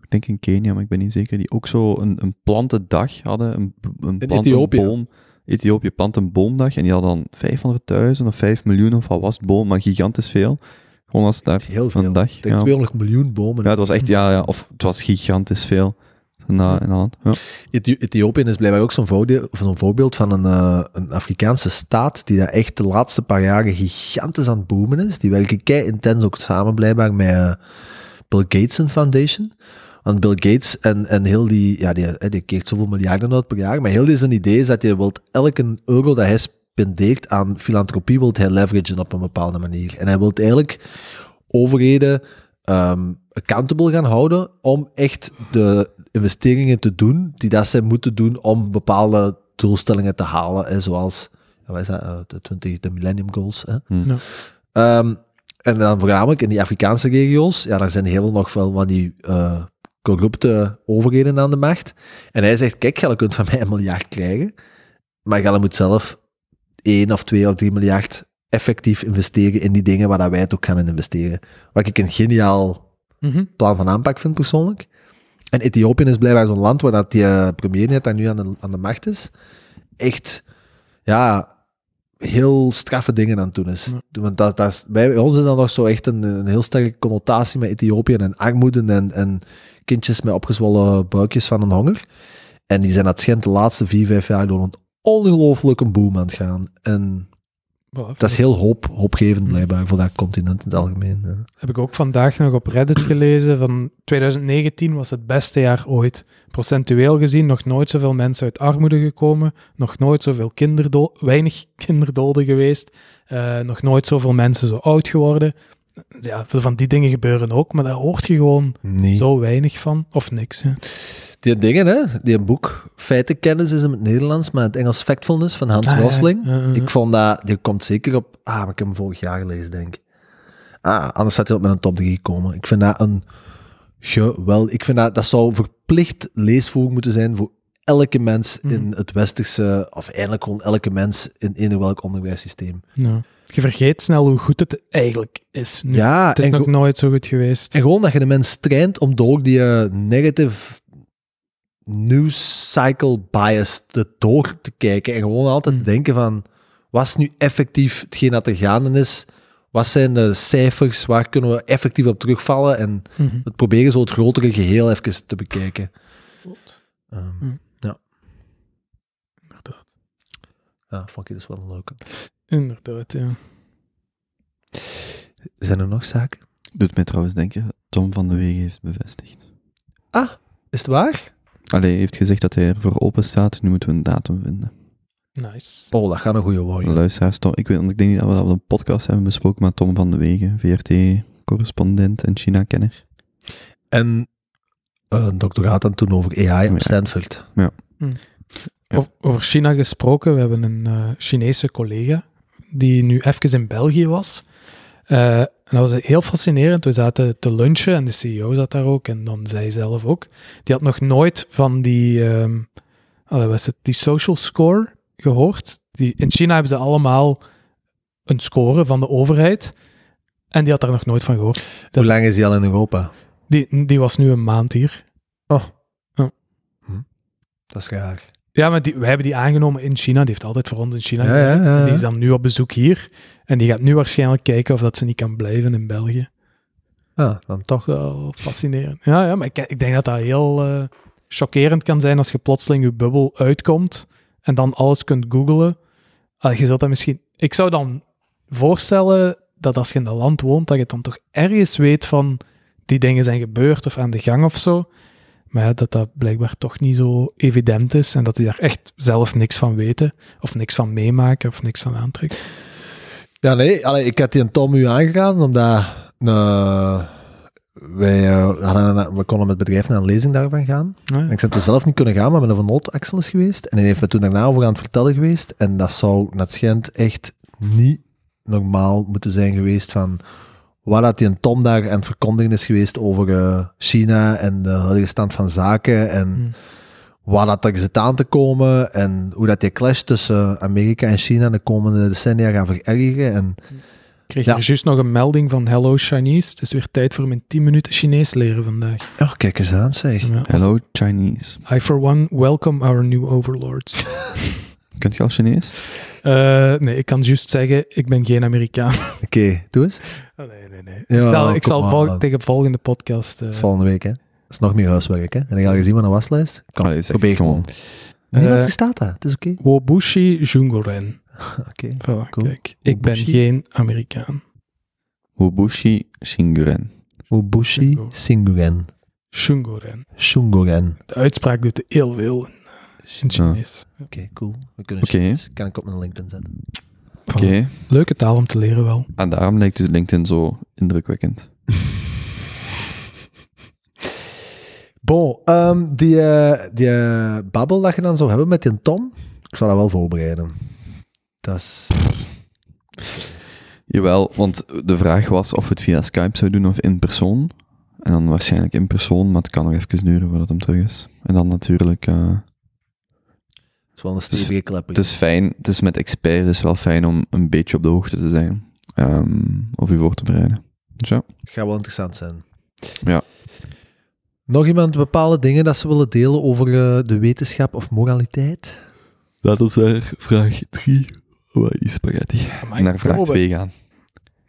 S2: Ik denk in Kenia, maar ik ben niet zeker. Die ook zo een, een plantendag hadden. Een, een plant,
S3: Ethiopië.
S2: Een boom. Ethiopië plant een boomdag. En die hadden dan 500.000 of 5 miljoen of wat was het, boom, maar gigantisch veel. Gewoon als daar
S3: Heel veel.
S2: een dag.
S3: Ik denk
S2: Ja.
S3: 200 miljoen bomen.
S2: ja, het was echt, ja, ja, of het was gigantisch veel. Na, in Holland. Ja.
S3: Ethi- Ethiopië is blijkbaar ook zo'n voordeel- of zo'n voorbeeld van een, eh, een Afrikaanse staat die daar echt de laatste paar jaren gigantisch aan het boomen is. Die werken kei intens ook samen blijkbaar met eh, Bill Gates en Foundation. Want Bill Gates en, en heel die, ja, die, eh, die keert zoveel miljarden uit per jaar. Maar heel die zijn idee is dat hij wilt elke euro dat hij spendeert aan filantropie, wilt hij leveragen op een bepaalde manier. En hij wilt eigenlijk overheden ehm, accountable gaan houden om echt de investeringen te doen die dat zij moeten doen om bepaalde doelstellingen te halen, hè, zoals ja, wat is dat, eh, de, 20, de Millennium Goals. Hè.
S2: Hmm.
S1: Ja.
S3: Ehm, en dan voornamelijk in die Afrikaanse regio's, ja, daar zijn heel veel nog wel van die eh, corrupte overheden aan de macht. En hij zegt, kijk, je kunt van mij een miljard krijgen, maar je moet zelf 1 of 2 of 3 miljard effectief investeren in die dingen waar dat wij het ook gaan in investeren. Wat ik een geniaal
S1: Mhm.
S3: plan van aanpak vind persoonlijk. En Ethiopië is blijkbaar zo'n land waar dat die eh, premier net daar nu aan de, aan de macht is, echt ja, heel straffe dingen aan het doen is. Want dat, dat is, bij bij ons is dat nog zo echt een, een heel sterke connotatie met Ethiopië en armoede en, en kindjes met opgezwollen buikjes van een honger. En die zijn dat schijnt de laatste vier, vijf jaar door een ongelooflijke boom aan het gaan. En
S1: Voilà,
S3: dat is heel hoop, hoopgevend blijkbaar voor dat continent in het algemeen. ja.
S1: Heb ik ook vandaag nog op Reddit gelezen. Van 2019 was het beste jaar ooit. Procentueel gezien nog nooit zoveel mensen uit armoede gekomen. Nog nooit zoveel kinderdo weinig (laughs) kinderdoden geweest. eh, nog nooit zoveel mensen zo oud geworden. Ja, veel van die dingen gebeuren ook, maar daar hoort je gewoon
S3: Nee.
S1: zo weinig van. Of niks. Hè.
S3: Die dingen, hè, die een boek, feitenkennis is hem in het Nederlands, maar in het Engels Factfulness van Hans
S1: Ah, ja,
S3: Rosling.
S1: ja, ja, ja.
S3: Ik vond dat, die komt zeker op, ah, maar ik heb hem vorig jaar gelezen, denk ik. Ah, anders had hij op mijn top 3 gekomen. Ik vind dat een geweld. Ik vind dat, dat zou verplicht leesvoer moeten zijn voor elke mens in
S1: Mhm.
S3: het westerse, of eigenlijk gewoon elke mens in eender welk onderwijssysteem.
S1: eh, Ja. Je vergeet snel hoe goed het eigenlijk is. Nu.
S3: Ja,
S1: het is
S3: en
S1: nog
S3: go-
S1: nooit zo goed geweest.
S3: En gewoon dat je de mens traint om door die eh, negative news cycle bias te door te kijken. En gewoon altijd
S1: Mm.
S3: denken van, wat is nu effectief hetgeen dat er gaande is? Wat zijn de cijfers? Waar kunnen we effectief op terugvallen? En
S1: Mhm.
S3: het proberen zo het grotere geheel even te bekijken. Ehm,
S1: Mm.
S3: Ja.
S1: Inderdaad.
S3: Ja, vond ik dus wel een leuke.
S1: Inderdaad, ja.
S3: Zijn er nog zaken?
S2: Doet mij trouwens denken, Tom van de Wegen heeft bevestigd.
S3: Ah, is het waar?
S2: Allee, hij heeft gezegd dat hij ervoor open staat. Nu moeten we een datum vinden.
S1: Nice.
S3: Oh, dat gaat een goede worden.
S2: Luisteraars, Tom, ik, weet, want ik denk niet dat we dat op een podcast hebben besproken, maar Tom van de Wegen, VRT-correspondent en China-kenner.
S3: En eh, een doctoraat dan toen over AI op
S2: Ja.
S3: Stanford.
S2: Ja.
S1: Of- Over China gesproken, we hebben een eh, Chinese collega die nu even in België was. Eh, en dat was heel fascinerend. We zaten te lunchen en de CEO zat daar ook en dan zij zelf ook. Die had nog nooit van die, ehm, ah, dat was het, die social score gehoord. Die, in China hebben ze allemaal een score van de overheid. En die had daar nog nooit van gehoord. Dat-
S3: Hoe lang is hij al in Europa?
S1: Die, die was nu een maand hier.
S3: Dat is raar.
S1: Ja, maar die, wij hebben die aangenomen in China. Die heeft altijd voor ons in China gewerkt. En Die is dan nu op bezoek hier. En die gaat nu waarschijnlijk kijken of dat ze niet kan blijven in België.
S3: Ah, dan toch.
S1: Zo fascinerend. Ja, ja maar ik, ik denk dat dat heel eh, chockerend kan zijn als je plotseling je bubbel uitkomt en dan alles kunt googlen. Ah, je zult dat misschien... Ik zou dan voorstellen dat als je in dat land woont, dat je dan toch ergens weet van die dingen zijn gebeurd of aan de gang of zo. Maar ja, dat dat blijkbaar toch niet zo evident is en dat die daar echt zelf niks van weten of niks van meemaken of niks van aantrekken.
S3: Ja, nee, allee, ik had die een Tom u aangeraden, omdat eh, wij, eh, hadden een- we konden met bedrijf naar een lezing daarvan gaan. En
S1: Ja.
S3: ik zou toen zelf niet kunnen gaan, maar ik ben er van noodaxel is geweest. En hij heeft me toen daarna over aan het vertellen geweest. En dat zou, naar het schijnt, echt niet normaal moeten zijn geweest van waar dat die een Tom daar aan het verkondigen is geweest over eh, China en de huidige stand van zaken en
S1: Hmm.
S3: waar dat er zit aan te komen en hoe dat die clash tussen Amerika en China de komende decennia gaan verergeren. En
S1: Ik kreeg
S3: Ja.
S1: hier juist nog een melding van Hello Chinese. Het is weer tijd voor mijn 10 minuten Chinees leren vandaag.
S3: oh, kijk eens aan, zeg.
S1: Ja.
S2: Hello Chinese.
S1: I for one welcome our new overlords. (laughs)
S2: Kunt je al Chinees?
S1: Eh, nee, ik kan juist zeggen, ik ben geen Amerikaan.
S3: (laughs) Oké, doe eens.
S1: Oh, nee, nee, nee.
S3: Ja,
S1: ik zal, ik
S3: kom
S1: zal
S3: maar,
S1: vol-
S3: man.
S1: tegen volgende podcast... eh,
S3: Dat is volgende week, hè. Dat is nog meer huiswerk, hè. En ik al gezien van de waslijst. Kom,
S2: Allee, zeg,
S3: probeer
S2: come
S3: gewoon.
S2: on.
S3: Niemand
S1: Eh,
S3: verstaat dat. Het is oké.
S1: Wobushi Jungoren.
S3: Oké.
S1: Voilà,
S3: Cool.
S1: kijk. Ik ben
S3: Wobushi?
S1: geen Amerikaan.
S2: Hobushi Shinguren.
S3: Obushi
S1: Shingo.
S3: Singuren.
S1: Jungoren.
S3: Shungoren.
S1: De uitspraak doet heel veel in
S3: Ah.
S1: in
S2: Ja.
S1: Chinees.
S3: Oké, cool. We kunnen
S2: Oké.
S3: Chinees. Kan ik op mijn LinkedIn zetten.
S2: Oké.
S1: Leuke taal om te leren wel.
S2: En daarom lijkt dus LinkedIn zo indrukwekkend.
S3: Bon, ehm, die, eh, die eh, babbel dat je dan zou hebben met die Tom, ik zou dat wel voorbereiden. Dat is...
S2: Jawel, want de vraag was of we het via Skype zouden doen of in persoon. En dan waarschijnlijk in persoon, maar het kan nog even duren voordat hem terug is. En dan natuurlijk, eh,
S3: is wel een stevige klep.
S2: het is fijn, het is met experts, het is wel fijn om een beetje op de hoogte te zijn. ehm, of u voor te bereiden. Dus ja.
S3: gaat wel interessant zijn.
S2: Ja.
S3: Nog iemand bepaalde dingen dat ze willen delen over eh, de wetenschap of moraliteit?
S2: Laat ons naar vraag 3, wat is spaghetti? Naar vraag 2 gaan.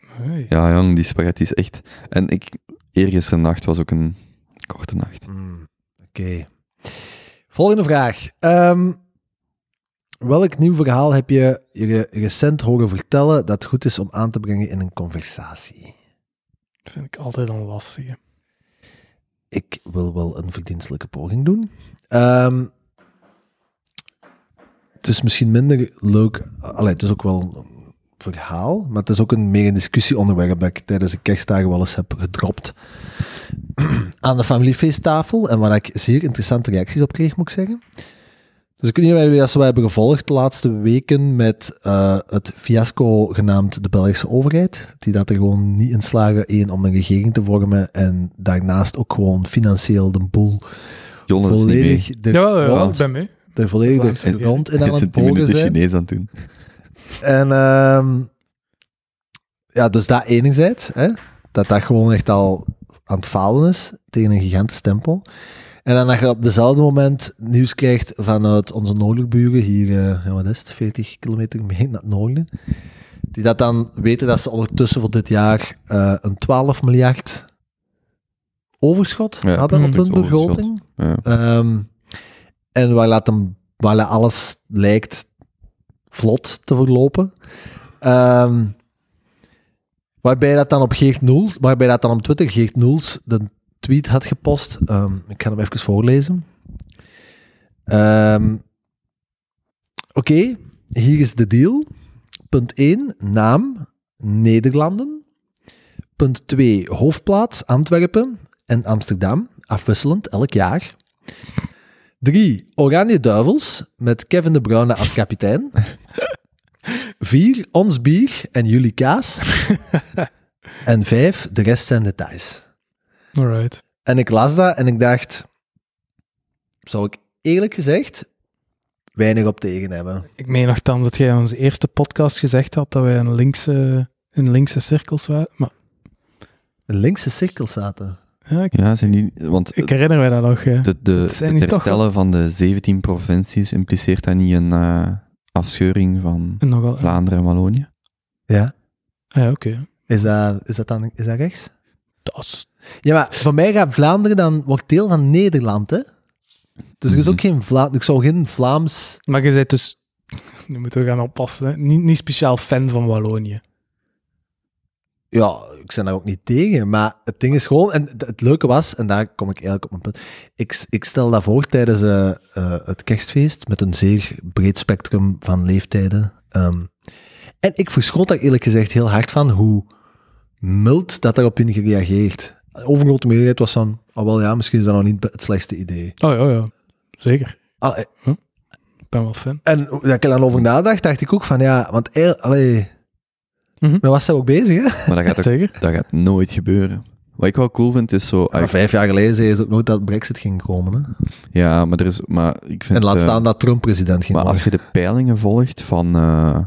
S1: Hey.
S2: Ja, jong, die spaghetti is echt. En ik, eergisteren nacht was ook een korte nacht.
S3: Hmm, Oké. Volgende vraag. Ehm, welk nieuw verhaal heb je je re- recent horen vertellen dat goed is om aan te brengen in een conversatie?
S1: Dat vind ik altijd een lastige.
S3: Ik wil wel een verdienstelijke poging doen. Ehm, het is misschien minder leuk. Allee, het is ook wel een verhaal, maar het is ook een, meer een discussieonderwerp dat ik tijdens de kerstdagen wel eens heb gedropt. (clears throat) Aan de familiefeesttafel en waar ik zeer interessante reacties op kreeg, moet ik zeggen. Dus ik weet niet of jullie dat zo hebben gevolgd de laatste weken met eh, het fiasco genaamd de Belgische overheid. Die dat er gewoon niet in slagen, één, om een regering te vormen en daarnaast ook gewoon financieel de boel
S2: Jon is niet mee.
S3: volledig de,
S1: ja, ja,
S3: rond-
S1: ik ben mee.
S3: de volledig
S1: Vlaamse
S3: de rond in aan
S2: (laughs) Hij is
S3: het
S2: een 10
S3: boren
S2: minuten
S3: zijn.
S2: Chinees aan het doen.
S3: En ehm, ja, dus dat enerzijds, hè, dat dat gewoon echt al aan het falen is tegen een gigantisch tempo. En dan dat je op dezelfde moment nieuws krijgt vanuit onze noorderburen, hier, eh, ja, wat is het, 40 kilometer mee naar het noorden, die dat dan weten dat ze ondertussen voor dit jaar eh, een 12 miljard overschot
S2: Ja,
S3: hadden op hun
S2: natuurlijk overschot.
S3: begroting.
S2: Ja.
S3: Ehm, en waar, laat hem, waar laat alles lijkt vlot te verlopen. Ehm, waarbij dat dan op Geert Noel, waarbij dat dan op Twitter Geert Noels de tweet had gepost. Ehm, ik ga hem even voorlezen. Ehm, Oké, hier is de deal. Punt 1, naam Nederlanden. Punt 2, hoofdplaats Antwerpen en Amsterdam, afwisselend elk jaar. 3. Oranje Duivels met Kevin de Bruyne als (laughs) kapitein. 4. Ons bier en jullie kaas. en 5. De rest zijn details.
S1: Alright.
S3: En ik las dat en ik dacht, zou ik eerlijk gezegd weinig op tegen hebben.
S1: Ik meen nogthans dat jij in onze eerste podcast gezegd had dat wij in linkse, in linkse cirkels waren. Maar
S3: Een linkse cirkel zaten.
S1: ja, ik,
S2: ja, zijn die, want
S1: ik herinner mij dat nog. hè.
S2: de, de,
S1: het
S2: het
S1: zijn die toch
S2: herstellen van de 17 provincies impliceert dat niet een eh, afscheuring van
S1: En nogal.
S2: Vlaanderen en Wallonië?
S3: Ja.
S1: Ah, ja, oké.
S3: Is dat, is dat dan is dat rechts?
S1: Dat is-
S3: Ja, maar voor mij gaat Vlaanderen dan, wordt deel van Nederland, hè? Dus er is ook geen Vla ik zou geen Vlaams...
S1: Maar je bent dus... Nu moeten we gaan oppassen. Hè. Niet, niet speciaal fan van Wallonië.
S3: Ja, ik ben daar ook niet tegen. Maar het ding is gewoon, en d- het leuke was, en daar kom ik eigenlijk op mijn punt. Ik, s- ik stel dat voor tijdens eh, eh, het kerstfeest met een zeer breed spectrum van leeftijden. Ehm, en ik verschot daar eerlijk gezegd heel hard van hoe mild dat daarop in gereageerd. Overgrote meerderheid was van, oh wel ja, misschien is dat nog niet het slechtste idee.
S1: Oh ja, ja. Zeker.
S3: Allee,
S1: Ik ben wel fan.
S3: En dat ik er dan over nadacht, dacht ik ook van ja, want eil- allee,
S1: Mhm.
S3: met wat zijn we ook bezig, hè?
S2: Maar dat gaat, ook,
S3: (laughs)
S1: Zeker.
S2: dat gaat nooit gebeuren. Wat ik wel cool vind, is zo...
S3: Maar Ah, vijf jaar geleden zei ze ook nooit dat Brexit ging komen. Hè?
S2: Ja, maar er is... Maar ik vind,
S3: En laat
S2: eh,
S3: staan dat Trump president ging
S2: Maar als
S3: worden.
S2: je de peilingen volgt van eh,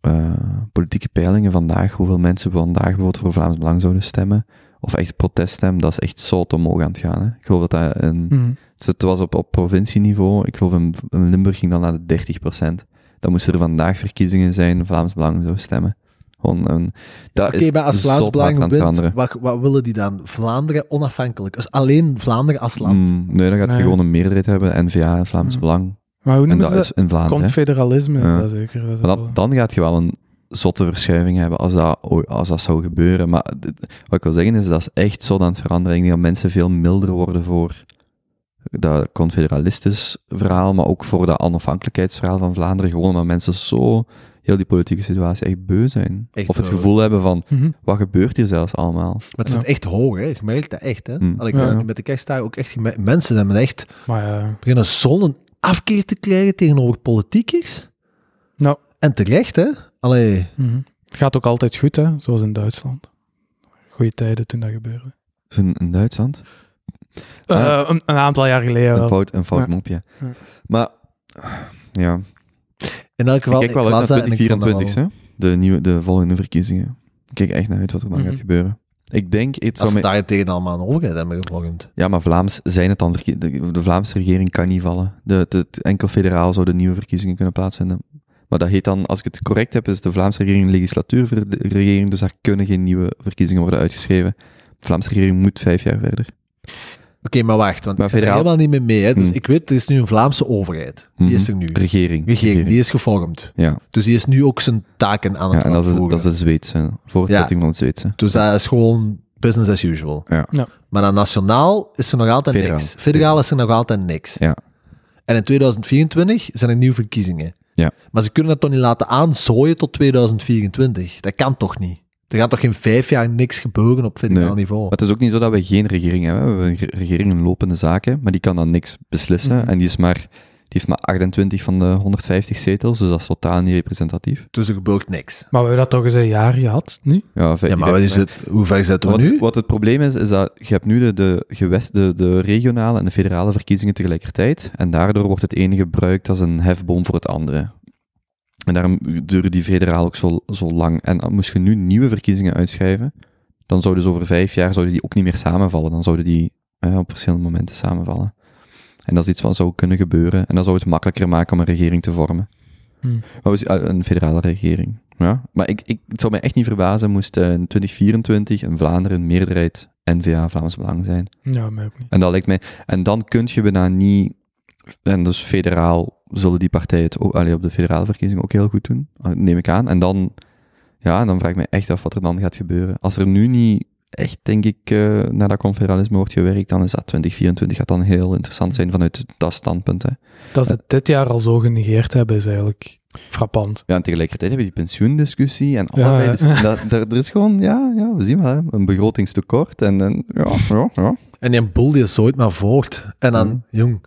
S2: eh, politieke peilingen vandaag, hoeveel mensen vandaag bijvoorbeeld voor Vlaams Belang zouden stemmen, of echt proteststem, dat is echt zot omhoog aan het gaan. Hè? Ik geloof dat dat een,
S3: Hm.
S2: dus
S1: Mhm.
S2: het was op, op provincieniveau, ik geloof in, in Limburg ging dat naar de 30%. Dan moesten er vandaag verkiezingen zijn, Vlaams Belang zou stemmen. Gewoon een, dat
S3: Oké,
S2: is
S3: maar als Vlaams
S2: zot hard
S3: Belang
S2: aan het
S3: wint,
S2: veranderen.
S3: wat, wat willen die dan? Vlaanderen onafhankelijk. Dus alleen Vlaanderen als land.
S2: Mm, nee, dan gaat
S1: Nee.
S2: je gewoon een meerderheid hebben, N-VA, Vlaams
S3: Hm.
S1: Mm.
S2: Belang.
S1: Maar hoe
S2: En
S1: noemen
S2: dat
S1: ze dat?
S2: is in Vlaanderen. hè.
S1: Confederalisme,
S2: Ja.
S1: dat zeker. Dat is
S2: Maar
S1: wel-
S2: dat- dan gaat je wel een zotte verschuiving hebben als dat, o- als dat zou gebeuren. Maar dit- wat ik wil zeggen is, dat is echt zo aan het veranderen. Ik denk dat mensen veel milder worden voor dat confederalistisch verhaal, maar ook voor dat onafhankelijkheidsverhaal van Vlaanderen. Gewoon omdat mensen zo heel die politieke situatie echt beu zijn.
S3: Echt
S2: of het
S3: wel.
S2: gevoel hebben van,
S1: Mhm.
S2: wat gebeurt hier zelfs allemaal?
S3: Maar het zit echt hoog, hè? Je merkt dat echt, hè?
S2: Mm.
S3: Al ik
S1: Ja.
S3: heb nu met de kerstdagen ook echt gemerkt, mensen hebben echt
S1: Maar ja,
S3: beginnen zo'n afkeer te krijgen tegenover politiekers.
S1: Nou.
S3: En terecht, hè? Allee,
S1: mhm. het gaat ook altijd goed, hè? zoals in Duitsland. Goeie tijden toen dat gebeurde.
S2: Is een, een Duitsland? Ah.
S1: Eh, een, een aantal jaar geleden
S2: Een
S1: wel.
S2: fout, een fout
S1: Ja.
S2: mopje.
S1: Ja.
S2: Maar, ja.
S3: in elk
S2: Ik
S3: geval,
S2: kijk wel
S3: las
S2: uit naar
S3: dat en ik vond dat
S2: 2024, hè?
S3: wel-
S2: De, nieuwe, de volgende verkiezingen. Ik kijk echt naar uit wat er dan
S1: Mhm.
S2: gaat gebeuren. Ik denk, het
S3: Als
S2: zou
S3: ze
S2: mij-
S3: daarentegen allemaal een overheid hebben gevormd.
S2: ja, maar Vlaams zijn het dan verkie- de, de Vlaamse regering kan niet vallen. De, de, het enkel federaal zou de nieuwe verkiezingen kunnen plaatsvinden. Maar dat heet dan, als ik het correct heb, is de Vlaamse regering een legislatuurregering, dus daar kunnen geen nieuwe verkiezingen worden uitgeschreven. De Vlaamse regering moet vijf jaar verder.
S3: Oké, maar wacht, want
S2: Maar
S3: ik ben er
S2: federaal-
S3: helemaal niet meer mee. Hè? Dus
S2: Hmm.
S3: ik weet, er is nu een Vlaamse overheid. Die is er nu.
S2: Mhm. Regering.
S3: Regering, die is gevormd.
S2: Ja,
S3: Dus die is nu ook zijn taken aan
S2: ja
S3: het
S2: en dat is,
S3: uitvoeren.
S2: dat is de Zweedse, voortzetting van het Zweedse.
S3: Dus dat is gewoon business as usual.
S2: Ja.
S1: Ja.
S3: Maar dan nationaal is er nog altijd
S2: Federaal.
S3: niks. Federaal is er nog altijd niks.
S2: Ja.
S3: En in 2024 zijn er nieuwe verkiezingen.
S2: Ja.
S3: Maar ze kunnen dat toch niet laten aanzooien tot 2024? Dat kan toch niet? Er gaat toch in vijf jaar niks gebeuren op federaal
S2: Nee.
S3: niveau?
S2: Maar het is ook niet zo dat we geen regering hebben. We hebben een ge- regering in lopende zaken, maar die kan dan niks beslissen.
S1: Mhm.
S2: En die, is maar, die heeft maar 28 van de 150 zetels, dus dat is totaal niet representatief.
S3: Dus er gebeurt niks.
S1: Maar we hebben dat toch eens een jaar gehad nu?
S2: Ja, vijf-
S3: Ja, maar
S2: vijf-
S3: wat is het, hoe ver zitten we
S2: wat,
S3: nu?
S2: wat het probleem is, is dat je hebt nu de, de, gewest, de, de regionale en de federale verkiezingen tegelijkertijd. En daardoor wordt het ene gebruikt als een hefboom voor het andere. En daarom duren die federaal ook zo, zo lang. En eh, moest je nu nieuwe verkiezingen uitschrijven, dan zouden ze over vijf jaar zouden die ook niet meer samenvallen. Dan zouden die eh, op verschillende momenten samenvallen. En dat is iets wat zou kunnen gebeuren. En dat zou het makkelijker maken om een regering te vormen.
S1: Hmm.
S2: Maar we zien- eh, een federale regering. Ja? Maar ik, ik, het zou mij echt niet verbazen moest eh, in 2024 in Vlaanderen een meerderheid N-VA Vlaams Belang zijn.
S1: Ja, mij ook niet.
S2: En dat lijkt mij... En dan kun je bijna niet... En dus federaal zullen die partijen het ook, allee, op de federale verkiezingen ook heel goed doen, ah, neem ik aan. En dan, ja, dan vraag ik me echt af wat er dan gaat gebeuren. Als er nu niet echt, denk ik, eh, naar dat confederalisme wordt gewerkt, dan is dat 2024 gaat dan heel interessant zijn vanuit dat standpunt. Hè.
S1: Dat ze het dit jaar al zo genegeerd hebben, is eigenlijk frappant.
S2: Ja, en tegelijkertijd heb je die pensioendiscussie en
S1: Ja,
S2: allerlei
S1: ja.
S2: discussies. Dat,
S1: (laughs)
S2: er, er is gewoon, ja, ja we zien wel, hè, een begrotingstekort en, en ja, ja, ja.
S3: En die boel die zooit maar voort. En dan,
S2: Mhm.
S3: jong,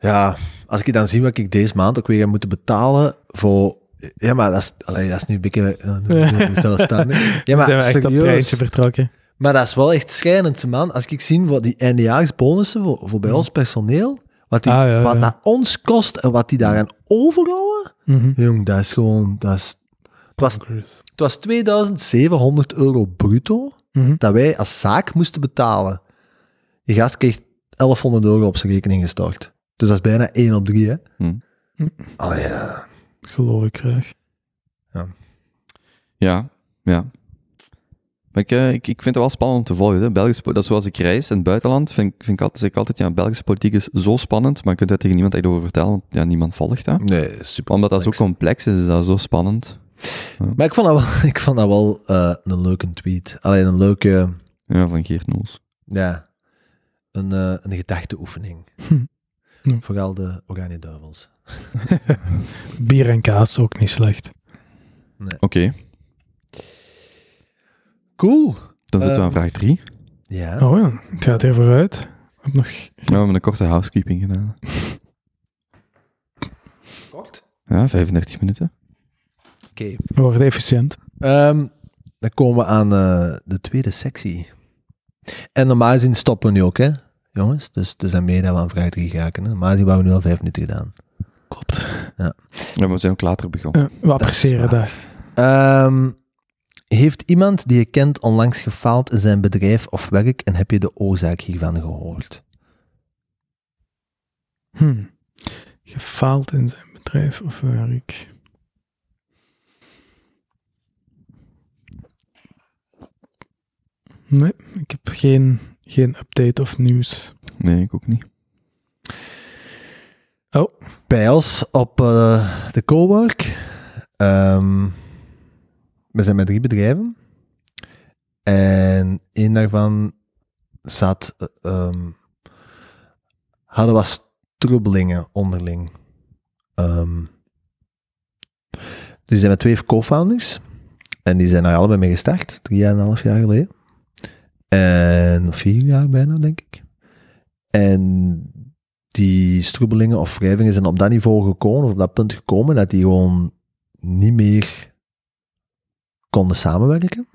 S3: ja, als ik dan zie wat ik deze maand ook weer heb moeten betalen voor... Ja, maar dat is, allee, dat is nu een
S1: (laughs)
S3: beetje... eh, zelfstandig. Ja,
S1: zijn
S3: maar
S1: we echt op het
S3: serieus.
S1: treintje vertrokken.
S3: Maar dat is wel echt schrijnend, man. Als ik zie wat die eindejaarsbonussen voor, voor bij
S1: Mhm.
S3: ons personeel, wat, die,
S1: Ah, ja,
S3: wat
S1: ja.
S3: dat ons kost en wat die daaraan overhouden,
S1: Mhm.
S3: jong, dat is gewoon... Dat is, het, was,
S1: Cruise.
S3: het was 2700 euro bruto
S1: Mhm.
S3: dat wij als zaak moesten betalen. Die gast kreeg 1100 euro op zijn rekening gestort. Dus dat is bijna 1 op 3, hè?
S2: Hm.
S1: Hm.
S3: Allee, ja.
S1: Geloof ik graag.
S2: Ja, ja. Maar ik, eh, ik, ik vind het wel spannend om te volgen. Hè. Belgische, po- dat is zoals ik reis in het buitenland, vind, ik- vind ik altijd, zeg ik altijd, ja, Belgische politiek is zo spannend, maar je kunt daar tegen niemand echt over vertellen, want ja, niemand volgt dat.
S3: Nee, super.
S2: Omdat dat zo complex is, is dat zo spannend.
S3: Maar ik vond dat wel, (laughs) ik vond dat wel eh, een leuke tweet. Alleen een leuke,
S2: Ja, van Geert Noels.
S3: ja, een, eh, een gedachteoefening.
S1: Hm. Ja.
S3: Vooral de oranje duivels.
S1: Bier en kaas ook niet slecht.
S2: Oké,
S3: Cool.
S2: dan zitten we aan
S3: Ehm.
S2: vraag 3.
S3: Ja.
S1: Oh ja, het gaat hier vooruit. Ik heb nog...
S2: we hebben een korte housekeeping gedaan.
S3: Kort.
S2: Ja, 35 minuten.
S3: Oké.
S1: We worden efficiënt.
S3: Ehm, dan komen we aan eh, de tweede sectie. En normaal gezien stoppen we nu ook, hè, jongens. Dus het is aan meer dat we aan vraag 3 geraken. hè. Normaal gezien hebben we nu al vijf minuten gedaan.
S1: Klopt.
S2: Ja, maar we zijn ook later begonnen.
S1: Eh, we appreciëren
S3: waar.
S1: daar.
S3: Ehm, heeft iemand die je kent onlangs gefaald in zijn bedrijf of werk en heb je de oorzaak hiervan gehoord?
S1: Hm. Gefaald in zijn bedrijf of werk. Nee, ik heb geen, geen update of nieuws.
S2: Nee, ik ook niet.
S3: Bij ons op eh, de cowork. Ehm, we zijn met drie bedrijven. En één daarvan zat, eh, ehm, hadden wat troebelingen onderling. Ehm, dus die zijn met twee co-founders. En die zijn daar allebei mee gestart, drie jaar en een half jaar geleden. En of vier jaar bijna, denk ik. En die stroebelingen of wrijvingen zijn op dat niveau gekomen, of op dat punt gekomen, dat die gewoon niet meer konden samenwerken.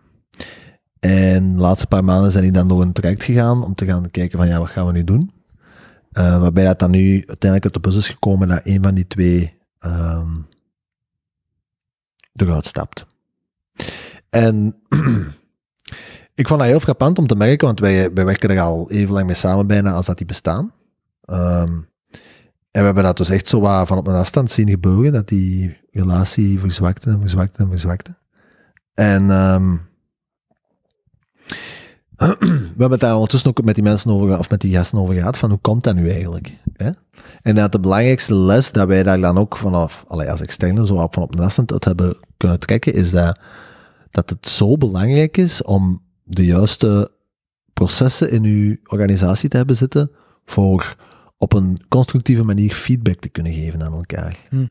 S3: En de laatste paar maanden zijn die dan door een traject gegaan om te gaan kijken van ja, wat gaan we nu doen? Eh, waarbij dat dan nu uiteindelijk uit de bus is gekomen dat een van die twee ehm, eruit stapt. En (clears throat) ik vond dat heel frappant om te merken, want wij, wij werken er al even lang mee samen bijna als dat die bestaan. Ehm, en we hebben dat dus echt zo wat van op een afstand zien gebeuren, dat die relatie verzwakte en verzwakte en verzwakte. En ehm, (clears throat) we hebben het daar ondertussen ook met die mensen over, ge- of met die gasten over gehad, van hoe komt dat nu eigenlijk? Hè? En dat de belangrijkste les dat wij daar dan ook vanaf, allee, als externe, zo wat van op een afstand uit hebben kunnen trekken, is dat, dat het zo belangrijk is om de juiste processen in uw organisatie te hebben zitten voor op een constructieve manier feedback te kunnen geven aan elkaar.
S1: Hm.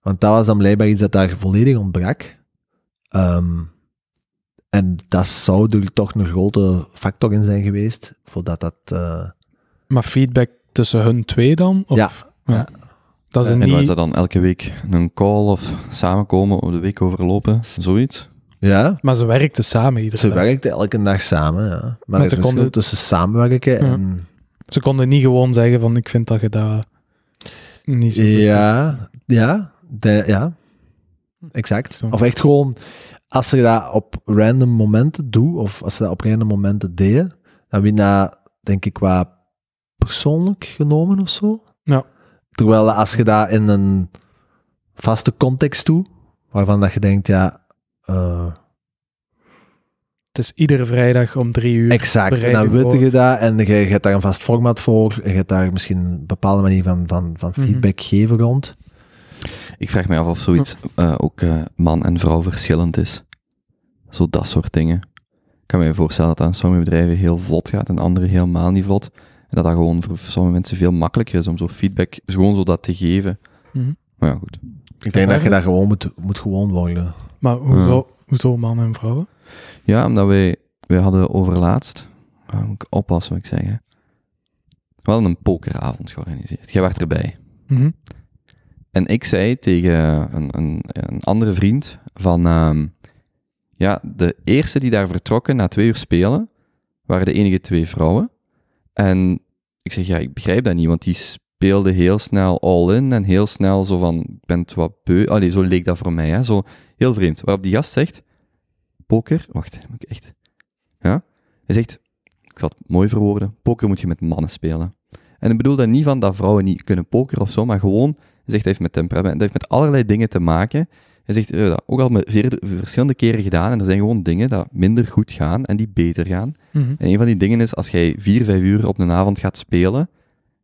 S3: Want dat was dan blijkbaar iets dat daar volledig ontbrak. Ehm, en dat zou er toch een grote factor in zijn geweest, voordat dat... eh,
S1: Maar feedback tussen hun twee dan? Of?
S3: Ja. Ja.
S1: Dat is
S3: En
S2: En
S1: niet...
S2: wat is dat dan? Elke week een call of samenkomen of de week overlopen? Zoiets?
S3: ja,
S1: Maar ze werkten samen iedere
S3: ze
S1: dag.
S3: werkten elke dag samen, ja. Maar,
S1: ze
S3: het verschil
S1: konden-
S3: tussen samenwerken
S1: Ja.
S3: en...
S1: Ze konden niet gewoon zeggen van ik vind dat je dat niet zo goed
S3: Ja, ja, de- ja,
S1: Hm.
S3: exact.
S1: Zo.
S3: Of echt gewoon, als je dat op random momenten doet, of als ze dat op random momenten deden, dan win je dat, denk ik, qua persoonlijk genomen of zo.
S1: Ja.
S3: Terwijl als je dat in een vaste context doet, waarvan dat je denkt, ja, eh,
S1: Het is iedere vrijdag om drie uur.
S3: exact, en
S1: bereid
S3: dan
S1: je
S3: weet
S1: voor.
S3: je dat, en je, je hebt daar een vast format voor, en je hebt daar misschien een bepaalde manier van, van, van
S1: Mhm.
S3: feedback geven rond.
S2: Ik vraag mij af of zoiets eh, ook eh, man en vrouw verschillend is. Zo dat soort dingen. Ik kan me voorstellen dat dat aan sommige bedrijven heel vlot gaat en andere helemaal niet vlot. En dat dat gewoon voor sommige mensen veel makkelijker is om zo feedback, gewoon zo dat te geven.
S1: Mhm.
S2: Maar ja, goed.
S3: Ik denk dat je daar gewoon moet, moet gewoon worden.
S1: Maar hoezo, hoezo man en vrouw?
S2: Ja, omdat wij, wij hadden overlaatst, ah, moet ik oppassen wat ik zeg, hè. we hadden een pokeravond georganiseerd. Jij werd erbij.
S1: Mhm.
S2: En ik zei tegen een, een, een andere vriend van... ehm, ja, de eerste die daar vertrokken na twee uur spelen, waren de enige twee vrouwen. En ik zeg, ja, ik begrijp dat niet, want die speelden heel snel all-in en heel snel zo van, ik ben het wat beu... Allee, zo leek dat voor mij, hè. Zo heel vreemd. Waarop die gast zegt, poker... Wacht, moet ik echt... Ja? Hij zegt, ik zal het mooi verwoorden, poker moet je met mannen spelen. En ik bedoel dat niet van dat vrouwen niet kunnen pokeren of zo, maar gewoon hij zegt, dat heeft met temperament, dat heeft met allerlei dingen te maken. Hij zegt, eh, dat ook al met veer- verschillende keren gedaan. En er zijn gewoon dingen dat minder goed gaan en die beter gaan.
S1: Mhm.
S2: En een van die dingen is, als jij vier, vijf uur op een avond gaat spelen,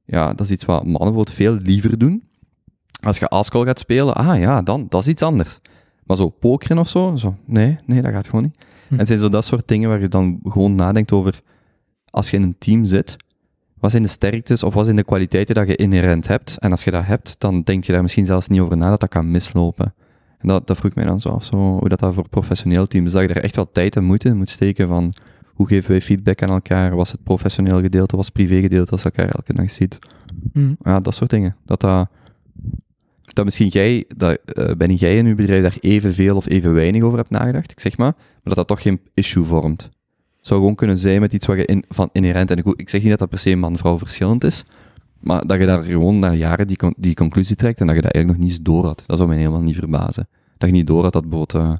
S2: ja, dat is iets wat mannen bijvoorbeeld veel liever doen. Als je Ascol gaat spelen, ah ja, dan, dat is iets anders. Maar zo pokeren of zo, zo nee, nee, dat gaat gewoon niet.
S1: Hm.
S2: En het zijn zo dat soort dingen waar je dan gewoon nadenkt over, als je in een team zit, wat zijn de sterktes of wat zijn de kwaliteiten dat je inherent hebt? En als je dat hebt, dan denk je daar misschien zelfs niet over na dat dat kan mislopen. En dat, dat vroeg mij dan zo af, zo, hoe dat, dat voor professioneel team is. Dat je daar echt wat tijd en moeite in moet steken van, hoe geven wij feedback aan elkaar? Was het professioneel gedeelte, was het privé gedeelte, als je elkaar elke dag ziet?
S1: Hm.
S2: Ja, dat soort dingen. Dat, dat, dat misschien jij, dat, eh, ben jij in uw bedrijf daar evenveel of even weinig over hebt nagedacht, ik zeg maar, maar dat dat toch geen issue vormt. Het zou gewoon kunnen zijn met iets wat je in, van inherent, en ik, ik zeg niet dat dat per se man-vrouw verschillend is, maar dat je daar gewoon na jaren die, con- die conclusie trekt en dat je dat eigenlijk nog niet eens door had. Dat zou mij helemaal niet verbazen. Dat je niet door had dat bijvoorbeeld eh,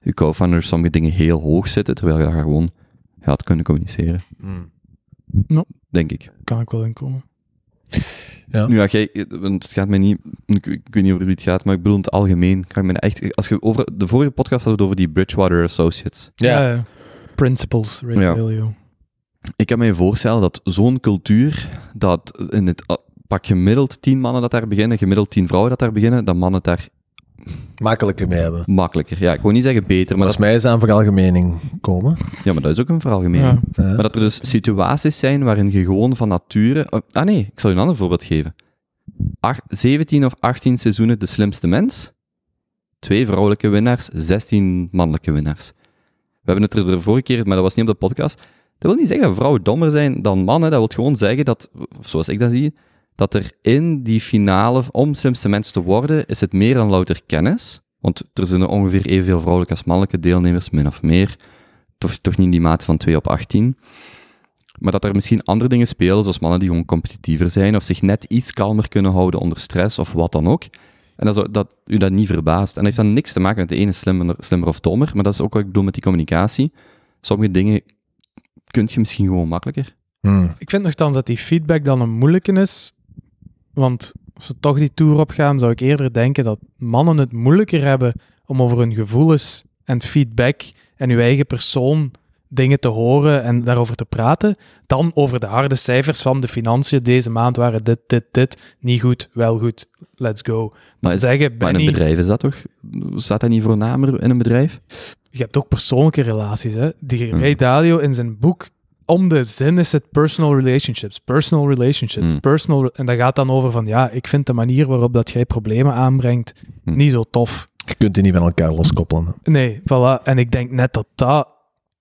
S2: je co-founders sommige dingen heel hoog zitten, terwijl je dat gewoon ja, had kunnen communiceren, denk ik.
S1: Kan ik wel inkomen.
S3: Ja.
S2: Nu ja, jij, want het gaat mij niet, ik, ik weet niet over wie het gaat, maar ik bedoel in het algemeen. Kan ik me echt, als je over, de vorige podcast hadden we het over die Bridgewater Associates.
S1: Ja, ja. principles, Ray
S2: Ja.
S1: Dalio.
S2: Ik kan me voorstellen dat zo'n cultuur, dat in het ah, pak gemiddeld tien mannen dat daar beginnen, gemiddeld tien vrouwen dat daar beginnen, dat mannen het daar
S3: makkelijker mee hebben.
S2: makkelijker. Ja, ik wil niet zeggen beter, maar
S3: Maar
S2: dat,
S3: als mij is aan veralgemening komen.
S2: ja, maar dat is ook een veralgemeen.
S1: Ja.
S3: hè.
S2: Maar dat er dus situaties zijn waarin je gewoon van nature... oh, Ah nee, ik zal je een ander voorbeeld geven. Ach- 17 of 18 seizoenen de slimste mens. Twee vrouwelijke winnaars, 16 mannelijke winnaars. We hebben het er de vorige keer, maar dat was niet op de podcast. Dat wil niet zeggen dat vrouwen dommer zijn dan mannen. Dat wil gewoon zeggen dat, of zoals ik dat zie, dat er in die finale, om slimste mens te worden, is het meer dan louter kennis. Want er zijn er ongeveer evenveel vrouwelijke als mannelijke deelnemers, min of meer. Toch, toch niet in die mate van 2 op 18. Maar dat er misschien andere dingen spelen, zoals mannen die gewoon competitiever zijn, of zich net iets kalmer kunnen houden onder stress, of wat dan ook. En dat, zou- dat u dat niet verbaast. En dat heeft dan niks te maken met de ene is slimmer, slimmer of dommer, maar dat is ook wat ik bedoel met die communicatie. Sommige dingen kun je misschien gewoon makkelijker.
S3: Hmm.
S1: Ik vind nogthans dat die feedback dan een moeilijke is. Want als we toch die tour opgaan, zou ik eerder denken dat mannen het moeilijker hebben om over hun gevoelens en feedback en uw eigen persoon dingen te horen en daarover te praten, dan over de harde cijfers van de financiën. Deze maand waren dit, dit, dit, niet goed, wel goed, let's go.
S2: Maar, is,
S1: Zeggen,
S2: maar in een
S1: Benny,
S2: bedrijf is dat toch? Staat dat niet voornamer in een bedrijf?
S1: je hebt ook persoonlijke relaties. Hè? Die
S2: Hmm.
S1: Ray Dalio in zijn boek, om de zin is het personal relationships. Personal relationships.
S2: Hmm.
S1: Personal, re- en dat gaat dan over van, ja, ik vind de manier waarop dat jij problemen aanbrengt
S2: Hmm.
S1: niet zo tof.
S3: Je kunt die niet van elkaar loskoppelen.
S1: Nee, voilà. En ik denk net dat dat...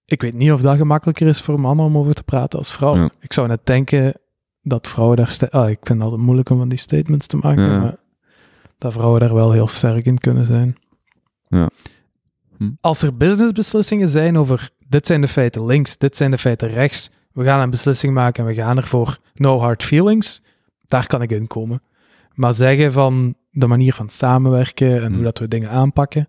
S1: Ik weet niet of dat gemakkelijker is voor mannen om over te praten als vrouwen.
S2: Ja.
S1: Ik zou net denken dat vrouwen daar... sta- Ah, ik vind het altijd moeilijk om van die statements te maken,
S2: Ja.
S1: maar dat vrouwen daar wel heel sterk in kunnen zijn.
S2: Ja. Hm.
S1: Als er businessbeslissingen zijn over dit zijn de feiten links, dit zijn de feiten rechts, we gaan een beslissing maken en we gaan ervoor no hard feelings, daar kan ik in komen. Maar zeggen van de manier van samenwerken en
S2: Hm.
S1: hoe dat we dingen aanpakken,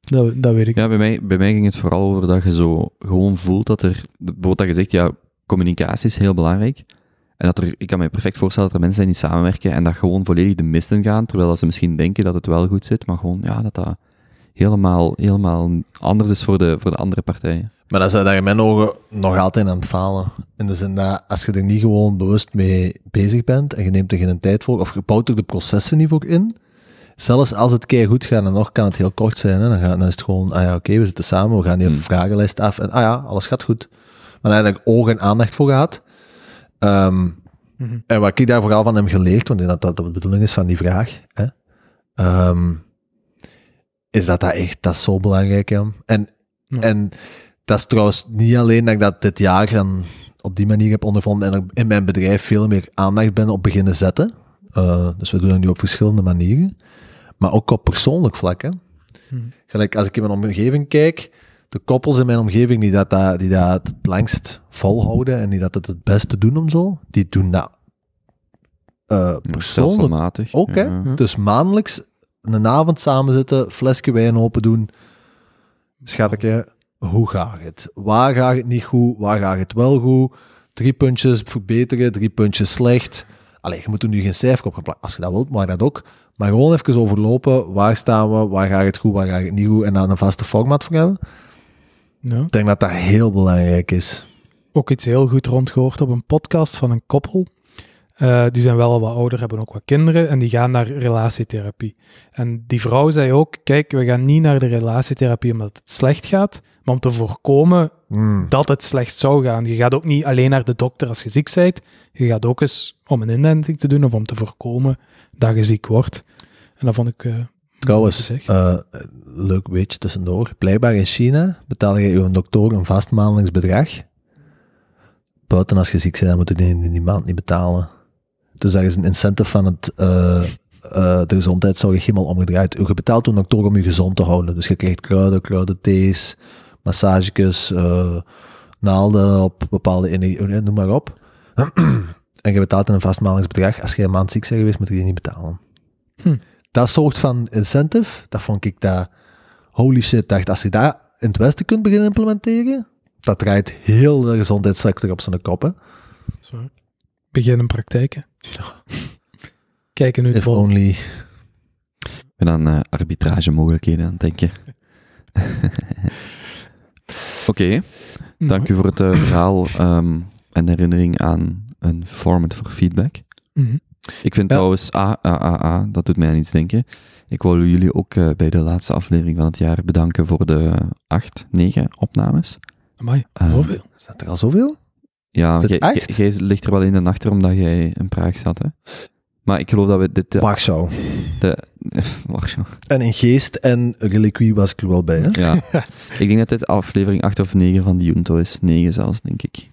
S1: dat, dat weet ik
S2: Ja, bij mij, bij mij ging het vooral over dat je zo gewoon voelt dat er, bijvoorbeeld dat je zegt, ja, communicatie is heel belangrijk. En dat er, ik kan me perfect voorstellen dat er mensen zijn die samenwerken en dat gewoon volledig de mist in gaan, terwijl dat ze misschien denken dat het wel goed zit, maar gewoon, ja, dat dat helemaal, helemaal anders is voor de, voor de andere partijen.
S3: Maar dan zijn daar in mijn ogen nog altijd aan het falen. In de zin dat als je er niet gewoon bewust mee bezig bent en je neemt er geen tijd voor, of je bouwt er de processen niet voor in, zelfs als het keer goed gaat en nog kan het heel kort zijn, hè, dan, gaat, dan is het gewoon, ah ja, oké, we zitten samen, we gaan die
S2: Hmm.
S3: vragenlijst af en ah ja, alles gaat goed. Maar eigenlijk ogen en aandacht voor gehad. Ehm,
S1: Mhm.
S3: En wat ik daar vooral van heb geleerd, want ik denk dat dat de bedoeling is van die vraag, hè, ehm, is dat dat echt, dat is zo belangrijk, Jan. En,
S1: Ja.
S3: en dat is trouwens niet alleen dat ik dat dit jaar dan op die manier heb ondervonden en er in mijn bedrijf veel meer aandacht ben op beginnen zetten. Eh, dus we doen dat nu op verschillende manieren. Maar ook op persoonlijk vlak, hè.
S1: Hmm.
S3: Gelijk, als ik in mijn omgeving kijk, de koppels in mijn omgeving die dat, dat- die dat het langst volhouden en die dat het het beste doen om zo, die doen dat eh, persoonlijk
S2: Stelselmatig.
S3: ook, hè?
S2: Ja.
S3: Dus maandelijks een avond samen zitten, flesje wijn open doen. Schatje, hoe gaat het? Waar gaat het niet goed? Waar gaat het wel goed? Drie puntjes verbeteren, drie puntjes slecht. Allee, je moet er nu geen cijfer op gaan plakken. Als je dat wilt, mag dat ook. Maar gewoon even overlopen. Waar staan we? Waar gaat het goed? Waar gaat het niet goed? En daar een vaste format voor hebben.
S1: Ja.
S3: Ik denk dat dat heel belangrijk is.
S1: ook iets heel goed rondgehoord op een podcast van een koppel. Eh, Eh, die zijn wel al wat ouder, hebben ook wat kinderen en die gaan naar relatietherapie. En die vrouw zei ook, kijk, we gaan niet naar de relatietherapie omdat het slecht gaat, maar om te voorkomen
S3: Hmm.
S1: dat het slecht zou gaan. Je gaat ook niet alleen naar de dokter als je ziek bent. Je gaat ook eens om een inenting te doen of om te voorkomen dat je ziek wordt. En dat vond ik... eh, mooi
S3: Trouwens,
S1: gezegd.
S3: eh, leuk weetje tussendoor. Blijkbaar in China betaal je je dokter een vast maandelijks bedrag. Buiten als je ziek bent, dan moet je die in die maand niet betalen. Dus daar is een incentive van het, eh, eh, de gezondheidszorg helemaal omgedraaid. Je betaalt een dokter om je gezond te houden. Dus je krijgt kruiden, kruidenthees, massagekes, eh, naalden op bepaalde... energie- eh, Noem maar op. (clears throat) en je betaalt een vast maandelijks bedrag. Als je een maand ziek bent geweest, moet je die niet betalen dat soort van incentive, dat vond ik dat, holy shit, dacht, als je dat in het Westen kunt beginnen implementeren, dat draait heel de gezondheidssector op zijn kop. Hè.
S1: Sorry. Begin een praktijk,
S2: (laughs)
S1: hè. Kijken nu het
S3: If
S1: volgende.
S3: only.
S2: En dan eh, arbitragemogelijkheden aan het denken. (laughs) Oké, dank u voor het eh, verhaal ehm, en de herinnering aan een format voor feedback.
S1: Mhm.
S2: Ik vind
S3: Ja.
S2: trouwens AAAA, dat doet mij aan iets denken. Ik wil jullie ook eh, bij de laatste aflevering van het jaar bedanken voor de acht, negen opnames.
S1: Amai,
S2: Eh,
S1: zoveel.
S3: Is dat er al zoveel?
S2: Ja,
S3: Is het
S2: jij- jij
S3: echt?
S2: jij ligt er wel in de nacht omdat jij in Praag zat, hè? Maar ik geloof dat we dit... eh,
S3: Warschau.
S2: de, (laughs) Warschau.
S3: En in geest en reliquie was ik er wel bij. Hè.
S2: Ja. ik denk dat dit aflevering 8 of 9 van de Junto is. 9 zelfs, denk ik.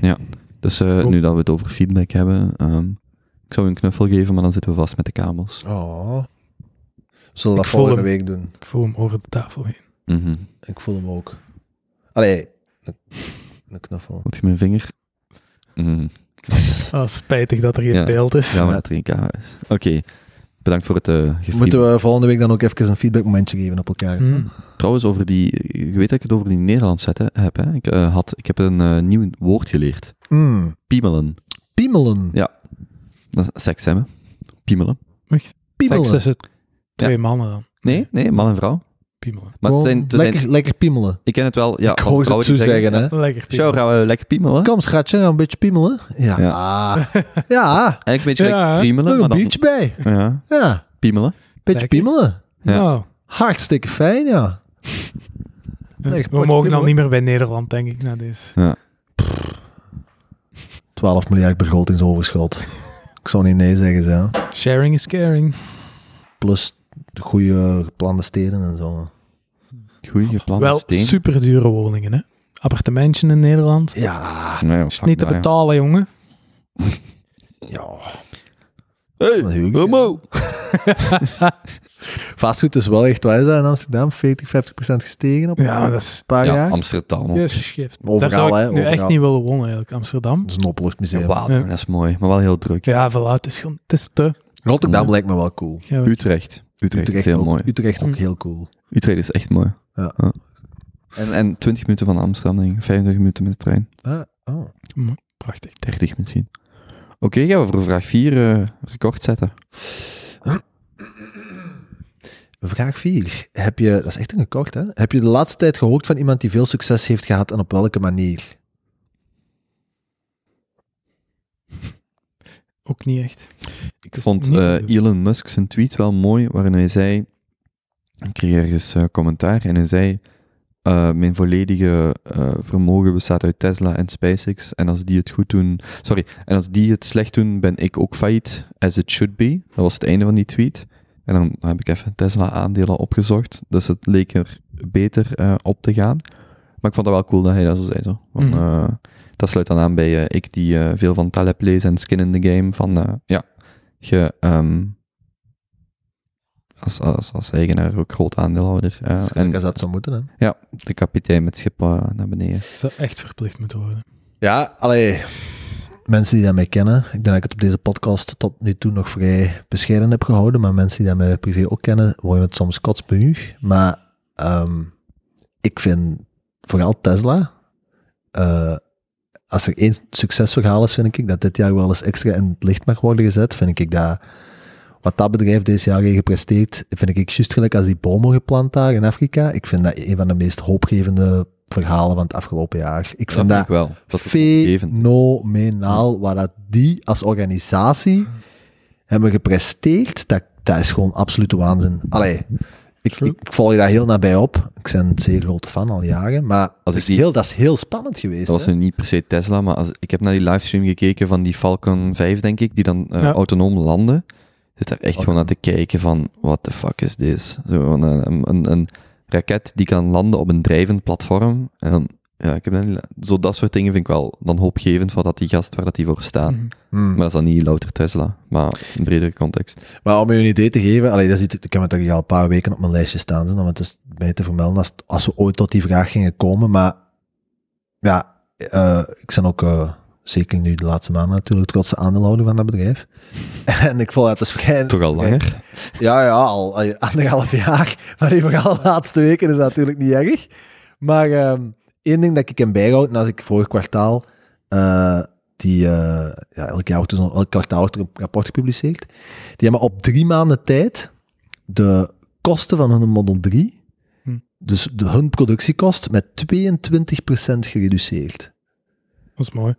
S2: Ja. Dus eh,
S1: Cool.
S2: nu dat we het over feedback hebben, ehm, ik zou u een knuffel geven, maar dan zitten we vast met de kabels.
S3: Oh. Zullen we
S1: Ik
S3: dat
S1: voel
S3: volgende
S1: hem.
S3: week doen?
S1: (laughs) Ik voel hem over de tafel heen.
S2: Mhm.
S3: Ik voel hem ook. Allee, een, een knuffel.
S2: Moet je mijn vinger? Mhm.
S1: Ah, spijtig dat er geen
S2: Ja.
S1: beeld is.
S2: Ja, maar dat er geen camera is. Oké. Bedankt voor het eh gefeedback.
S3: Moeten we volgende week dan ook even een feedbackmomentje geven op elkaar?
S1: Mhm.
S2: Trouwens, over die, je weet dat ik het over die Nederlands zetten heb. Hè? Ik, eh, had, ik heb een eh, nieuw woord geleerd.
S3: Mm.
S2: Piemelen.
S3: Piemelen.
S2: Ja. Dat is seks hebben. Piemelen.
S3: Piemelen.
S1: Seks tussen twee mannen dan.
S2: Nee, nee, man en vrouw.
S1: Piemelen.
S2: Maar het
S3: Gewoon
S2: zijn, het zijn-
S3: lekker, lekker piemelen.
S2: ik ken het wel. Ja,
S3: ik
S2: van
S3: hoor ze
S2: vrouwen
S3: het zo
S2: die zeggen-
S3: zeggen, hè.
S1: Lekker
S2: Zo
S1: piemelen.
S2: gaan we lekker piemelen.
S3: Kom, schatje, een beetje piemelen. Ja.
S2: Ja.
S3: Ja, (laughs) ja.
S2: Eigenlijk een beetje
S1: Ja,
S2: lekker
S1: hè.
S2: friemelen,
S3: nog
S2: maar
S3: een
S2: dan...
S3: biertje bij.
S2: Ja,
S3: Ja, een
S2: piemelen.
S3: beetje
S1: Lekker.
S3: piemelen.
S2: Ja.
S1: (laughs) Nou,
S3: Hartstikke fijn, ja.
S1: eh,
S3: Lekker
S1: we
S3: potje
S1: mogen al
S3: piemelen.
S1: niet meer bij Nederland, denk ik, na deze.
S3: 12 miljard (laughs) begrotingsoverschot. Ik zou niet nee zeggen, zo.
S1: Sharing is caring.
S3: Plus de goede geplande steden en zo.
S2: Goeie geplande
S1: Wel
S2: steen.
S1: super dure woningen, hè. Appartementje in Nederland.
S3: Ja,
S2: Nee, joh,
S1: Is
S2: fuck
S1: niet te
S2: dat,
S1: betalen, jongen.
S3: ja.
S2: joh.
S3: Wat
S2: Hey,
S3: doe ik?
S2: homo!
S3: Vastgoed is wel echt, waar is dat in Amsterdam? 40, 50 procent gestegen op
S1: Ja, dat is...
S3: een paar
S2: Ja,
S3: jaar.
S2: Amsterdam.
S1: Yes, shift. Daar
S3: Overal,
S1: zou ik
S3: hè,
S1: nu echt
S3: overal.
S1: niet willen wonen, eigenlijk. Amsterdam.
S3: Dat is een
S2: Ja,
S3: opluchtmuseum.
S2: wauw,
S1: Ja.
S2: dat is mooi. Maar wel heel druk.
S1: Ja, voilà. Het is, gewoon, het is te...
S3: Rotterdam
S2: Ja.
S3: lijkt me wel cool.
S1: Ja, we-
S2: Utrecht. Utrecht is heel
S3: ook,
S2: mooi. Hm.
S3: Utrecht ook
S1: Mm.
S3: heel cool.
S2: Utrecht is echt mooi.
S3: Ja.
S2: En, en 20 minuten van Amsterdam, denk ik. 25 minuten met de trein.
S3: Ah, oh.
S1: Prachtig.
S2: 30 misschien. Oké, gaan we voor vraag 4 record zetten.
S3: Vraag 4. Heb je, dat is echt een gekort, hè? Heb je de laatste tijd gehoord van iemand die veel succes heeft gehad en op welke manier?
S1: Ook niet echt.
S2: Ik
S1: Dus
S2: vond
S1: niet
S2: eh,
S1: doen.
S2: Elon Musk zijn tweet wel mooi, waarin hij zei... Ik kreeg ergens eh, commentaar en hij zei... eh, mijn volledige eh, vermogen bestaat uit Tesla en SpaceX. En als die het goed doen... Sorry, en als die het slecht doen, ben ik ook failliet. As it should be. Dat was het einde van die tweet. En dan heb ik even Tesla-aandelen opgezocht. Dus het leek er beter eh, op te gaan. Maar ik vond dat wel cool dat hij dat zo zei. Zo. Van,
S1: Mhm.
S2: eh, dat sluit dan aan bij eh, ik die eh, veel van Taleb lees en Skin in the Game. Van, eh, ja, je, ehm, als, als, als eigenaar ook groot aandeelhouder. eh,
S3: en
S2: en
S3: als dat zou moeten, hè?
S2: de kapitein met schip eh, naar beneden.
S1: zou echt verplicht moeten worden.
S3: Ja, allee. Mensen die dat mij kennen, ik denk dat ik het op deze podcast tot nu toe nog vrij bescheiden heb gehouden, maar mensen die dat mij privé ook kennen, worden het soms kotsbenu. Maar ehm, ik vind vooral Tesla, eh, als er één succesverhaal is, vind ik dat dit jaar wel eens extra in het licht mag worden gezet. Vind ik dat wat dat bedrijf deze jaar heeft gepresteerd, vind ik juist gelijk als die bomen geplant daar in Afrika. Ik vind dat een van de meest hoopgevende verhalen van het afgelopen jaar. Ik vind
S2: vind
S3: dat
S2: ik wel. Dat het opgevend is.
S3: fenomenaal wat dat die als organisatie hebben gepresteerd. Dat, dat is gewoon absolute waanzin. Allee, ik,
S1: True.
S3: ik, ik volg daar heel nabij op. Ik ben een zeer grote fan al jaren, maar dat
S2: ik
S3: is,
S2: die-
S3: heel, dat is heel spannend geweest.
S2: Dat was
S3: hè?
S2: nu niet per se Tesla, maar als, ik heb naar die livestream gekeken van die Falcon 5, denk ik, die dan eh,
S1: Ja.
S2: autonoom landen. Ik Zit daar echt
S3: Oké.
S2: gewoon aan te kijken van, what the fuck is dit? Zo een, een, een, een raket die kan landen op een drijvend platform. En dan, ja, ik heb dat niet, zo dat soort dingen vind ik wel dan hoopgevend van dat die gast, waar dat die voor staat.
S1: Mhm.
S3: Hmm.
S2: Maar dat is dan niet louter Tesla, maar een bredere context.
S3: Maar om je een idee te geven, allee, dat is iets, ik heb het toch al een paar weken op mijn lijstje staan, hè, om het dus bij te vermelden als, als we ooit tot die vraag gingen komen. Maar ja, eh, ik ben ook eh, zeker nu de laatste maanden natuurlijk trotse aandeelhouder van dat bedrijf. (laughs) En ik vond het dus vrij...
S2: Toch al langer?
S3: Ja, ja, al eh, anderhalf jaar. (laughs) Maar die vooral de laatste weken is dat natuurlijk niet erg. Maar ehm, één ding dat ik hem bijhoud, en als ik vorig kwartaal, eh, die, eh, ja, elk, jaar wordt dus, een- elk kwartaal wordt er een rapport gepubliceerd, die hebben op drie maanden tijd de kosten van hun Model 3,
S1: Hm.
S3: dus de, hun productiekost, met 22% gereduceerd.
S1: Dat is mooi.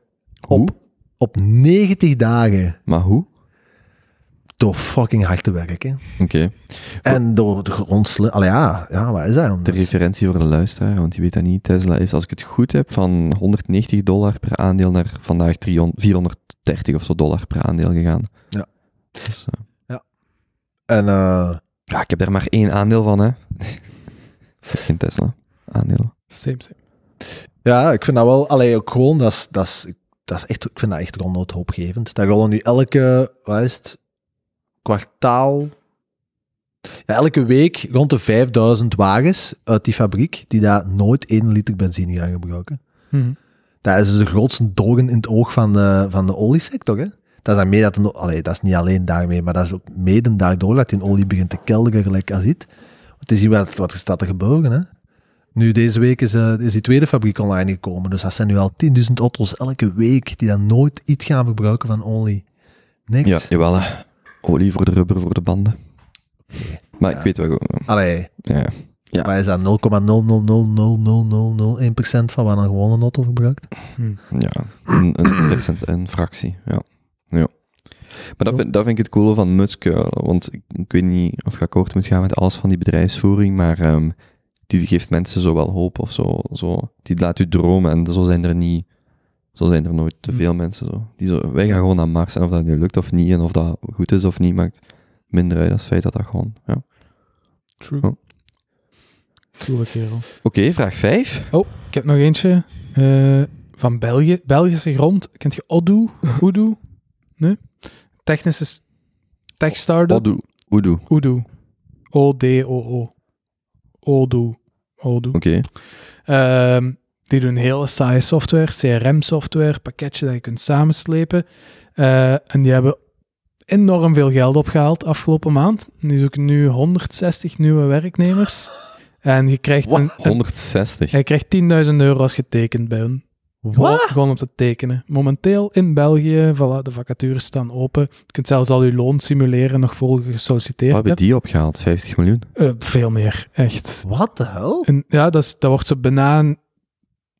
S2: Hoe?
S3: Op, op 90 dagen
S2: Maar hoe?
S3: door fucking hard te werken.
S2: Oké,
S3: En door de grondsle... Allee, ja, ja, wat is dat
S2: de
S3: anders?
S2: referentie voor de luisteraar, want die weet dat niet. Tesla is, als ik het goed heb, van 190 dollar per aandeel naar vandaag 300 430 of zo dollar per aandeel gegaan.
S3: Ja.
S2: Dus, eh,
S3: En eh,
S2: ja, ik heb daar maar één aandeel van, hè. ik heb geen Tesla aandeel.
S1: Same, same.
S3: ja, ik vind dat wel, allee, ook gewoon, dat is, dat is, dat is echt, ik vind dat echt ronduit hoopgevend. Dat rollen nu elke, wat is het, kwartaal, ja, elke week rond de 5000 wagens uit die fabriek die daar nooit 1 liter benzine gaan gebruiken.
S1: Mhm.
S3: Dat is dus de grootste doorn in het oog van de, van de oliesector, hè. Dat is, daarmee dat, de no- allee, dat is niet alleen daarmee, maar dat is ook mede daardoor dat die olie begint te kelderen, gelijk als dit. Het is hier wat, wat er staat te gebeuren, hè. Nu, deze week is, eh, is die tweede fabriek online gekomen. Dus dat zijn nu al 10.000 auto's elke week die dan nooit iets gaan verbruiken van olie. Niks.
S2: Ja, jawel, hè. Olie voor de rubber, voor de banden. Maar ik weet wel gewoon...
S3: Allee,
S2: Ja. Ja.
S3: waar is dat 0,0000001% van wat een gewone auto verbruikt?
S2: Ja, een, een, percent- een fractie, ja. ja. Maar dat vind, dat vind ik het coole van Musk, eh, want ik, ik weet niet of ik akkoord moet gaan met alles van die bedrijfsvoering, maar ehm, die geeft mensen zo wel hoop of zo, zo. Die laat u dromen en zo zijn er niet, zo zijn er nooit te veel mensen zo. Die zo. Wij gaan gewoon naar Mars en of dat nu lukt of niet en of dat goed is of niet, maakt minder uit als het feit dat dat gewoon, ja.
S1: True.
S2: Oh.
S1: Coole kerel.
S2: Oké, vraag 5.
S1: Oh, ik heb nog eentje. eh, van België, Belgische grond. Kent je
S2: (laughs)
S1: Odoo? Odoo? Nee? Technische s- tech startup?
S2: Odo. Odo. Oké.
S1: Odoo. O-D-O-O. Odoo. Odoo. Ehm, die doen hele saaie software, CRM-software, pakketje dat je kunt samenslepen. Eh, en die hebben enorm veel geld opgehaald afgelopen maand. En Die zoeken nu 160 nieuwe werknemers. En je krijgt, een, een-
S2: 160.
S1: je krijgt 10.000 euro als je tekent bij hun. Gewoon,
S3: Wat?
S1: gewoon om te tekenen. Momenteel in België, voilà, de vacatures staan open. Je kunt zelfs al je loon simuleren, nog voor je gesolliciteerd
S2: Wat hebben
S1: hebt.
S2: die opgehaald? 50 miljoen?
S1: Eh, veel meer, echt.
S3: Wat de hel?
S1: En ja, dat, is, dat wordt zo bijna. een-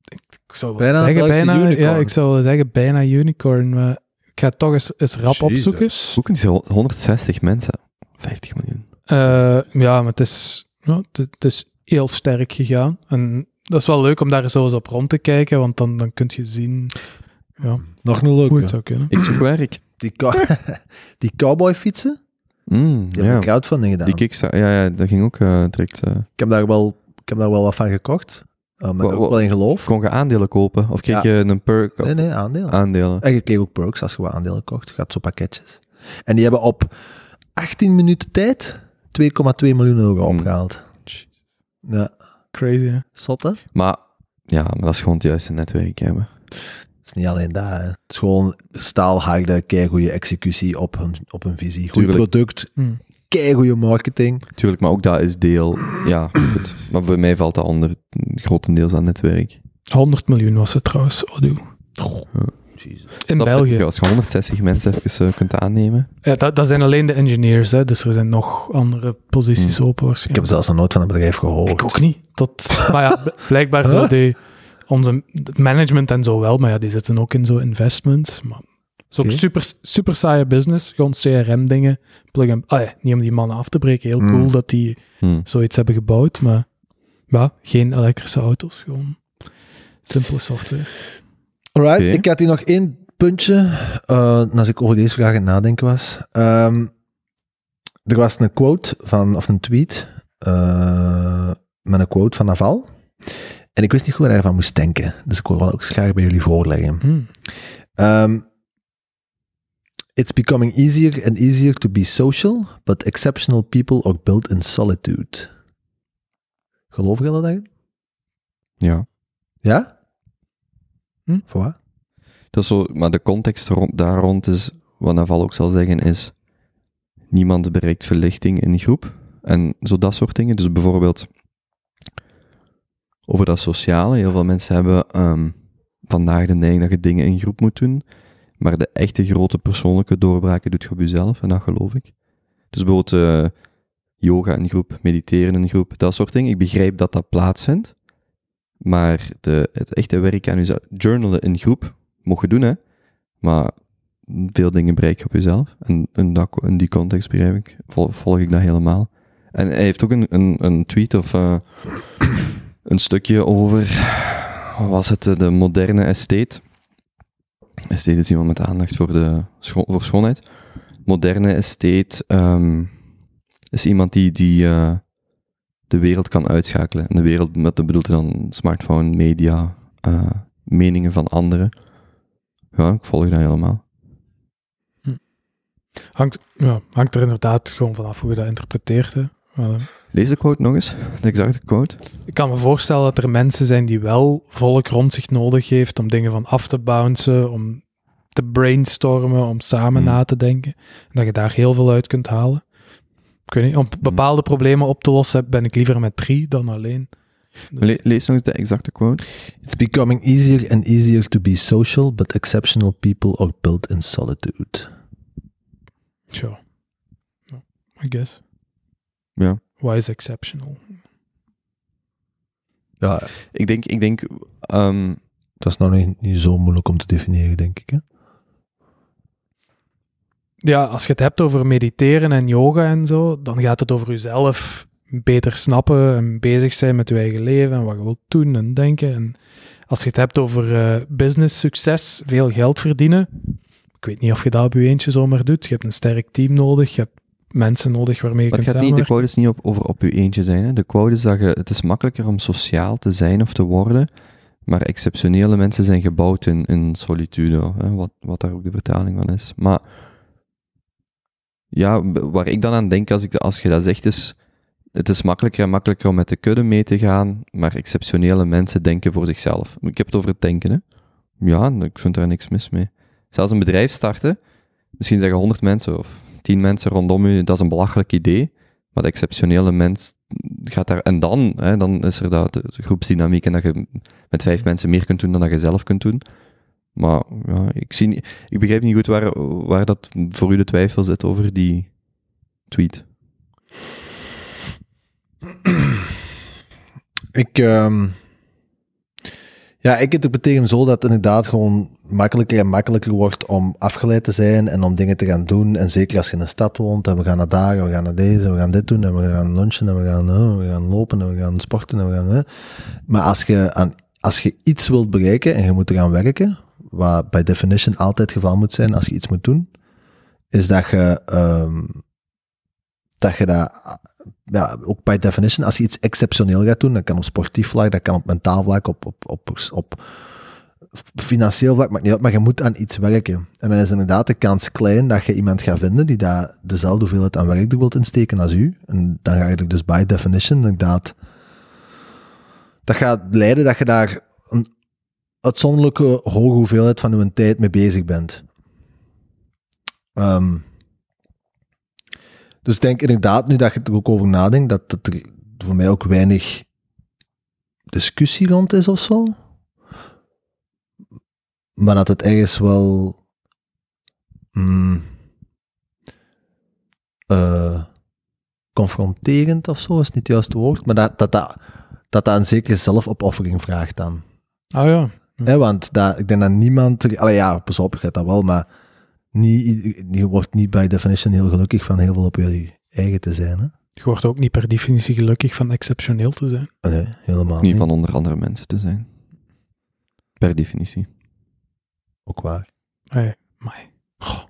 S1: ik zou wel
S3: Bijna een
S1: zeggen,
S3: Belgische
S1: bijna,
S3: unicorn.
S1: Ja, ik zou wel zeggen bijna unicorn. Maar ik ga het toch eens, eens rap
S3: Jezus.
S1: opzoeken.
S2: Hoe kunnen ze 160 mensen? 50 miljoen.
S1: Eh, ja, maar het is, ja, het, het is heel sterk gegaan. En dat is wel leuk om daar zo eens op rond te kijken, want dan, dan kun je zien
S3: Nog een
S1: hoe het
S3: leuke.
S1: zou kunnen.
S2: Ik zoek werk.
S3: Die, cow- (laughs) die cowboyfietsen,
S2: Mm,
S3: die hebben
S2: ja.
S3: ik crowdfunding gedaan.
S2: Die kickstart, ja, ja, dat ging ook eh, direct. eh.
S3: Ik heb daar wel, ik heb daar wel wat van gekocht. eh, Omdat
S2: Wa-
S3: ik
S2: wa-
S3: ook wel in geloof.
S2: Kon Ah. je aandelen kopen? Of kreeg
S3: Ja.
S2: je een perk? Of
S3: Nee, nee, aandelen.
S2: Aandelen.
S3: En je kreeg ook perks als je wat aandelen kocht. Je had zo pakketjes. En die hebben op 18 minuten tijd 2,2 miljoen euro
S2: Hmm.
S3: opgehaald. Ja,
S1: Crazy, hè?
S3: zot hè?
S2: Maar ja, maar dat is gewoon het juiste netwerk hebben.
S3: Het is niet alleen dat. hè. Het is gewoon staalharde, keigoede executie op hun, op hun visie. Goed
S2: Tuurlijk.
S3: product,
S1: Hm.
S3: keigoede marketing.
S2: Tuurlijk, maar ook dat is deel. Ja, goed. Maar bij mij valt dat onder grotendeels aan netwerk.
S1: 100 miljoen was het trouwens, Odoo. In België.
S2: Als je 160 mensen even eh, kunt aannemen.
S1: Ja, dat, dat zijn alleen de engineers, hè, dus er zijn nog andere posities open
S3: Hmm. Ik heb
S1: waarschijnlijk.
S3: zelfs nog nooit van een bedrijf gehoord.
S1: Ik ook niet. Dat, (laughs) maar ja, bl- blijkbaar zo
S3: Huh?
S1: die, onze het management en zo wel, maar ja, die zitten ook in zo'n investment. Maar het is ook
S3: Oké.
S1: super, super saaie business, gewoon CRM-dingen. Plug and, ah ja, niet om die mannen af te breken, heel
S3: Hmm.
S1: cool dat die
S2: Hm.
S1: zoiets hebben gebouwd, maar ja, geen elektrische auto's, gewoon simpele software.
S3: Alright,
S2: Oké.
S3: ik had hier nog één puntje, eh, als ik over deze vraag aan het nadenken was. Ehm, er was een quote van, of een tweet, eh, met een quote van Naval. En ik wist niet goed waar hij van moest denken. Dus ik wil wel ook eens graag bij jullie voorleggen.
S1: Hmm.
S3: Ehm, it's becoming easier and easier to be social, but exceptional people are built in solitude. Geloof je dat eigenlijk?
S2: Ja.
S3: Ja?
S1: Hm?
S3: Voor wat?
S2: Dat is zo, maar de context rond, daar rond is, wat Naval ook zal zeggen, is niemand bereikt verlichting in groep. En zo dat soort dingen. Dus bijvoorbeeld over dat sociale. Heel veel mensen hebben ehm, vandaag de neiging dat je dingen in groep moet doen. Maar de echte grote persoonlijke doorbraken doet je op jezelf. En dat geloof ik. Dus bijvoorbeeld eh, yoga in groep, mediteren in groep, dat soort dingen. Ik begrijp dat dat plaatsvindt. Maar de, het echte werk aan jezelf, journalen in groep, mocht je doen, hè. Maar veel dingen bereik je op jezelf. En in, dat, in die context begrijp ik, vol- volg ik dat helemaal. En hij heeft ook een, een, een tweet of eh, (clears throat) een stukje over, wat was het, eh, de moderne estate. Estate is iemand met aandacht voor, de, scho- voor schoonheid. Moderne estate ehm, is iemand die, die eh, de wereld kan uitschakelen. En de wereld, met de bedoelt hij dan smartphone, media, eh, meningen van anderen. Ja, ik volg dat helemaal.
S1: Hangt, ja, hangt er inderdaad gewoon vanaf hoe je dat interpreteert. Hè. Maar, eh,
S2: Lees de quote nog eens, de exacte quote.
S1: Ik kan me voorstellen dat er mensen zijn die wel volk rond zich nodig heeft om dingen van af te bouncen, om te brainstormen, om samen
S2: Hmm.
S1: na te denken. En dat je daar heel veel uit kunt halen. Ik weet niet, om
S2: Hmm.
S1: bepaalde problemen op te lossen ben ik liever met drie dan alleen. Dus-
S2: Le- lees nog eens de exacte quote.
S3: It's becoming easier and easier to be social, but exceptional people are built in solitude.
S1: Sure. Ja, I guess.
S2: Ja.
S1: Why is exceptional?
S3: Ja,
S2: Ik denk, ik denk ehm,
S3: dat is nou niet, niet zo moeilijk om te definiëren, denk ik. Hè?
S1: ja, als je het hebt over mediteren en yoga en zo, dan gaat het over jezelf beter snappen en bezig zijn met je eigen leven en wat je wilt doen en denken. En als je het hebt over eh, business succes, veel geld verdienen, ik weet niet of je dat op je eentje zomaar doet. Je hebt een sterk team nodig, je hebt mensen nodig waarmee je
S2: maar het
S1: kunt
S2: gaat niet, de
S1: samenwerken.
S2: quote is niet op, over op je eentje zijn. Hè. De quote is dat je, het is makkelijker om sociaal te zijn of te worden, maar exceptionele mensen zijn gebouwd in, in solitude, hè, wat, wat daar ook de vertaling van is. Maar ja, b- waar ik dan aan denk als, ik, de- als je dat zegt, is het is makkelijker en makkelijker om met de kudde mee te gaan, maar exceptionele mensen denken voor zichzelf. Ik heb het over het denken, hè. Ja, ik vind daar niks mis mee. Zelfs een bedrijf starten, misschien zeggen 100 mensen of 10 mensen rondom je, dat is een belachelijk idee. Maar de exceptionele mens gaat daar. En dan, hè, dan is er dat, de groepsdynamiek en dat je met vijf mensen meer kunt doen dan dat je zelf kunt doen. Maar ja, ik, zie, niet- ik begrijp niet goed waar, waar dat voor u de twijfel zit over die tweet.
S3: (clears throat) Ik, ehm, ja, ik interpreteer hem zo dat het inderdaad gewoon makkelijker en makkelijker wordt om afgeleid te zijn en om dingen te gaan doen. En zeker als je in een stad woont en we gaan naar daar en we gaan naar deze en we gaan dit doen en we gaan lunchen en we gaan, eh, we gaan lopen en we gaan sporten en we gaan... eh. Maar als je, aan, als je iets wilt bereiken en je moet eraan werken, wat by definition altijd het geval moet zijn als je iets moet doen, is dat je... ehm, dat je dat ja, ook by definition, als je iets exceptioneel gaat doen, dat kan op sportief vlak, dat kan op mentaal vlak, op, op, op, op, financieel vlak, maakt niet uit, maar je moet aan iets werken. En dan is inderdaad de kans klein dat je iemand gaat vinden die daar dezelfde hoeveelheid aan werk er wilt insteken als u. En dan ga je er dus by definition inderdaad... Dat gaat leiden dat je daar een uitzonderlijke hoge hoeveelheid van uw tijd mee bezig bent. Ehm dus ik denk inderdaad, nu dat je er ook over nadenkt, dat, dat er voor mij ook weinig discussie rond is of zo. Maar dat het ergens wel. mm, eh, confronterend of zo is niet het juiste woord. Maar dat dat, dat, dat dat een zekere zelfopoffering vraagt dan.
S1: Ah ja.
S3: Hè,
S2: Mm.
S3: want dat, ik denk dat niemand. Allee, ja, pas op, je gaat dat wel, maar. Niet, i- je wordt niet by definition heel gelukkig van heel veel op je eigen te zijn. Hè?
S1: Je wordt ook niet per definitie gelukkig van exceptioneel te zijn.
S3: Ah, Nee, helemaal
S2: Niet
S3: niet.
S2: van onder andere mensen te zijn. Per definitie.
S3: Ook waar.
S1: Hey, maar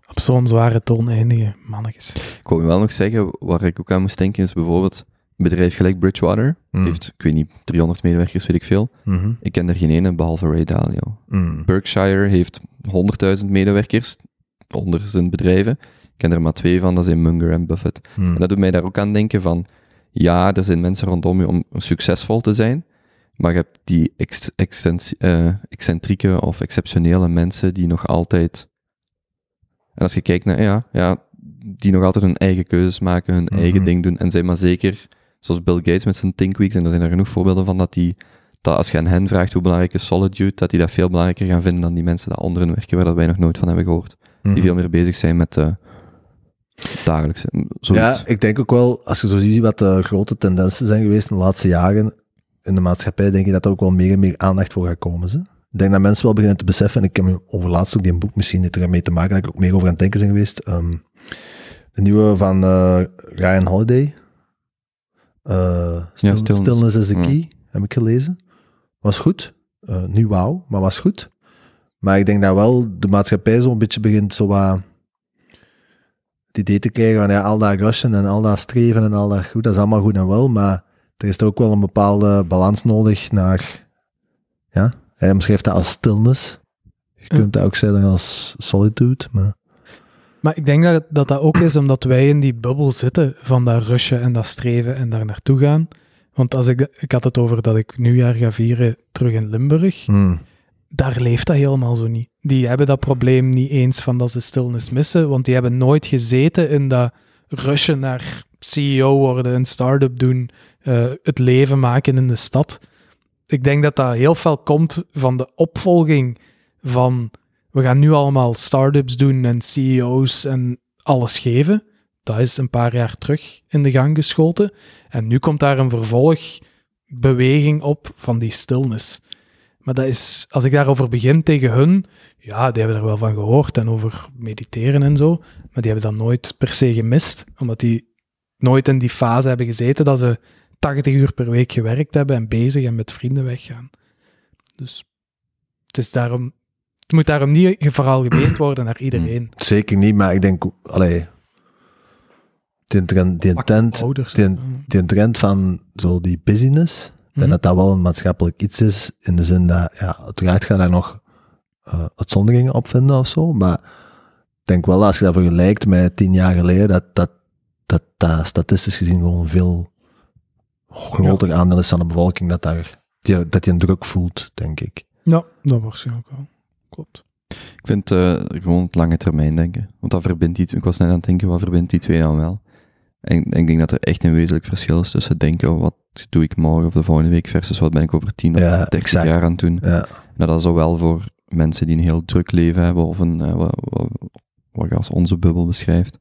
S1: op zo'n zware toon eindigen, mannetjes.
S2: Ik wou wel nog zeggen, waar ik ook aan moest denken, is bijvoorbeeld een bedrijf gelijk Bridgewater.
S3: Mm.
S2: Heeft, ik weet niet, 300 medewerkers, weet ik veel.
S3: Mhm,
S2: Ik ken er geen ene, behalve Ray Dalio.
S3: mm.
S2: Berkshire heeft 100.000 medewerkers onder zijn bedrijven. Ik ken er maar twee van, dat zijn Munger en Buffett.
S3: Mm.
S2: En dat doet mij daar ook aan denken van, ja, er zijn mensen rondom je om succesvol te zijn, maar je hebt die ex- extens- eh, excentrieke of exceptionele mensen die nog altijd... En als je kijkt naar, ja, ja die nog altijd hun eigen keuzes maken, hun eigen
S3: Mhm.
S2: ding doen, en zijn maar zeker, zoals Bill Gates met zijn Think Weeks, en er zijn er genoeg voorbeelden van, dat die, dat als je aan hen vraagt hoe belangrijk is solitude, dat die dat veel belangrijker gaan vinden dan die mensen die onder hen werken, waar dat wij nog nooit van hebben gehoord.
S3: Mhm.
S2: Die veel meer bezig zijn met... eh dagelijkse, zoiets.
S3: Ja, ik denk ook wel, als je zo ziet wat de grote tendensen zijn geweest in de laatste jaren in de maatschappij, denk ik dat er ook wel meer en meer aandacht voor gaat komen. Ze. Ik denk dat mensen wel beginnen te beseffen, en ik heb me overlaatst ook die boek, misschien heeft er mee te maken, dat ik er ook meer over aan het denken zijn geweest. Ehm, de nieuwe van eh, Ryan Holiday. Eh, Stil-
S2: Ja, Stillness. Mm.
S3: Stillness. is the
S2: Ja.
S3: Key, heb ik gelezen. Was goed. Eh, nu wauw, maar was goed. Maar ik denk dat wel de maatschappij zo'n beetje begint zo wat het idee te krijgen van ja, al dat rushen en al dat streven en al dat goed, dat is allemaal goed en wel, maar er is ook wel een bepaalde balans nodig naar, ja, hij omschrijft dat als stillness. Je
S1: Ja.
S3: kunt dat ook zeggen als solitude, maar
S1: Maar ik denk dat, dat dat ook is omdat wij in die bubbel zitten van dat rushen en dat streven en daar naartoe gaan. Want als ik, de- ik had het over dat ik nieuwjaar ga vieren terug in Limburg.
S3: hmm,
S1: Daar leeft dat helemaal zo niet. Die hebben dat probleem niet eens van dat ze stilnis missen, want die hebben nooit gezeten in dat rushen naar CEO worden, een start-up doen, eh, het leven maken in de stad. Ik denk dat dat heel veel komt van de opvolging van we gaan nu allemaal start-ups doen en CEO's en alles geven. Dat is een paar jaar terug in de gang geschoten. En nu komt daar een vervolgbeweging op van die stilnis. Maar dat is, als ik daarover begin tegen hun, ja, die hebben er wel van gehoord en over mediteren en zo, maar die hebben dat nooit per se gemist, omdat die nooit in die fase hebben gezeten dat ze 80 uur per week gewerkt hebben en bezig en met vrienden weggaan. Dus het is daarom, het moet daarom niet veralgemeend worden naar iedereen.
S3: zeker niet, maar ik denk, allee, die trend, die trend,
S1: Ouders. Mm.
S3: die, die trend van zo die busyness, Ik denk
S1: Mhm.
S3: dat dat wel een maatschappelijk iets is, in de zin dat, ja, uiteraard ga je daar nog eh, uitzonderingen op vinden of zo, maar ik denk wel, als je dat vergelijkt met tien jaar geleden, dat dat, dat, dat statistisch gezien gewoon een veel groter aandeel is van de bevolking, dat, daar, die, dat je een druk voelt, denk ik.
S1: Ja, dat waarschijnlijk wel. Klopt.
S2: Ik vind eh, gewoon het lange termijn denken. Want dat verbindt iets. Ik was net aan het denken, wat verbindt die twee dan wel? En, en ik denk dat er echt een wezenlijk verschil is tussen denken, oh, wat doe ik morgen of de volgende week, versus wat ben ik over tien of
S3: Ja,
S2: dertig
S3: exact.
S2: jaar aan het doen.
S3: Ja,
S2: Nou, dat is zowel voor mensen die een heel druk leven hebben, of een, eh, wat, wat, wat je als onze bubbel beschrijft,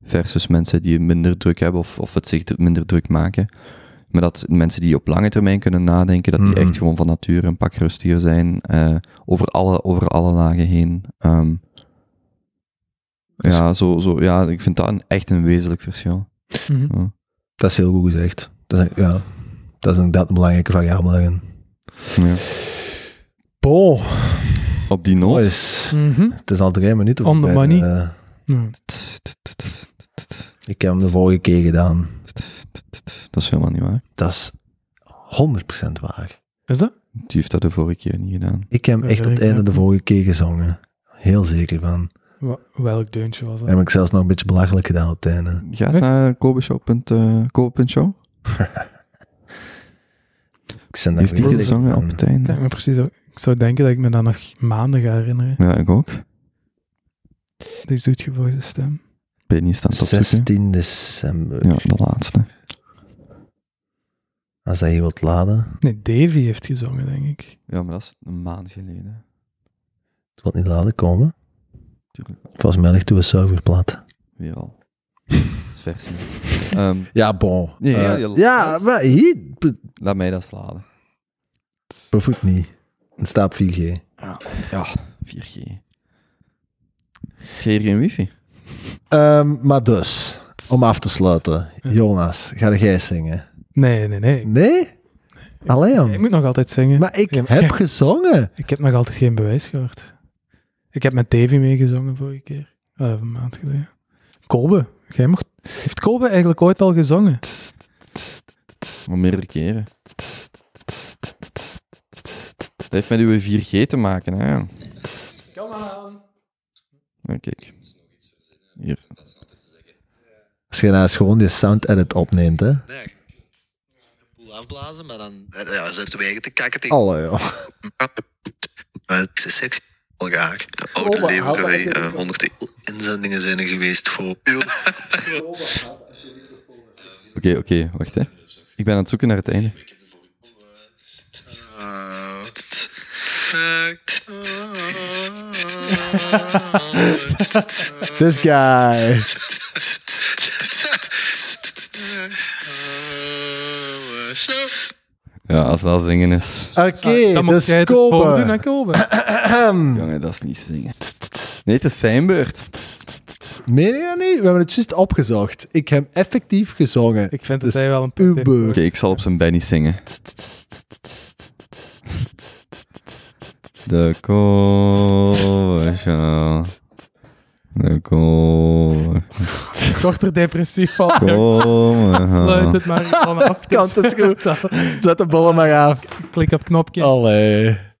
S2: versus mensen die minder druk hebben of, of het zich dr- minder druk maken. Maar dat mensen die op lange termijn kunnen nadenken, dat die
S3: Mhm.
S2: echt gewoon van nature een pak rustiger zijn, eh, over, alle, over alle lagen heen. Ehm, ja, zo, zo, ja, ik vind dat een, echt een wezenlijk verschil.
S1: Mhm.
S2: Ja.
S3: dat is heel goed gezegd. Dat is, een- ja, dat is inderdaad een belangrijke variabele daarin.
S2: Ja.
S3: Bo,
S2: Op die
S3: Oh,
S2: noot.
S3: boys,
S1: Mhm.
S3: het is al drie minuten.
S1: On the
S3: voorbij.
S1: money.
S3: Eh,
S1: Ja.
S3: ik heb hem de vorige keer gedaan.
S2: Dat is helemaal niet waar.
S3: Dat is 100% waar.
S1: Is dat?
S2: Die heeft dat de vorige keer niet gedaan.
S3: Ik heb hem
S1: Dat
S3: echt op het
S1: werkt
S3: einde
S1: ook
S3: de
S1: niet.
S3: vorige keer gezongen. Heel zeker van.
S1: Wa- welk deuntje was dat?
S3: Heb ik zelfs nog een beetje belachelijk gedaan op het einde.
S2: Ga eens
S1: Nee.
S2: naar eh, kobeshow.show.
S3: Ik zit daar
S2: Heeft die
S3: volledig
S2: gezongen
S3: van.
S2: op het
S1: Kijk
S2: einde?
S1: me precies. ook- Ik zou denken dat ik me dat nog maanden ga herinneren.
S2: Ja, ik ook.
S1: Die zoet gevoelige stem.
S2: Ben je niet staan te opzoeken?
S3: 16 december.
S2: Ja, de laatste.
S3: Als hij hier wilt laden.
S1: Nee, Davy heeft gezongen, denk ik.
S2: Ja, maar dat is een maand geleden.
S3: Het wil niet laden komen.
S2: Tuurlijk.
S3: Volgens mij ligt uw server plat.
S2: Weer al. (laughs) Dat is versie. Ehm,
S3: Ja, bon.
S2: Nee, ja,
S3: Eh,
S2: je-
S3: ja, maar hier be-
S2: laat mij dat sladen.
S3: bevoet niet. Het staat op 4G.
S2: Ja, 4G. Geen geen wifi.
S3: Ehm, maar dus, om af te sluiten. Jonas, ga jij zingen?
S1: Nee, nee, nee. Ik,
S3: Nee? Allee,
S1: ik
S3: jong.
S1: moet nog altijd zingen.
S3: Maar ik
S1: Ja, maar-
S3: heb gezongen.
S1: (laughs) Ik heb nog altijd geen bewijs gehoord. Ik heb met Davy meegezongen vorige keer. Eh, een maand geleden. Kobe. Jij mocht... Heeft Kobe eigenlijk ooit al gezongen?
S2: Maar meerdere keren. Dat heeft met uw 4G te maken, hè?
S1: Kom aan.
S2: Nou, kijk. Hier.
S3: Als je nou eens gewoon die sound edit opneelt, hè.
S4: Nee. De boel afblazen, maar dan... Ja, ze heeft de wegen te kakken tegen...
S3: Allee, (laughs) joh.
S4: Eh, Het is seks. Al graag. De oude
S3: Opa,
S4: leeuwen
S3: haal dat
S4: wij eh, 100 inzendingen zijn er geweest voor...
S2: Oké, oké, wacht hè. Ik ben aan het zoeken naar het einde.
S4: (laughs)
S3: This guy.
S2: Ja, als dat zingen is.
S3: Oké,
S1: Ah, dan moet
S3: dus
S1: jij het eens
S3: Kobe.
S1: voordoen aan Kobe.
S2: Jongen, dat is niet zingen. Nee, het is zijn beurt.
S3: Meen je dat niet? We hebben het juist opgezocht. Ik heb effectief gezongen.
S1: Ik vind dat
S3: Dus
S1: hij wel een
S3: uw
S1: punt heeft.
S3: beurt.
S2: Oké, ik zal op zijn Benny zingen. De koosja. De koosja.
S1: Ik word er depressief van. Sluit
S2: Kom.
S1: het maar gewoon af. (laughs)
S3: Kant is goed. Zet de bollen maar af. Oh.
S1: Klik op knopje.
S3: Allee.